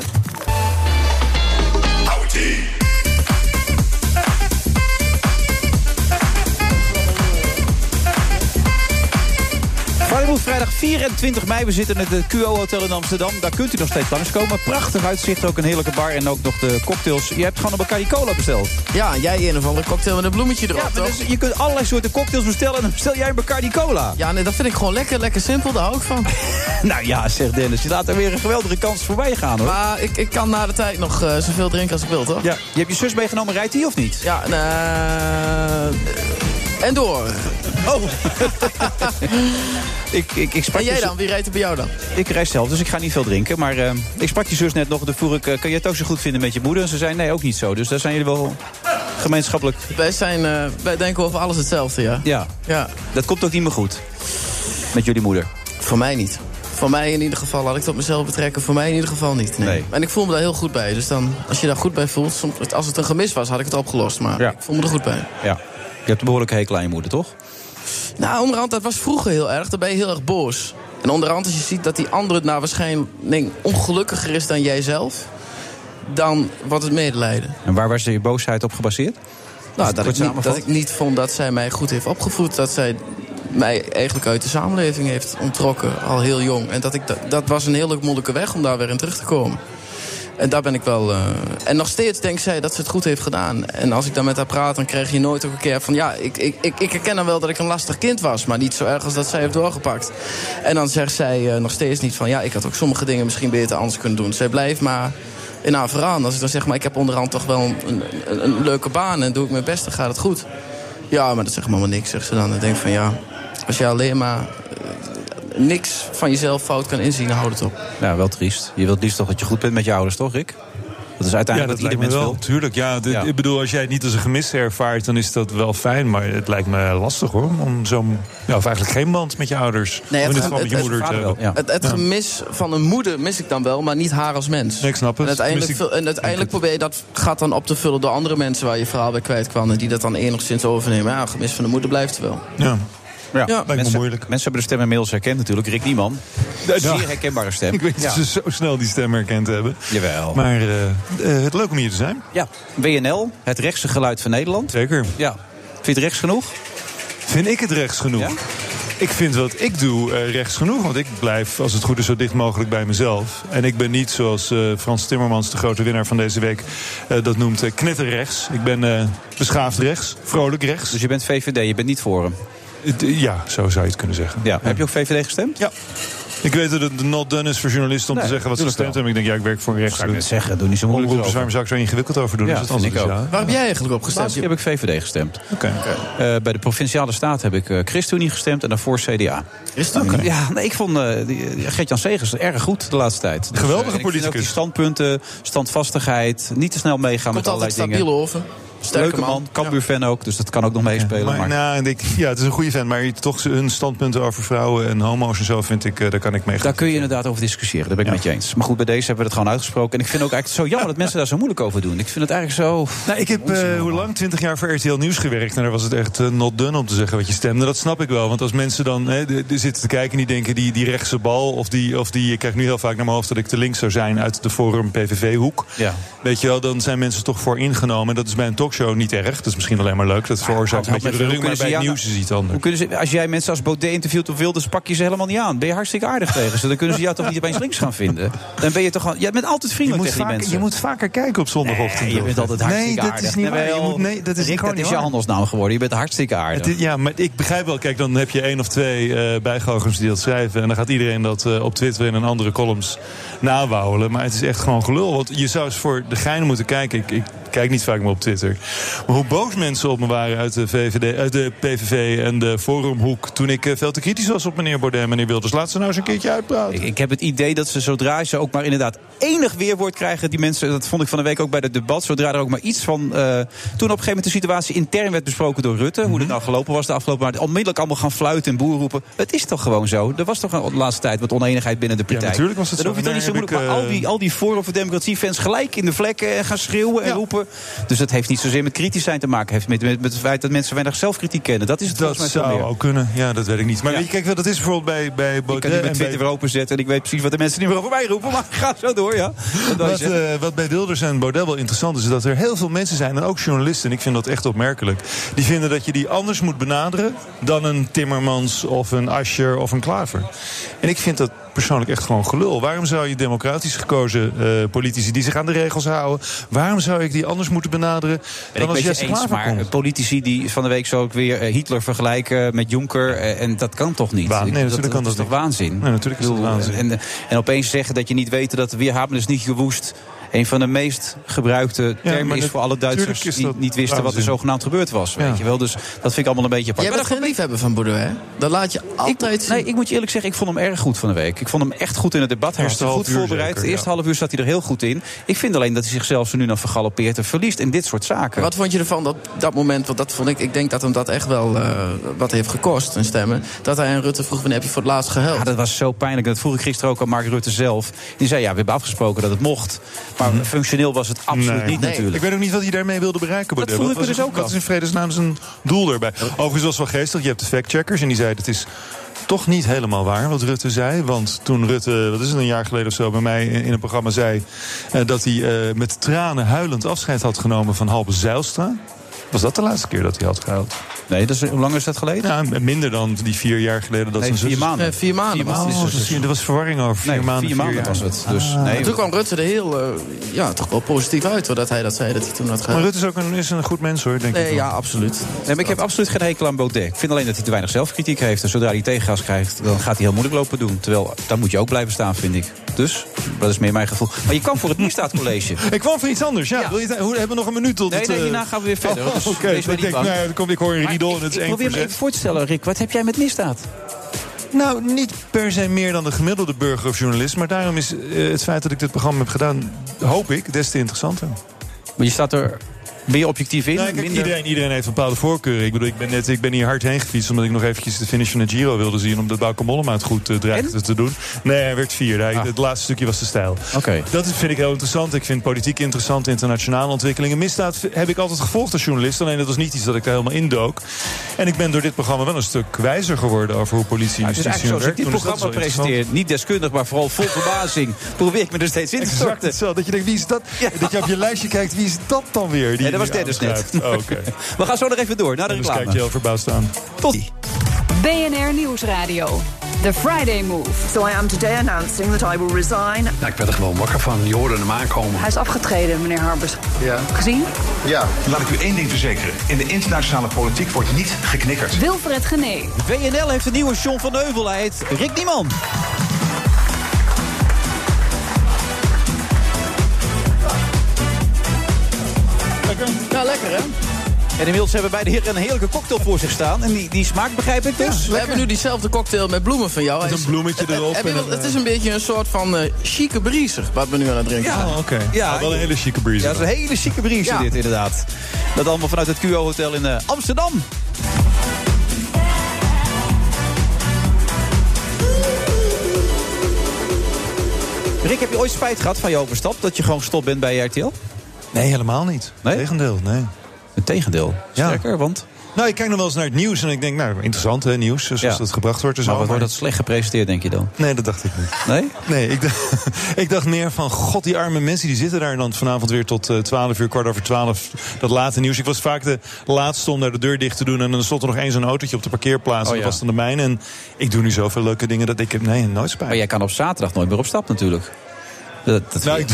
Vrijdag, vrijdag 24 mei. We zitten in het QO Hotel in Amsterdam. Daar kunt u nog steeds langskomen. Prachtig uitzicht, ook een heerlijke bar en ook nog de cocktails. Je hebt gewoon een Bacardi Cola besteld.
Ja, jij een of andere cocktail met een bloemetje erop,
Ja, maar
toch?
dus je kunt allerlei soorten cocktails bestellen en dan bestel jij een Bacardi Cola.
Ja, nee, dat vind ik gewoon lekker, lekker simpel, daar hou ik van.
nou ja, zegt Dennis, je laat er weer een geweldige kans voorbij gaan hoor.
Maar ik, ik kan na de tijd nog eh, zoveel drinken als ik wil, toch?
Ja, je hebt je zus meegenomen, rijdt die of niet?
Ja, en, eh, en door.
Oh! ik, ik, ik sprak
en jij
je zo-
dan? Wie rijdt er bij jou dan?
Ik reis zelf, dus ik ga niet veel drinken. Maar eh, ik sprak je zus net nog en toen vroeg ik... eh, kan jij het ook zo goed vinden met je moeder? En ze zei, nee, ook niet zo. Dus daar zijn jullie wel gemeenschappelijk...
Wij, zijn, eh, wij denken over alles hetzelfde, ja.
Ja.
ja.
Dat komt ook niet meer goed. Met jullie moeder.
Voor mij niet. Voor mij in ieder geval, laat ik het op mezelf betrekken. Voor mij in ieder geval niet. Nee. En ik voel me daar heel goed bij. Dus dan, als je daar goed bij voelt, soms, als het een gemis was, had ik het opgelost. Maar ik voel me er goed bij.
Ja. Je hebt een behoorlijk hekel aan je moeder, toch?
Nou, onderhand, dat was vroeger heel erg. Daar ben je heel erg boos. En onderhand, als je ziet dat die ander het nou waarschijnlijk ongelukkiger is dan jijzelf, dan wordt het medelijden.
En waar was je boosheid op gebaseerd?
Nou, dat ik,
Kort
niet, dat
samengevat?
ik niet vond dat zij mij goed heeft opgevoed. Dat zij mij eigenlijk uit de samenleving heeft ontrokken, al heel jong. En dat, ik dat, dat was een hele moeilijke weg om daar weer in terug te komen. En daar ben ik wel. eh, en nog steeds denkt zij dat ze het goed heeft gedaan. En als ik dan met haar praat, dan krijg je nooit ook een keer van. Ja, ik, ik, ik, ik herken dan wel dat ik een lastig kind was. Maar niet zo erg als dat zij heeft doorgepakt. En dan zegt zij eh, nog steeds niet van. Ja, ik had ook sommige dingen misschien beter anders kunnen doen. Zij blijft maar in haar verhaal. Als ik dan zeg, maar ik heb onderhand toch wel een, een, een leuke baan. En doe ik mijn best, dan gaat het goed. Ja, maar dat zegt me allemaal niks, zegt ze dan. Dan denk ik van ja. Als je alleen maar eh, niks van jezelf fout kan inzien, dan houd het op.
Ja, wel triest. Je wilt liefst toch dat je goed bent met je ouders, toch, Rick? Dat is
Ja,
uiteindelijk wat
dat lijkt
ieder
me
mens
wel.
wil.
Tuurlijk, ja, dit- Ik bedoel, als jij het niet als een gemis ervaart, dan is dat wel fijn. Maar het lijkt me lastig hoor. Om zo'n. Nou, of eigenlijk geen band met je ouders.
Nee,
Om in
het,
dit
het,
geval
het,
met je moeder te hebben.
het- het
Ja.
gemis van een moeder mis ik dan wel, maar niet haar als mens.
Nee, ik snap het.
En uiteindelijk,
Mis ik-
vul- en uiteindelijk probeer je dat gaat dan op te vullen door andere mensen waar je verhaal bij kwijt kwam. En die dat dan enigszins overnemen. Ja, gemis van de moeder blijft er wel.
Ja.
Ja,
me
mensen, moeilijk. mensen hebben de stem inmiddels herkend natuurlijk. Rick Nieman.
Ja.
Zeer herkenbare stem.
Ik weet
Ja.
dat ze zo snel die stem herkend hebben.
Jawel.
Maar eh, eh, het leuk om hier te zijn.
Ja, WNL, het rechtse geluid van Nederland.
Zeker.
Ja. Vind je het rechts genoeg?
Vind ik het rechts genoeg? Ik vind wat ik doe eh, rechts genoeg. Want ik blijf, als het goed is, zo dicht mogelijk bij mezelf. En ik ben niet zoals eh, Frans Timmermans, de grote winnaar van deze week, eh, dat noemt eh, knetterrechts. Ik ben eh, beschaafd rechts, vrolijk rechts. Eh,
Dus je bent VVD, je bent niet voor hem?
ja, zo zou je het kunnen zeggen.
Ja. Heb je ook VVD gestemd?
Ja. Ik weet dat het not done is voor journalisten om
Nee,
te zeggen wat ze
tuurlijk
gestemd hebben. Ik denk, ja, ik werk voor een rechts.
Zou ik net zeggen, doe niet zo moeilijk over.
Omroep, dus waarom zou ik zo ingewikkeld over doen?
Ja,
Is het
vind
anders,
ik ook.
ja?
Waar
heb jij eigenlijk op
Laatst heb ik VVD gestemd.
Oké.
Eh, bij de Provinciale Staat heb ik eh ChristenUnie gestemd en daarvoor CDA.
ChristenUnie?
Ja, nee, ik vond eh, die- die Gert-Jan Segers erg goed de laatste tijd. Dus,
Geweldige
eh, en ik vind
politicus.
ook die standpunten, standvastigheid, niet te snel meegaan met allerlei
altijd
dingen.
stabiel over. Sterke
Leuke man,
man.
Kambuur-fan ook, dus dat kan ook nog meespelen.
Maar,
maar-
nou, en ik, ja, het is een goede fan, maar toch hun standpunten over vrouwen en homo's en zo vind ik, eh, daar kan ik mee.
Daar kun je inderdaad over discussiëren, daar ben ik met je eens. Maar goed, bij deze hebben we het gewoon uitgesproken. En ik vind ook eigenlijk zo jammer dat mensen daar zo moeilijk over doen. Ik vind het eigenlijk zo...
Nou, ik heb eh, hoe lang? Twintig jaar voor RTL Nieuws gewerkt. En daar was het echt eh, not done om te zeggen wat je stemde. Dat snap ik wel. Want als mensen dan hè, de- de zitten te kijken en die denken... die, die rechtse bal of die, of die... Ik krijg nu heel vaak naar mijn hoofd dat ik te links zou zijn... uit de Forum PVV-hoek.
Ja.
Weet je wel, dan zijn mensen toch voor ingenomen. En dat is bij een talkshow niet erg. Dat is misschien alleen maar leuk. Dat veroorzaakt een
Help me
beetje
even, hoe
reuring. Maar
kunnen
bij het
ze jou
nieuws is
nou-
iets anders.
Hoe kunnen ze, als jij mensen als Baudet interviewt of Wilders, pak je ze helemaal niet aan. Ben je hartstikke aardig tegen ze. Dan kunnen ze jou toch niet opeens links gaan vinden. Dan ben je toch gewoon... Jij bent altijd vriendelijk tegen die mensen.
vaker kijken op zondagochtend.
je bent altijd hartstikke
nee, dat
aardig.
Is niet waar. Je
Jawel.
moet, nee, dat is
Rick, dat
gewoon niet
is je
waar.
handelsnaam geworden. Je bent hartstikke
Het
aardig.
is- ja, maar ik begrijp wel. Kijk, dan heb je één of twee eh, bijgoochers die dat schrijven. En dan gaat iedereen dat eh, op Twitter en in andere columns nawouwelen. Maar het is echt gewoon gelul. Want je zou eens voor de gein moeten kijken. Ik, ik kijk niet vaak meer op Twitter. Maar hoe boos mensen op me waren uit de, VVD, uit de PVV en de Forumhoek... toen ik eh, veel te kritisch was op meneer Baudet en meneer Wilders. Laat ze nou eens een keertje uitpraten.
Ik, ik heb het idee dat ze zodra ze ook maar inderdaad enig weerwoord krijgen, die mensen, dat vond ik van de week ook bij het debat, zodra er ook maar iets van. eh, toen op een gegeven moment de situatie intern werd besproken door Rutte, hoe
Mhm.
het nou gelopen was de afgelopen maand, onmiddellijk allemaal gaan fluiten en boer roepen. Het is toch gewoon zo? Er was toch een- de laatste tijd wat oneenigheid binnen de partij.
natuurlijk was het
Dan
zo.
hoef je toch niet
En
zo
daar
moeilijk.
heb
Maar
ik, eh,
al die, al die Forum voor Democratie-fans gelijk in de vlekken en gaan schreeuwen en roepen. Dus dat heeft niet zozeer met kritisch zijn te maken. Het heeft met, met, met het feit dat mensen weinig zelfkritiek kennen. Dat is het
Dat
volgens mij veel
zou
meer.
ook kunnen. Ja, dat weet ik niet. Maar weet je, kijk, wel, dat is bijvoorbeeld bij, bij
Ik kan die
Baudet
met
en bij
Twitter weer openzetten en ik weet precies wat de mensen niet meer over mij roepen. Maar ga zo door, ja. Wat wou je
Wat,
zeggen?
eh, wat bij Wilders en Baudet wel interessant is, is dat er heel veel mensen zijn, en ook journalisten, en ik vind dat echt opmerkelijk, die vinden dat je die anders moet benaderen dan een Timmermans of een Ascher of een Klaver. En ik vind dat persoonlijk echt gewoon gelul. Waarom zou je democratisch gekozen eh, politici die zich aan de regels houden, waarom zou ik die anders moeten benaderen
Ben
dan
ik
als
met
Jesse
je eens,
Klaver
maar
komt?
politici die van de week zo ook weer eh, Hitler vergelijken met Jonker. eh, en dat kan toch niet?
Wa-
Ik
nee,
bedoel,
natuurlijk kan
is
dat
toch waanzin?
Nee, natuurlijk is
Ik bedoel,
dat waanzin.
En, eh, en opeens zeggen dat je niet weet dat Weerhaven is niet gewoest. Een van de meest gebruikte termen
maar
is
dat-
voor alle Duitsers
tuurlijk is
die
dat
niet wisten wat er
waanzin.
zogenaamd gebeurd was. Weet je wel? Dus dat vind ik allemaal een beetje apart.
Jij bent geen liefhebber van Boerder, hè? Dat laat je altijd zien.
Nee, ik moet je eerlijk zeggen, ik vond hem erg goed van de week. Ik vond hem echt goed in het debat. Hij was
Eerste half
goed
uur
voorbereid.
zeker,
Het eerste half uur zat hij er heel goed in. Ik vind alleen dat hij zichzelf zo nu dan vergalopeert en verliest in dit soort zaken.
Wat vond je ervan dat dat moment, want dat vond ik, ik denk dat hem dat echt wel eh, wat heeft gekost, een stemmen. Dat hij aan Rutte vroeg, wanneer heb je voor het laatst gehuild?
Ja, dat was zo pijnlijk. Dat vroeg ik gisteren ook aan Mark Rutte zelf. Die zei, ja, we hebben afgesproken dat het mocht. Maar Maar functioneel was het absoluut
Mhm. Nee.
niet natuurlijk.
Ik weet ook niet wat hij daarmee wilde
Dat
bereiken. Baudet.
vroeg
Wat
ik
was
me dus ook
Wat
af.
is in vredesnaam zijn doel daarbij? Overigens was wel geestig. Je hebt de factcheckers en die zeiden... het is toch niet helemaal waar wat Rutte zei. Want toen Rutte, wat is het, een jaar geleden of zo... bij mij in in een programma zei... eh, dat hij eh, met tranen huilend afscheid had genomen van Halbe Zijlstra... was dat de laatste keer dat hij had gehuild?
Nee, dus, hoe lang is dat geleden?
Ja, minder dan die vier jaar geleden. Dat
Nee,
zijn zus-
vier maanden. Eh, vier maanden
Vier
was het.
maanden, zo zie je, er was verwarring over. Vier
Nee,
maanden,
vier maanden
jaar.
was het. Dus,
Ah.
nee,
Maar toen kwam Rutte er heel, eh, ja, toch wel positief uit hoor, dat hij dat zei, dat hij toen had
Maar
gedaan.
Rutte is ook een, is een goed mens hoor, denk
Eh,
Nee,
ik. wel.
ja, absoluut.
Nee, maar ik heb absoluut geen hekel aan Baudet. Ik vind alleen dat hij te weinig zelfkritiek heeft. En zodra hij tegengas krijgt, dan gaat hij heel moeilijk lopen doen. Terwijl, daar moet je ook blijven staan, vind ik. Dus, dat is meer mijn gevoel. Maar je kwam voor het misdaadcollege.
Ik kwam voor iets anders, ja.
Ja.
Wil je het- hoe, hebben we nog een minuut tot
Nee,
het...
nee,
eh,
hierna gaan we weer verder,
Oh,
dus
Oké,
wees
ik
maar niet
denk, nou
bang.
ja, dan kom ik hoor een
Maar
riedel
ik-
en het is
ik
één
probeer me
verzet.
even voor te stellen, Rick. Wat heb jij met misdaad?
Nou, niet per se meer dan de gemiddelde burger of journalist... maar daarom is eh, het feit dat ik dit programma heb gedaan... hoop ik, des te interessanter.
Maar je staat er... Ben je objectief in?
Nou, kijk,
Minder-
iedereen, iedereen heeft een bepaalde voorkeur. Ik bedoel, ik ben, net, ik ben hier hard heen gefietst... omdat ik nog eventjes de finish van de Giro wilde zien... omdat Bauke Mollema het goed eh, dreigde te doen. Nee, hij werd vier. Hij, Het laatste stukje was de stijl.
Ah. Oké.
Dat is- vind ik heel interessant. Ik vind politiek interessant, internationale ontwikkelingen. Misdaad v- heb ik altijd gevolgd als journalist. Alleen dat was niet iets dat ik daar helemaal indook. En ik ben door dit programma wel een stuk wijzer geworden... over hoe politie en
Het is
justitie
eigenlijk zoals ik
werkt.
dit programma presenteer. Niet deskundig, maar vooral vol verbazing. Probeer ik me er steeds in te
Exact
storten.
hetzelfde. Dat je denkt, wie is dat? Dat je op je lijstje kijkt, wie is dat dan weer?
Ja, dat was
die
Dennis net.
aanschuift? Oh, Oké.
We gaan zo nog even door, naar de
Dus kijk
reclame.
je heel verbaasd aan.
Tot.
BNR Nieuwsradio. The Friday Move.
So I am today announcing that I will resign.
Nou, ik werd er gewoon wakker van. Je hoorde hem aankomen.
Hij is afgetreden, meneer Harbers.
Ja.
Gezien?
Ja. Laat ik u één ding verzekeren. In de internationale politiek wordt niet geknikkerd.
Wilfred Genee.
WNL heeft een nieuwe John van Heuvel. Hij heet Rick Nieman.
Ja, lekker hè?
En inmiddels hebben beide heren een heerlijke cocktail voor zich staan. En die, die smaak begrijp ik dus.
We hebben nu diezelfde cocktail met bloemen van jou. Hij
een bloemetje
Eh, eh,
erop
heb je
en
wel-
een,
het is een beetje een soort van eh chique briezer wat we nu aan het drinken
Ja.
zijn.
Oh, oké. Ja,
Ah, wel een hele chique breeze.
Ja, dat is een hele chique briesje
Ja.
dit inderdaad. Dat allemaal vanuit het QO Hotel in eh, Amsterdam. Rick, heb je ooit spijt gehad van je overstap? Dat je gewoon gestopt bent bij RTL?
Nee, helemaal niet.
Nee?
Tegendeel, nee.
Het tegendeel? Sterker, want?
Nou, ik kijk nog wel eens naar het nieuws en ik denk, nou, interessant hè, nieuws. Zoals dat gebracht wordt. en zo,
maar wat wordt dat slecht gepresenteerd, denk je dan?
Nee, dat dacht ik niet.
Nee?
Nee, ik dacht, ik dacht meer van, god, die arme mensen die zitten daar dan vanavond weer tot eh, 12 uur, kwart over 12. Dat late nieuws. Ik was vaak de laatste om daar de deur dicht te doen. En dan stond er nog eens een autootje op de parkeerplaats.
Oh,
en dat
ja.
was dan de mijne. En ik doe nu zoveel leuke dingen dat ik heb, nee, nooit spijt.
Maar jij kan op zaterdag nooit meer op stap natuurlijk. Dat, dat
Nou, ik,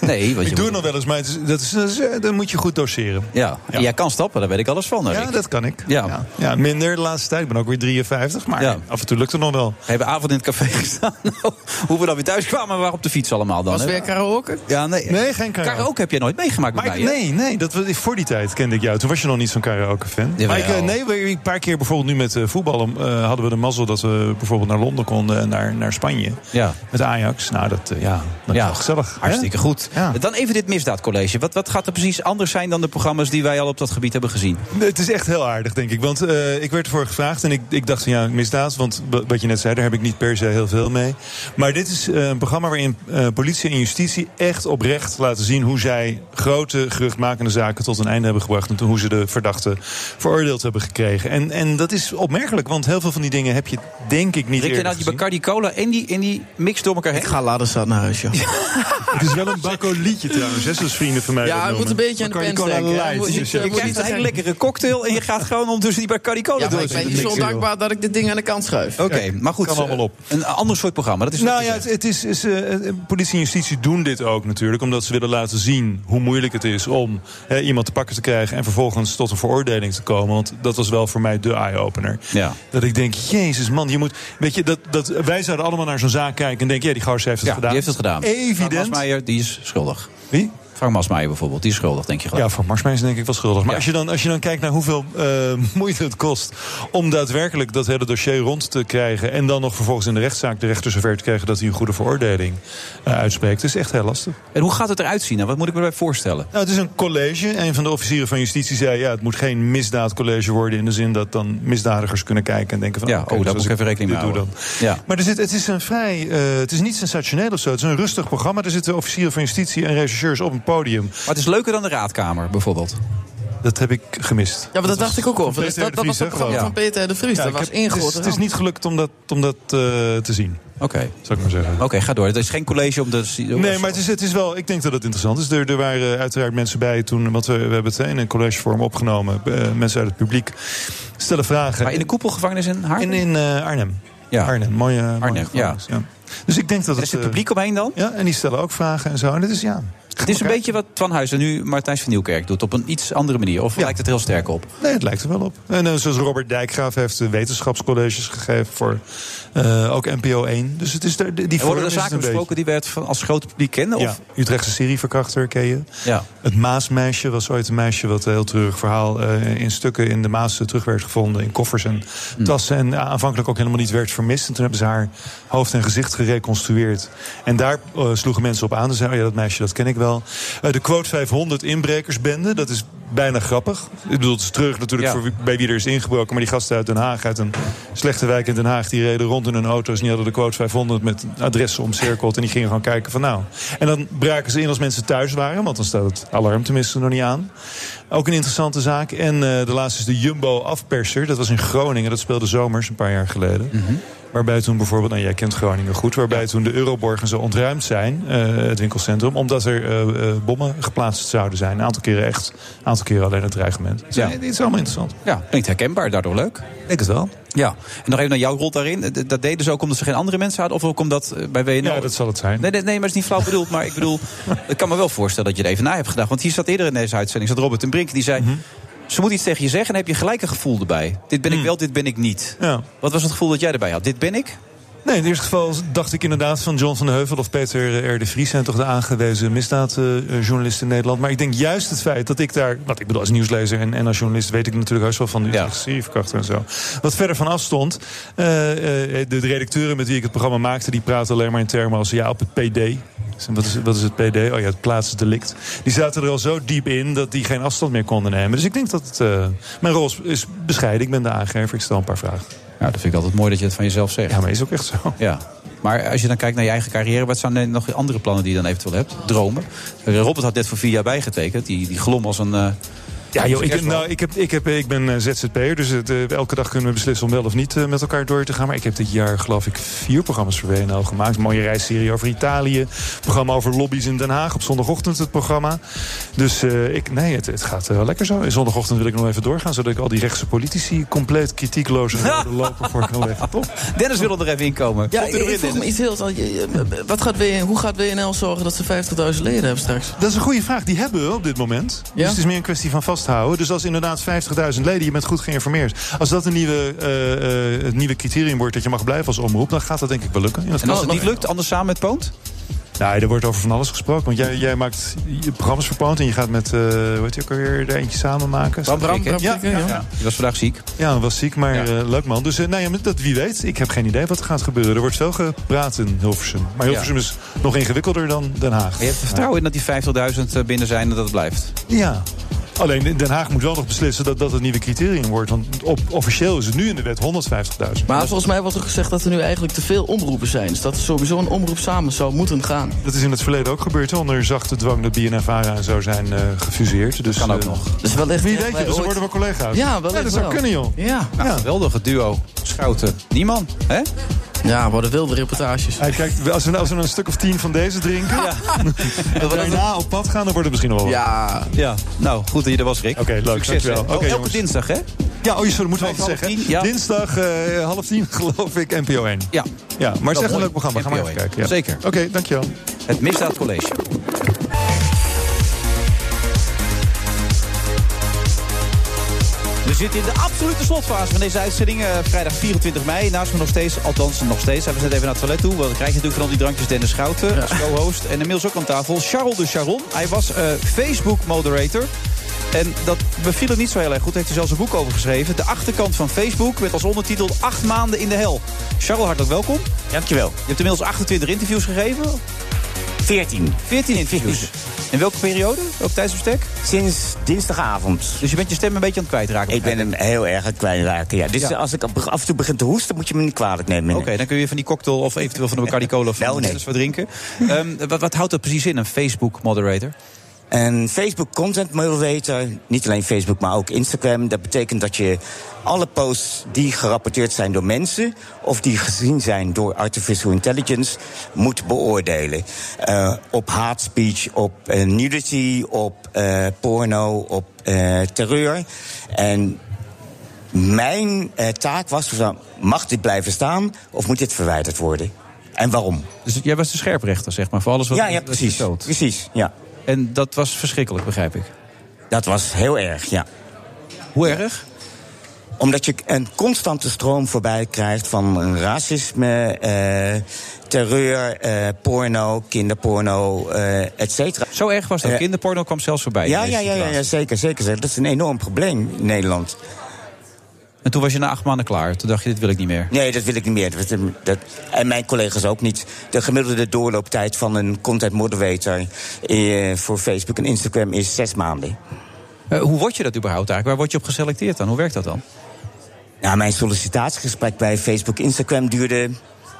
nee, want je
ik
moet-
doe het nog wel eens, maar het is, dat is, dat is, eh, dan moet je goed doseren.
Ja, en jij kan stappen, daar weet ik alles van. hè,
Ja,
Rick.
dat kan ik.
Ja.
Ja. Ja, minder de laatste tijd. Ik ben ook weer 53, maar af en toe lukt het nog wel.
We hebben avond in het café gestaan. Nou, hoe we dan weer thuis kwamen, we waren op de fiets allemaal dan.
Was
hè?
weer karaoke?
Ja, nee.
Nee, geen karaoke.
Karaoke heb jij nooit meegemaakt
Maar
met
ik-
mij, hè?
nee, nee, dat, was- voor die tijd kende ik jou. Toen was je nog niet zo'n karaoke-fan.
Jawel.
Maar ik, eh, nee, we- een paar keer bijvoorbeeld nu met eh, voetbal eh, hadden we de mazzel dat we bijvoorbeeld naar Londen konden en naar, naar Spanje.
Ja.
Met Ajax. Nou, dat, eh, ja, dat is wel gezellig.
Hartstikke
hè?
goed. Dan even dit misdaadcollege. Wat, wat gaat er precies anders zijn dan de programma's die wij al op dat gebied hebben gezien?
Het is echt heel aardig, denk ik. Want eh, ik werd ervoor gevraagd en ik, ik dacht van ja, misdaad. Want wa- wat je net zei, daar heb ik niet per se heel veel mee. Maar dit is eh, een programma waarin eh, politie en justitie echt oprecht laten zien hoe zij grote geruchtmakende zaken tot een einde hebben gebracht. En hoe ze de verdachten veroordeeld hebben gekregen. En, en dat is opmerkelijk, want heel veel van die dingen heb je denk ik niet
Rick, je
eerder
nou die
gezien.
Bacardi Cola en die, en die mix door elkaar heen? Ik
ga laden staan naar huis, joh.
Het is wel een bakko liedje trouwens, hè, zoals vrienden van mij
Ja,
dat
je moet
noemen.
een beetje aan de
Bacardi
pens
Cola
denken, hè.
Light,
Moet-
dus
moet-
ja.
je
Je krijgt een hele lekkere cocktail en je gaat gewoon ondertussen die Bacardi Cola
Ja, maar
door.
ik ben niet zo dankbaar dat ik dit ding aan de kant schuif.
Oké, maar goed. eh,
Kan allemaal op.
Een ander soort programma. Dat is wat
nou
je
ja,
zegt.
het, het is, is, eh, eh, politie en justitie doen dit ook natuurlijk. Omdat ze willen laten zien hoe moeilijk het is om hè, iemand te pakken te krijgen. En vervolgens tot een veroordeling te komen. Want dat was wel voor mij de eye-opener.
Ja.
Dat ik denk, jezus man, je moet... Weet je, dat, dat, wij zouden allemaal naar zo'n zaak kijken en denken... Ja, die gozer heeft het
Ja,
gedaan.
die heeft het gedaan.
Evident.
Meijer, die is schuldig.
Wie?
Frank Masmaier bijvoorbeeld, die is schuldig, denk je gelijk.
Ja, Frank Marsmeij is denk ik wel schuldig. Maar als, je dan, als je dan kijkt naar hoeveel eh, moeite het kost... om daadwerkelijk dat hele dossier rond te krijgen... en dan nog vervolgens in de rechtszaak de rechter zover te krijgen... dat hij een goede veroordeling eh, uitspreekt, is echt heel lastig.
En hoe gaat het eruit zien? Nou, wat moet ik me erbij voorstellen?
Nou, het is een college. Een van de officieren van justitie zei... ja, het moet geen misdaadcollege worden... in de zin dat dan misdadigers kunnen kijken en denken van...
Ja,
oké,
oh, daar
dus
moet
als
ik even rekening mee
dit doe
houden.
dan. Maar er zit, het is een vrij. eh, het is niet sensationeel of zo. Het is een rustig programma. Er zitten officieren van justitie en rechercheurs op een podium. Maar
het is leuker dan de raadkamer bijvoorbeeld.
Dat heb ik gemist.
Ja, maar dat dacht ik ook over.
Peter
Dat,
R.
dat, dat
de
was
Vries, hè,
het programma
geloof
van
ik.
Peter R. de Vries.
Ja,
dat
ik
was
heb- het is-
ingegoten.
Het is niet gelukt om dat, om dat eh, te zien.
Oké.
Zou ik maar zeggen.
Oké, ga door. Het is geen college om de...
Nee, maar het is, het is wel, ik denk dat het interessant is. Er, er waren uiteraard mensen bij toen, want we, we hebben het in een collegevorm opgenomen. Eh, mensen uit het publiek stellen vragen.
Maar in de koepelgevangenis in Haarlem?
In, in eh, Arnhem.
Ja.
Arnhem, mooie, mooie
Arnhem, ja.
gevangenis, Dus ik denk dat
Er
het...
zit
eh,
publiek omheen dan?
Ja, en die stellen ook vragen en zo. En het is, ja...
Het is een beetje wat Van Huizen nu Martijn van Nieuwkerk doet. Op een iets andere manier. Of lijkt het heel sterk op?
Nee, het lijkt er wel op. En eh, zoals Robert Dijkgraaf heeft eh, wetenschapscolleges gegeven voor eh, ook NPO 1. Dus het is er, die
Die
vorm
worden er
is het
zaken
een beetje.
besproken die we het van als groot publiek kennen? Of?
Ja, Utrechtse serieverkrachter ken je.
Ja.
Het Maasmeisje was ooit een meisje wat een heel treurig verhaal eh, in stukken in de Maas terug werd gevonden. In koffers en
Hmm.
tassen. En eh, aanvankelijk ook helemaal niet werd vermist. En toen hebben ze haar hoofd en gezicht gereconstrueerd. En daar eh, sloegen mensen op aan. Ze zeiden, oh ja, dat meisje, dat ken ik wel. Eh, de Quote 500 inbrekersbende, dat is bijna grappig. Ik bedoel, het is terug natuurlijk
Ja.
voor wie- bij wie er is ingebroken. Maar die gasten uit Den Haag, uit een slechte wijk in Den Haag... die reden rond in hun auto's en die hadden de quote 500 met adressen omcirkeld. En die gingen gewoon kijken van nou... En dan braken ze in als mensen thuis waren. Want dan staat het alarm tenminste nog niet aan. Ook een interessante zaak. En eh, de laatste is de Jumbo-afperser. Dat was in Groningen. Dat speelde zomers een paar jaar geleden. Waarbij toen bijvoorbeeld, nou jij kent Groningen goed... waarbij toen de Euroborgen zo ontruimd zijn, eh, het winkelcentrum... omdat er eh, eh, bommen geplaatst zouden zijn. Een aantal keren echt, een aantal keren alleen het dreigement. Dus,
Ja.
eh, Dit is allemaal interessant.
Ja, klinkt herkenbaar, daardoor leuk.
Denk het wel.
Ja, en nog even naar jouw rol daarin. D- Dat deden ze ook omdat ze geen andere mensen hadden, of ook omdat eh, bij WNL... Ja, dat
zal het zijn.
Nee, nee, nee, maar het is niet flauw bedoeld. Maar ik bedoel, ik kan me wel voorstellen dat je er even na hebt gedacht. Want hier zat eerder in deze uitzending, zat Robert en Brink, die
Mhm.
zei... Ze moet iets tegen je zeggen en dan heb je gelijk een gevoel erbij. Dit ben ik wel, dit ben ik niet.
Mhm. Ja.
Wat was het gevoel dat jij erbij had? Dit ben ik?
Nee, in het eerste geval dacht ik inderdaad van John van de Heuvel of Peter eh, R. de Vries zijn toch de aangewezen misdaadjournalisten in Nederland. Maar ik denk juist het feit dat ik daar, wat ik bedoel als nieuwslezer en, en als journalist, weet ik natuurlijk heus wel van de Utrechtse serieverkrachter en zo. Wat verder van afstond, eh, eh, de, de redacteuren met wie ik het programma maakte, die praten alleen maar in termen als ja, op het PD. Dus Wat is, wat is het PD? Oh ja, het plaatsdelict. Die zaten er al zo diep in dat die geen afstand meer konden nemen. Dus ik denk dat het, eh, mijn rol is, is bescheiden. Ik ben de aangever, ik stel een paar vragen.
Ja, dat vind ik altijd mooi dat je het van jezelf zegt. Ja,
maar is ook echt zo.
Ja. Maar als je dan kijkt naar je eigen carrière, wat zijn er nog andere plannen die je dan eventueel hebt? Dromen. Eh, Robert had net voor vier jaar bijgetekend. Die, die glom als een. eh,
Ja, joh, ik, heb-
kerstboom.
nou, ik, heb, ik, heb, ik ben eh, ZZP'er, dus het, eh, elke dag kunnen we beslissen om wel of niet eh, met elkaar door te gaan. Maar ik heb dit jaar, geloof ik, vier programma's voor WNL gemaakt. Een mooie reisserie over Italië, programma over lobby's in Den Haag, op zondagochtend het programma. Dus eh, ik, nee, het, het gaat eh, wel lekker zo. En zondagochtend wil ik nog even doorgaan, zodat ik al die rechtse politici compleet kritiekloos en rode loper voor kan leggen. Top.
Dennis wil er even in komen.
Ja, ik, ik vroeg me iets heel... je- je- Wat gaat WN hoe gaat WNL zorgen dat ze 50.000 leden hebben straks?
Dat is een goede vraag. Die hebben we op dit moment. Dus het is meer een kwestie van vasthouden. Dus als inderdaad 50.000 leden, je bent goed geïnformeerd. Als dat een nieuwe, eh, eh, het nieuwe criterium wordt dat je mag blijven als omroep, dan gaat dat denk ik wel lukken.
En als het niet lukt, anders samen met Poont?
Nee, Nou, er wordt over van alles gesproken. Want jij, jij maakt je programma's voor Poont en je gaat met, eh hoe heet je ook alweer, er eentje samen maken.
Bram Bram,
Ja,
Bram Krikke,
ja,
ja.
ja.
Die was vandaag ziek.
Ja, was ziek, maar eh, leuk man. Dus eh, nou ja, maar dat, wie weet. Ik heb geen idee wat er gaat gebeuren. Er wordt veel gepraat in Hilversum. Maar Hilversum
Ja.
is nog ingewikkelder dan Den Haag.
Je hebt er vertrouwen in dat die 50.000 eh, binnen zijn en dat het blijft.
Ja. Alleen Den Haag moet wel nog beslissen dat dat het nieuwe criterium wordt. Want op, officieel is het nu in de wet 150.000.
Maar volgens mij wordt er gezegd dat er nu eigenlijk te veel omroepen zijn. Dus dat er sowieso een omroep samen zou moeten gaan.
Dat is in het verleden ook gebeurd, hè, onder zachte dwang dat BNFARA en zo zijn eh, gefuseerd. Dus,
Kan ook
eh,
nog.
Dus wellicht
Wie
echt
weet
wij
je, dus
ooit-
dan worden we collega's.
Ja, wellicht
dat zou
wel.
kunnen, joh.
Ja.
Nou, geweldig het duo. Schouten. Nieman, hè?
Ja, worden wilde reportages.
Hij kijkt, als, we, Dus nou, als we een stuk of tien van deze drinken... en daarna op pad gaan, dan wordt het misschien nog wel wat.
Ja.
Ja, nou, goed dat je er was, Rick. Oké,
leuk, dankjewel.
hè. Oh,
Oké,
elke
jongens.
dinsdag, hè?
Ja, oh, je sorry, moeten we even
Half
zeggen.
tien, ja.
Dinsdag eh, half tien, geloof ik, NPO 1.
Ja.
Ja, maar het is
Wel
echt een
mooi.
leuk programma. Ga maar
NPO
even
1.
kijken. ja.
Zeker.
Oké, dankjewel.
Het Misdaadcollege.
De
We zitten in de absolute slotfase van deze uitzending. eh, vrijdag 24 mei. Naast me nog steeds, althans nog steeds. Hij we net even naar het toilet toe. Want dan krijg je natuurlijk van al die drankjes Dennis Schouten als co-host. En inmiddels ook aan tafel Charles de Charon. Hij was eh, Facebook-moderator. En dat beviel hem niet zo heel erg goed. Daar heeft hij zelfs een boek over geschreven. De achterkant van Facebook met als ondertitel Acht maanden in de hel. Charles, hartelijk welkom. Dankjewel. Oh. Je hebt inmiddels 28 interviews gegeven. 14. 14 interviews. In welke periode? Welk tijdsbestek? Sinds dinsdagavond. Dus je bent je stem een beetje aan het kwijtraken?
Ik ben hem heel erg aan het kwijtraken, ja. Dus
Ja.
als ik af en toe begin te hoesten, moet je me niet kwalijk nemen.
Oké, dan kun je van die cocktail of eventueel van de Bacardi Cola of van iets wat drinken. Ehm, wat, wat houdt dat precies in, een Facebook moderator?
Een Facebook content moderator, niet alleen Facebook, maar ook Instagram. Dat betekent dat je alle posts die gerapporteerd zijn door mensen of die gezien zijn door artificial intelligence moet beoordelen. Eh, op hate speech, op eh, nudity, op eh, porno, op eh, terreur. En mijn eh, taak was van, mag dit blijven staan of moet dit verwijderd worden? En waarom?
Dus jij was de scherprechter, zeg maar, voor alles wat
Ja, ja
wat je
precies.
stoot.
Precies, ja.
En dat was verschrikkelijk, begrijp ik.
Dat was heel erg, ja.
Hoe erg?
Omdat je een constante stroom voorbij krijgt van racisme, eh, terreur, eh, porno, kinderporno, eh et cetera.
Zo erg was dat?
Eh,
Kinderporno kwam zelfs voorbij.
Ja,
in
ja,
deze
ja, ja, ja
situatie.
zeker, zeker, zeker. Dat is een enorm probleem in Nederland.
En toen was je na acht maanden klaar. Toen dacht je, dit wil ik niet meer.
Nee, dat wil ik niet meer. Dat, dat- en mijn collega's ook niet. De gemiddelde doorlooptijd van een content moderator eh, voor Facebook en Instagram is zes maanden.
Eh, hoe word je dat überhaupt eigenlijk? Waar word je op geselecteerd dan? Hoe werkt dat dan?
Nou, mijn sollicitatiegesprek bij Facebook Instagram duurde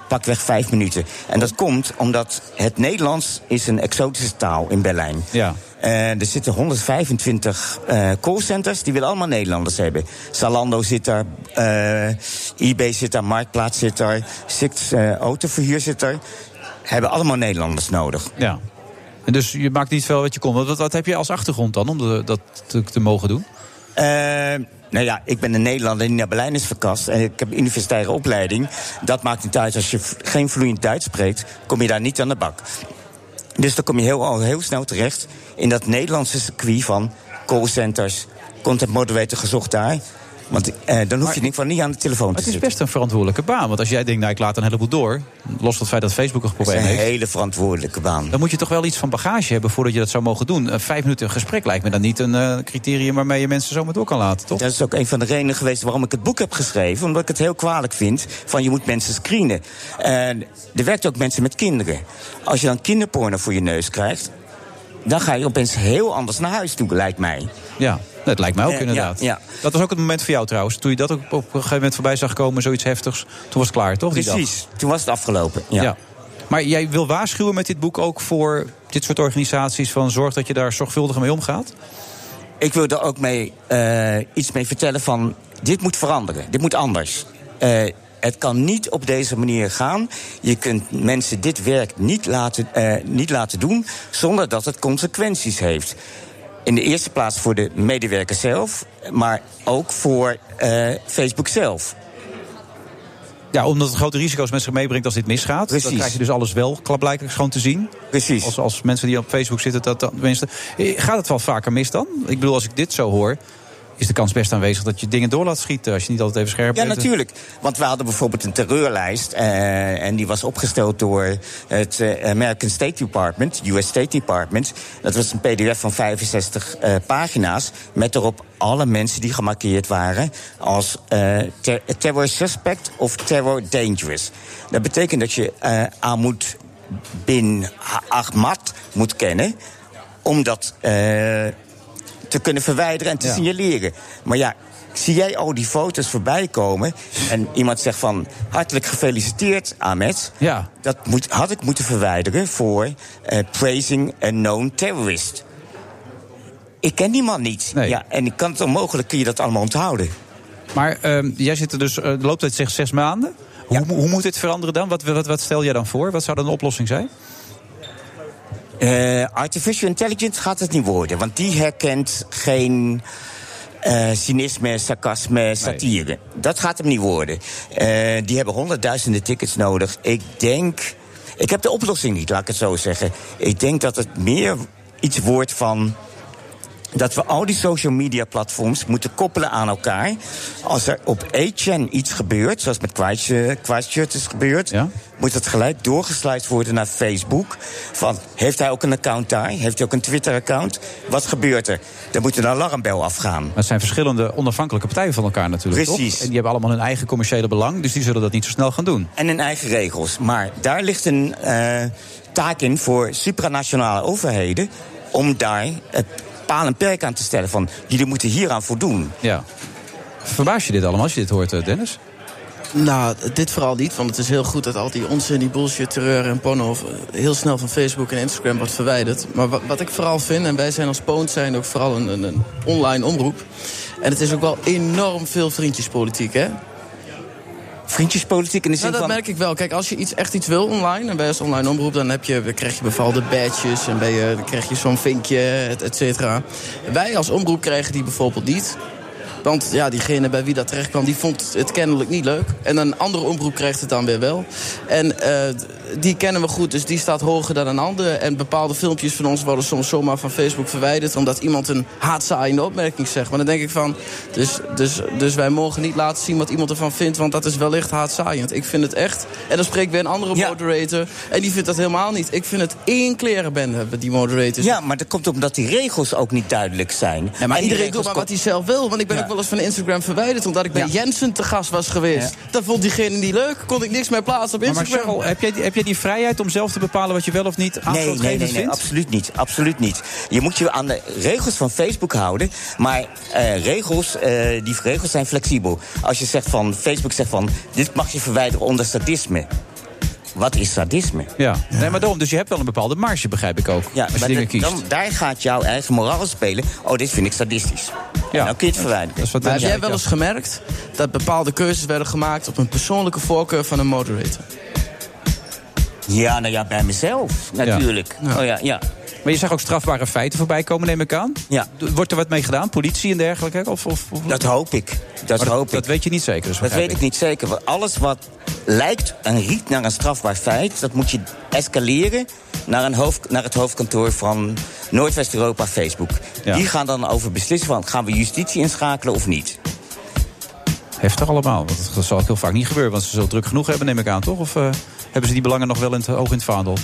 pakweg vijf minuten. En dat komt omdat het Nederlands is een exotische taal in Berlijn.
Ja.
Eh, er zitten 125 eh, callcenters, die willen allemaal Nederlanders hebben. Zalando zit daar, eh eBay zit daar, Marktplaats zit daar, Sixt eh, Autoverhuur zit daar. Hebben allemaal Nederlanders nodig.
Ja. En dus je maakt niet veel wat je kon. Wat, wat, wat heb je als achtergrond dan om de- dat te, te mogen doen?
Eh, nou ja, ik ben een Nederlander die naar Berlijn is verkast. En ik heb een universitaire opleiding. Dat maakt niet uit. Als je v- geen vloeiend Duits spreekt, kom je daar niet aan de bak. Dus dan kom je heel, al heel snel terecht in dat Nederlandse circuit van callcenters. Content moderator gezocht daar. Want eh, dan hoef je in ieder geval niet aan de telefoon te
Het is
zitten.
best een verantwoordelijke baan. Want als jij denkt, nou, ik laat een heleboel door. Los van het feit dat Facebook een
Het is
probleem
een
heeft.
hele verantwoordelijke baan.
Dan moet je toch wel iets van bagage hebben voordat je dat zou mogen doen. Een vijf minuten gesprek lijkt me dan niet een eh, criterium waarmee je mensen zomaar door kan laten, toch?
Dat is ook een van de redenen geweest waarom ik het boek heb geschreven. Omdat ik het heel kwalijk vind van je moet mensen screenen. En er werkt ook mensen met kinderen. Als je dan kinderporno voor je neus krijgt... dan ga je opeens heel anders naar huis toe, lijkt mij.
Ja, dat lijkt mij ook
Eh,
inderdaad.
ja,
Dat was ook het moment voor jou trouwens. Toen je dat ook op een gegeven moment voorbij zag komen, zoiets heftigs. Toen was het klaar, toch? die dag?
Precies, toen was het afgelopen. Ja.
Ja. Maar jij wil waarschuwen met dit boek ook voor dit soort organisaties... van zorg dat je daar zorgvuldig mee omgaat?
Ik wil daar ook mee, eh, iets mee vertellen van... dit moet veranderen, dit moet anders. Eh, het kan niet op deze manier gaan. Je kunt mensen dit werk niet laten, eh, niet laten doen... zonder dat het consequenties heeft. In de eerste plaats voor de medewerker zelf... maar ook voor eh, Facebook zelf.
Ja, omdat het grote risico's met zich meebrengt als dit misgaat. Dan
Precies.
krijg je dus alles wel klapblijkelijk gewoon te zien.
Precies.
Als, als mensen die op Facebook zitten, dat, dat tenminste. Eh, Gaat het wel vaker mis dan? Ik bedoel, als ik dit zo hoor, is de kans best aanwezig dat je dingen door laat schieten. Als je niet altijd even scherp
Ja,
bent.
natuurlijk. Want we hadden bijvoorbeeld een terreurlijst. eh, en die was opgesteld door het eh, American State Department, US State Department. Dat was een PDF van 65 eh, pagina's. Met erop alle mensen die gemarkeerd waren als eh, ter- terror suspect of terror dangerous. Dat betekent dat je eh Ahmad bin Ahmad moet kennen. Omdat. eh, te kunnen verwijderen en te signaleren. Maar ja, zie jij al die foto's voorbij komen en iemand zegt van hartelijk gefeliciteerd Ahmed.
Ja.
Dat moet, had ik moeten verwijderen voor eh, praising a known terrorist. Ik ken die man niet. Ja, en ik kan het onmogelijk, kun je dat allemaal onthouden.
Maar ehm, jij zit er dus, eh, de looptijd zegt zes maanden. Hoe, mo- hoe moet dit veranderen dan? Wat, wat, wat stel jij dan voor? Wat zou dan de oplossing zijn?
Eh, artificial intelligence gaat het niet worden, want die herkent geen eh, cynisme, sarcasme, satire. Dat gaat hem niet worden. Eh, die hebben honderdduizenden tickets nodig. Ik denk. Ik heb de oplossing niet, laat ik het zo zeggen. Ik denk dat het meer iets wordt van. dat we al die social media platforms moeten koppelen aan elkaar. Als er op 8 iets gebeurt, zoals met Christchurch Christchurch is gebeurd... moet dat gelijk doorgesluist worden naar Facebook. Van, heeft hij ook een account daar? Heeft hij ook een Twitter-account? Wat gebeurt er? Dan moet een alarmbel afgaan.
Maar het zijn verschillende onafhankelijke partijen van elkaar natuurlijk.
Precies.
toch? En die hebben allemaal hun eigen commerciële belang, dus die zullen dat niet zo snel gaan doen.
En hun eigen regels. Maar daar ligt een eh, taak in voor supranationale overheden... om daar het paal en perk aan te stellen van... jullie moeten hieraan voldoen.
Ja. Verbaas je dit allemaal als je dit hoort, eh, Dennis?
Nou, dit vooral niet, want het is heel goed dat al die onzin, die bullshit, terreur en porno... eh, heel snel van Facebook en Instagram wordt verwijderd. Maar wat, wat ik vooral vind, en wij zijn als Poont zijn ook vooral een, een, een online omroep... en het is ook wel enorm veel vriendjespolitiek, hè?
Vriendjespolitiek in de zin
nou, dat
van...
merk ik wel. Kijk, als je iets, echt iets wil online, en bij als online omroep... dan, heb je, dan krijg je bepaalde badges en ben je, dan krijg je zo'n vinkje, et, et cetera. Wij als omroep krijgen die bijvoorbeeld niet. Want ja, diegene bij wie dat terecht kwam, die vond het kennelijk niet leuk. En een andere omroep krijgt het dan weer wel. En eh, die kennen we goed, dus die staat hoger dan een ander. En bepaalde filmpjes van ons worden soms zomaar van Facebook verwijderd... omdat iemand een haatzaaiende opmerking zegt. Maar dan denk ik van, dus, dus, dus wij mogen niet laten zien wat iemand ervan vindt... want dat is wellicht haatzaaiend. Ik vind het echt. En dan spreekt weer een andere moderator... en die vindt dat helemaal niet. Ik vind het één klerenbende, hebben die moderators.
Ja, maar dat komt omdat die regels ook niet duidelijk zijn.
Ja, maar
En die
iedereen
regels
doet maar
kom-
wat hij zelf wil. Want ik ben
Ja.
ook wel eens van Instagram verwijderd. Omdat ik bij Jensen te gast was geweest. Dat vond diegene niet leuk. Kon ik niks meer plaatsen op
Maar, maar
Instagram.
Charles, heb jij, die- heb jij die vrijheid om zelf te bepalen wat je wel of niet
Nee, nee,
aanstootgevend
nee, nee,
vindt?
absoluut niet. Absoluut niet. Je moet je aan de regels van Facebook houden. Maar eh, regels, eh, die regels zijn flexibel. Als je zegt van, Facebook zegt van, dit mag je verwijderen onder sadisme. Wat is sadisme?
Ja. Nee, maar daarom. Dus je hebt wel een bepaalde marge, begrijp ik ook. als je
maar
dingen
dat-
kiest.
dan, daar gaat jouw eigen moraal spelen. Oh, dit vind ik sadistisch. Ja. Dan kun je het verwijderen.
maar heb jij wel eens gemerkt dat bepaalde keuzes werden gemaakt op een persoonlijke voorkeur van een moderator?
Ja, nou ja, bij mezelf natuurlijk. Oh, ja, ja.
Maar je zag ook strafbare feiten voorbij komen, neem ik aan.
Ja.
Wordt er wat mee gedaan? Politie en dergelijke? Of, of, of-
Dat hoop ik. Dat,
Maar
hoop ik.
dat weet je niet zeker. dus
dat
begrijp
weet ik niet zeker. Want alles wat lijkt en riekt naar een strafbaar feit, dat moet je escaleren naar, een hoofd, naar het hoofdkantoor van Noordwest-Europa Facebook. Die gaan dan over beslissen van gaan we justitie inschakelen of niet.
Heftig allemaal. Want dat zal ook heel vaak niet gebeuren. Want ze zullen druk genoeg hebben, neem ik aan, toch? Of eh, hebben ze die belangen nog wel in het, hoog in het vaandel?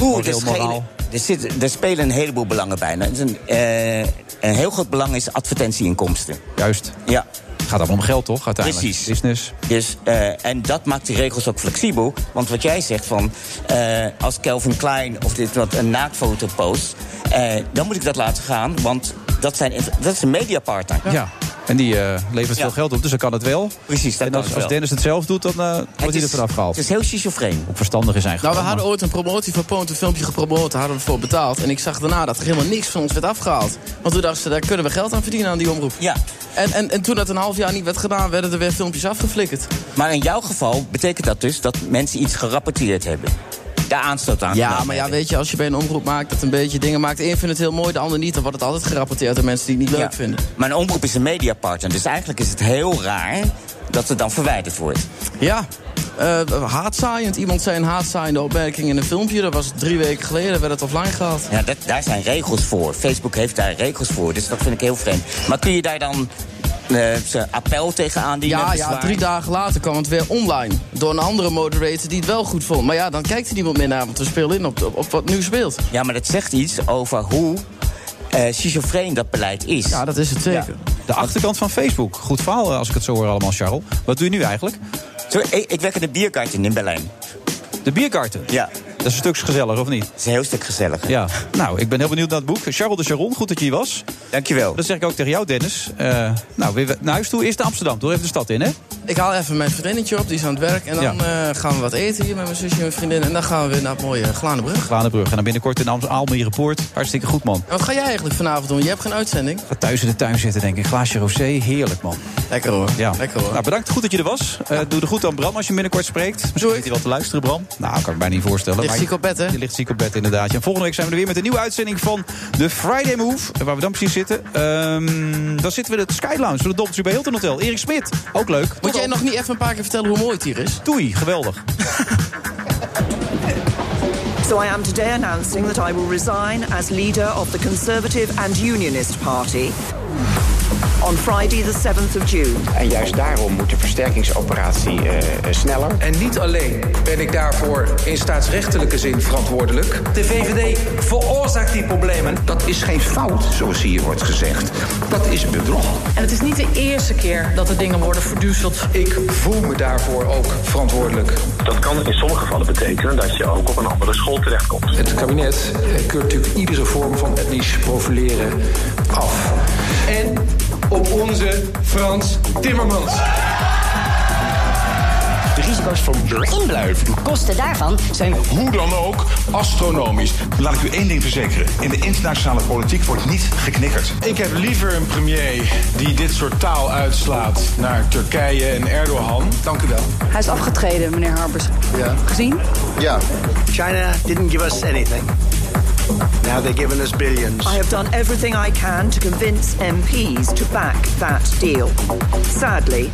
Oeh,
Moreel,
er, schelen-
moraal.
er, zit, er spelen een heleboel belangen bij. Nou, het is een, eh, een heel groot belang is advertentieinkomsten.
Juist.
Ja.
Gaat allemaal om geld, toch? Uiteindelijk.
Precies.
Business.
Dus, eh, en dat maakt die regels ook flexibel. Want wat jij zegt van, eh, als Calvin Klein of dit wat een naaktfoto post... eh, dan moet ik dat laten gaan, want dat, zijn, dat is een mediapartner.
Ja. En die eh, levert veel
Ja.
geld op, dus dan kan het wel.
Precies, dat
en als,
kan het
als
wel.
Dennis het zelf doet, dan eh, wordt hij er
is-
vanaf gehaald. Het
is heel schizofreen.
Op verstandig is eigenlijk.
Nou, we hadden ooit een promotie van Poont, een filmpje gepromoot, daar hadden we voor betaald. En ik zag daarna dat er helemaal niks van ons werd afgehaald. Want toen dachten ze, daar kunnen we geld aan verdienen aan die omroep.
Ja.
En, en, en toen dat een half jaar niet werd gedaan, werden er weer filmpjes afgeflikkerd.
Maar in jouw geval betekent dat dus dat mensen iets gerapporteerd hebben. Daar aanstoot aan
Ja, nou,
genomen
maar ja,
hebben.
weet je, als je bij een omroep maakt dat een beetje dingen maakt. De een vindt het heel mooi, de ander niet. Dan wordt het altijd gerapporteerd aan mensen die het niet leuk
Ja.
vinden.
Maar een omroep is een mediapartner, dus eigenlijk is het heel raar dat het dan verwijderd wordt.
Ja, eh haatzaaiend. Iemand zei een haatzaaiende opmerking in een filmpje. Dat was drie weken geleden, werd het offline gehaald.
Ja, dat, daar zijn regels voor. Facebook heeft daar regels voor, dus dat vind ik heel vreemd. Maar kun je daar dan eh, ze appel tegen aandienen?
Ja, ja,
bezwaar?
drie dagen later kwam het weer online. Door een andere moderator die het wel goed vond. Maar ja, dan kijkt er niemand meer naar, want we spelen in op, op, op wat nu speelt.
Ja, maar dat zegt iets over hoe eh schizofreen dat beleid is. Ja,
dat is het zeker.
De achterkant van Facebook. Goed verhaal, eh, als ik het zo hoor allemaal, Charles. Wat doe je nu eigenlijk?
ik, werk in de biergarten in Berlijn.
De biergarten?
Ja.
Dat is een stuk gezelliger, of niet? Dat
is een heel stuk gezelliger.
Ja. Nou, ik ben heel benieuwd naar het boek. Charles de Charon, goed dat je hier was.
Dankjewel.
Dat zeg ik ook tegen jou, Dennis. Eh, nou, weer naar huis toe. Eerst naar Amsterdam. Door even de stad in, hè?
Ik haal even mijn vriendinnetje op, die is aan het werk. En dan eh, gaan we wat eten hier met mijn zusje en mijn vriendin. En dan gaan we weer naar het mooie Glanenbrug.
Glanenbrug. En dan binnenkort in Amsterdam, Almerepoort. Hartstikke goed, man.
En wat ga jij eigenlijk vanavond doen? Je hebt geen uitzending.
Ga thuis in de tuin zitten, denk ik. Glaasje rosé, heerlijk, man.
Lekker hoor.
Ja.
Lekker hoor.
Nou, bedankt. Goed dat je er was. Eh, doe de goed aan Bram als je hem binnenkort spreekt. Misschien zit hij wel te luisteren, Bram. Nou, kan ik me bijna niet voorstellen.
Ligt
maar
ziek op bed, hè?
Je ligt ziek op bed, inderdaad. Ja, En volgende week zijn we er weer met een nieuwe uitzending van The Friday Move. En Waar we dan precies zitten. Ehm, dan zitten we in het Sky Lounge van de Dobbeltje bij Hilton Hotel. Erik Smit, ook leuk.
Moet jij nog niet even een paar keer vertellen hoe mooi het hier is?
Doei, geweldig.
So I am today announcing that I will resign as leader of the Conservative and Unionist Party on Friday the 7th of June.
En juist daarom moet de versterkingsoperatie eh, sneller.
En niet alleen ben ik daarvoor in staatsrechtelijke zin verantwoordelijk. De VVD veroorzaakt die problemen. Dat is geen fout, zoals hier wordt gezegd. Dat is bedrog.
En het is niet de eerste keer dat de dingen worden verduuzeld.
Ik voel me daarvoor ook verantwoordelijk.
Dat kan in sommige gevallen betekenen dat je ook op een andere school terechtkomt.
Het kabinet eh, keurt natuurlijk iedere vorm van etnisch profileren af. En op onze Frans Timmermans.
De risico's van inbluiven.
De kosten daarvan zijn hoe dan ook astronomisch. Laat ik u één ding verzekeren. In de internationale politiek wordt niet geknikkerd.
Ik heb liever een premier die dit soort taal uitslaat naar Turkije en Erdogan. Dank u wel.
Hij is afgetreden, meneer Harbers.
Ja.
Gezien?
Ja.
China didn't give us anything. Now they're giving us
Ah,
billions.
I have done everything I can to convince MPs to back that deal. Sadly,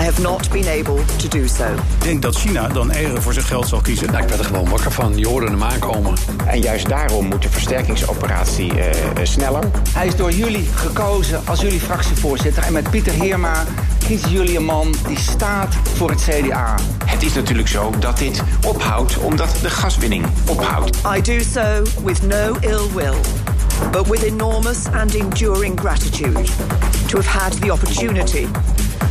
I have not been able to do so.
Ik denk dat China dan eerder voor zijn geld zal kiezen. Nou, ik ben er gewoon wakker van. Je hoorde hem aankomen.
En juist daarom moet de versterkingsoperatie eh, sneller.
Hij is door jullie gekozen als jullie fractievoorzitter. En met Pieter Heerma kiezen jullie een man die staat voor het CDA.
Het is natuurlijk zo dat dit ophoudt omdat de gaswinning ophoudt.
I do so with no ill will, but with enormous and enduring gratitude to have had the opportunity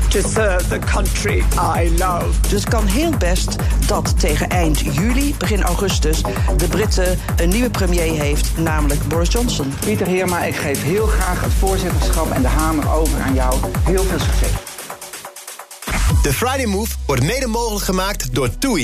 to serve the country I love.
Dus het kan heel best dat tegen eind juli, begin augustus, de Britten een nieuwe premier heeft, namelijk Boris Johnson.
Pieter Heerma, ik geef heel graag het voorzitterschap en de hamer over aan jou. Heel veel succes.
De Friday Move wordt mede mogelijk gemaakt door TUI.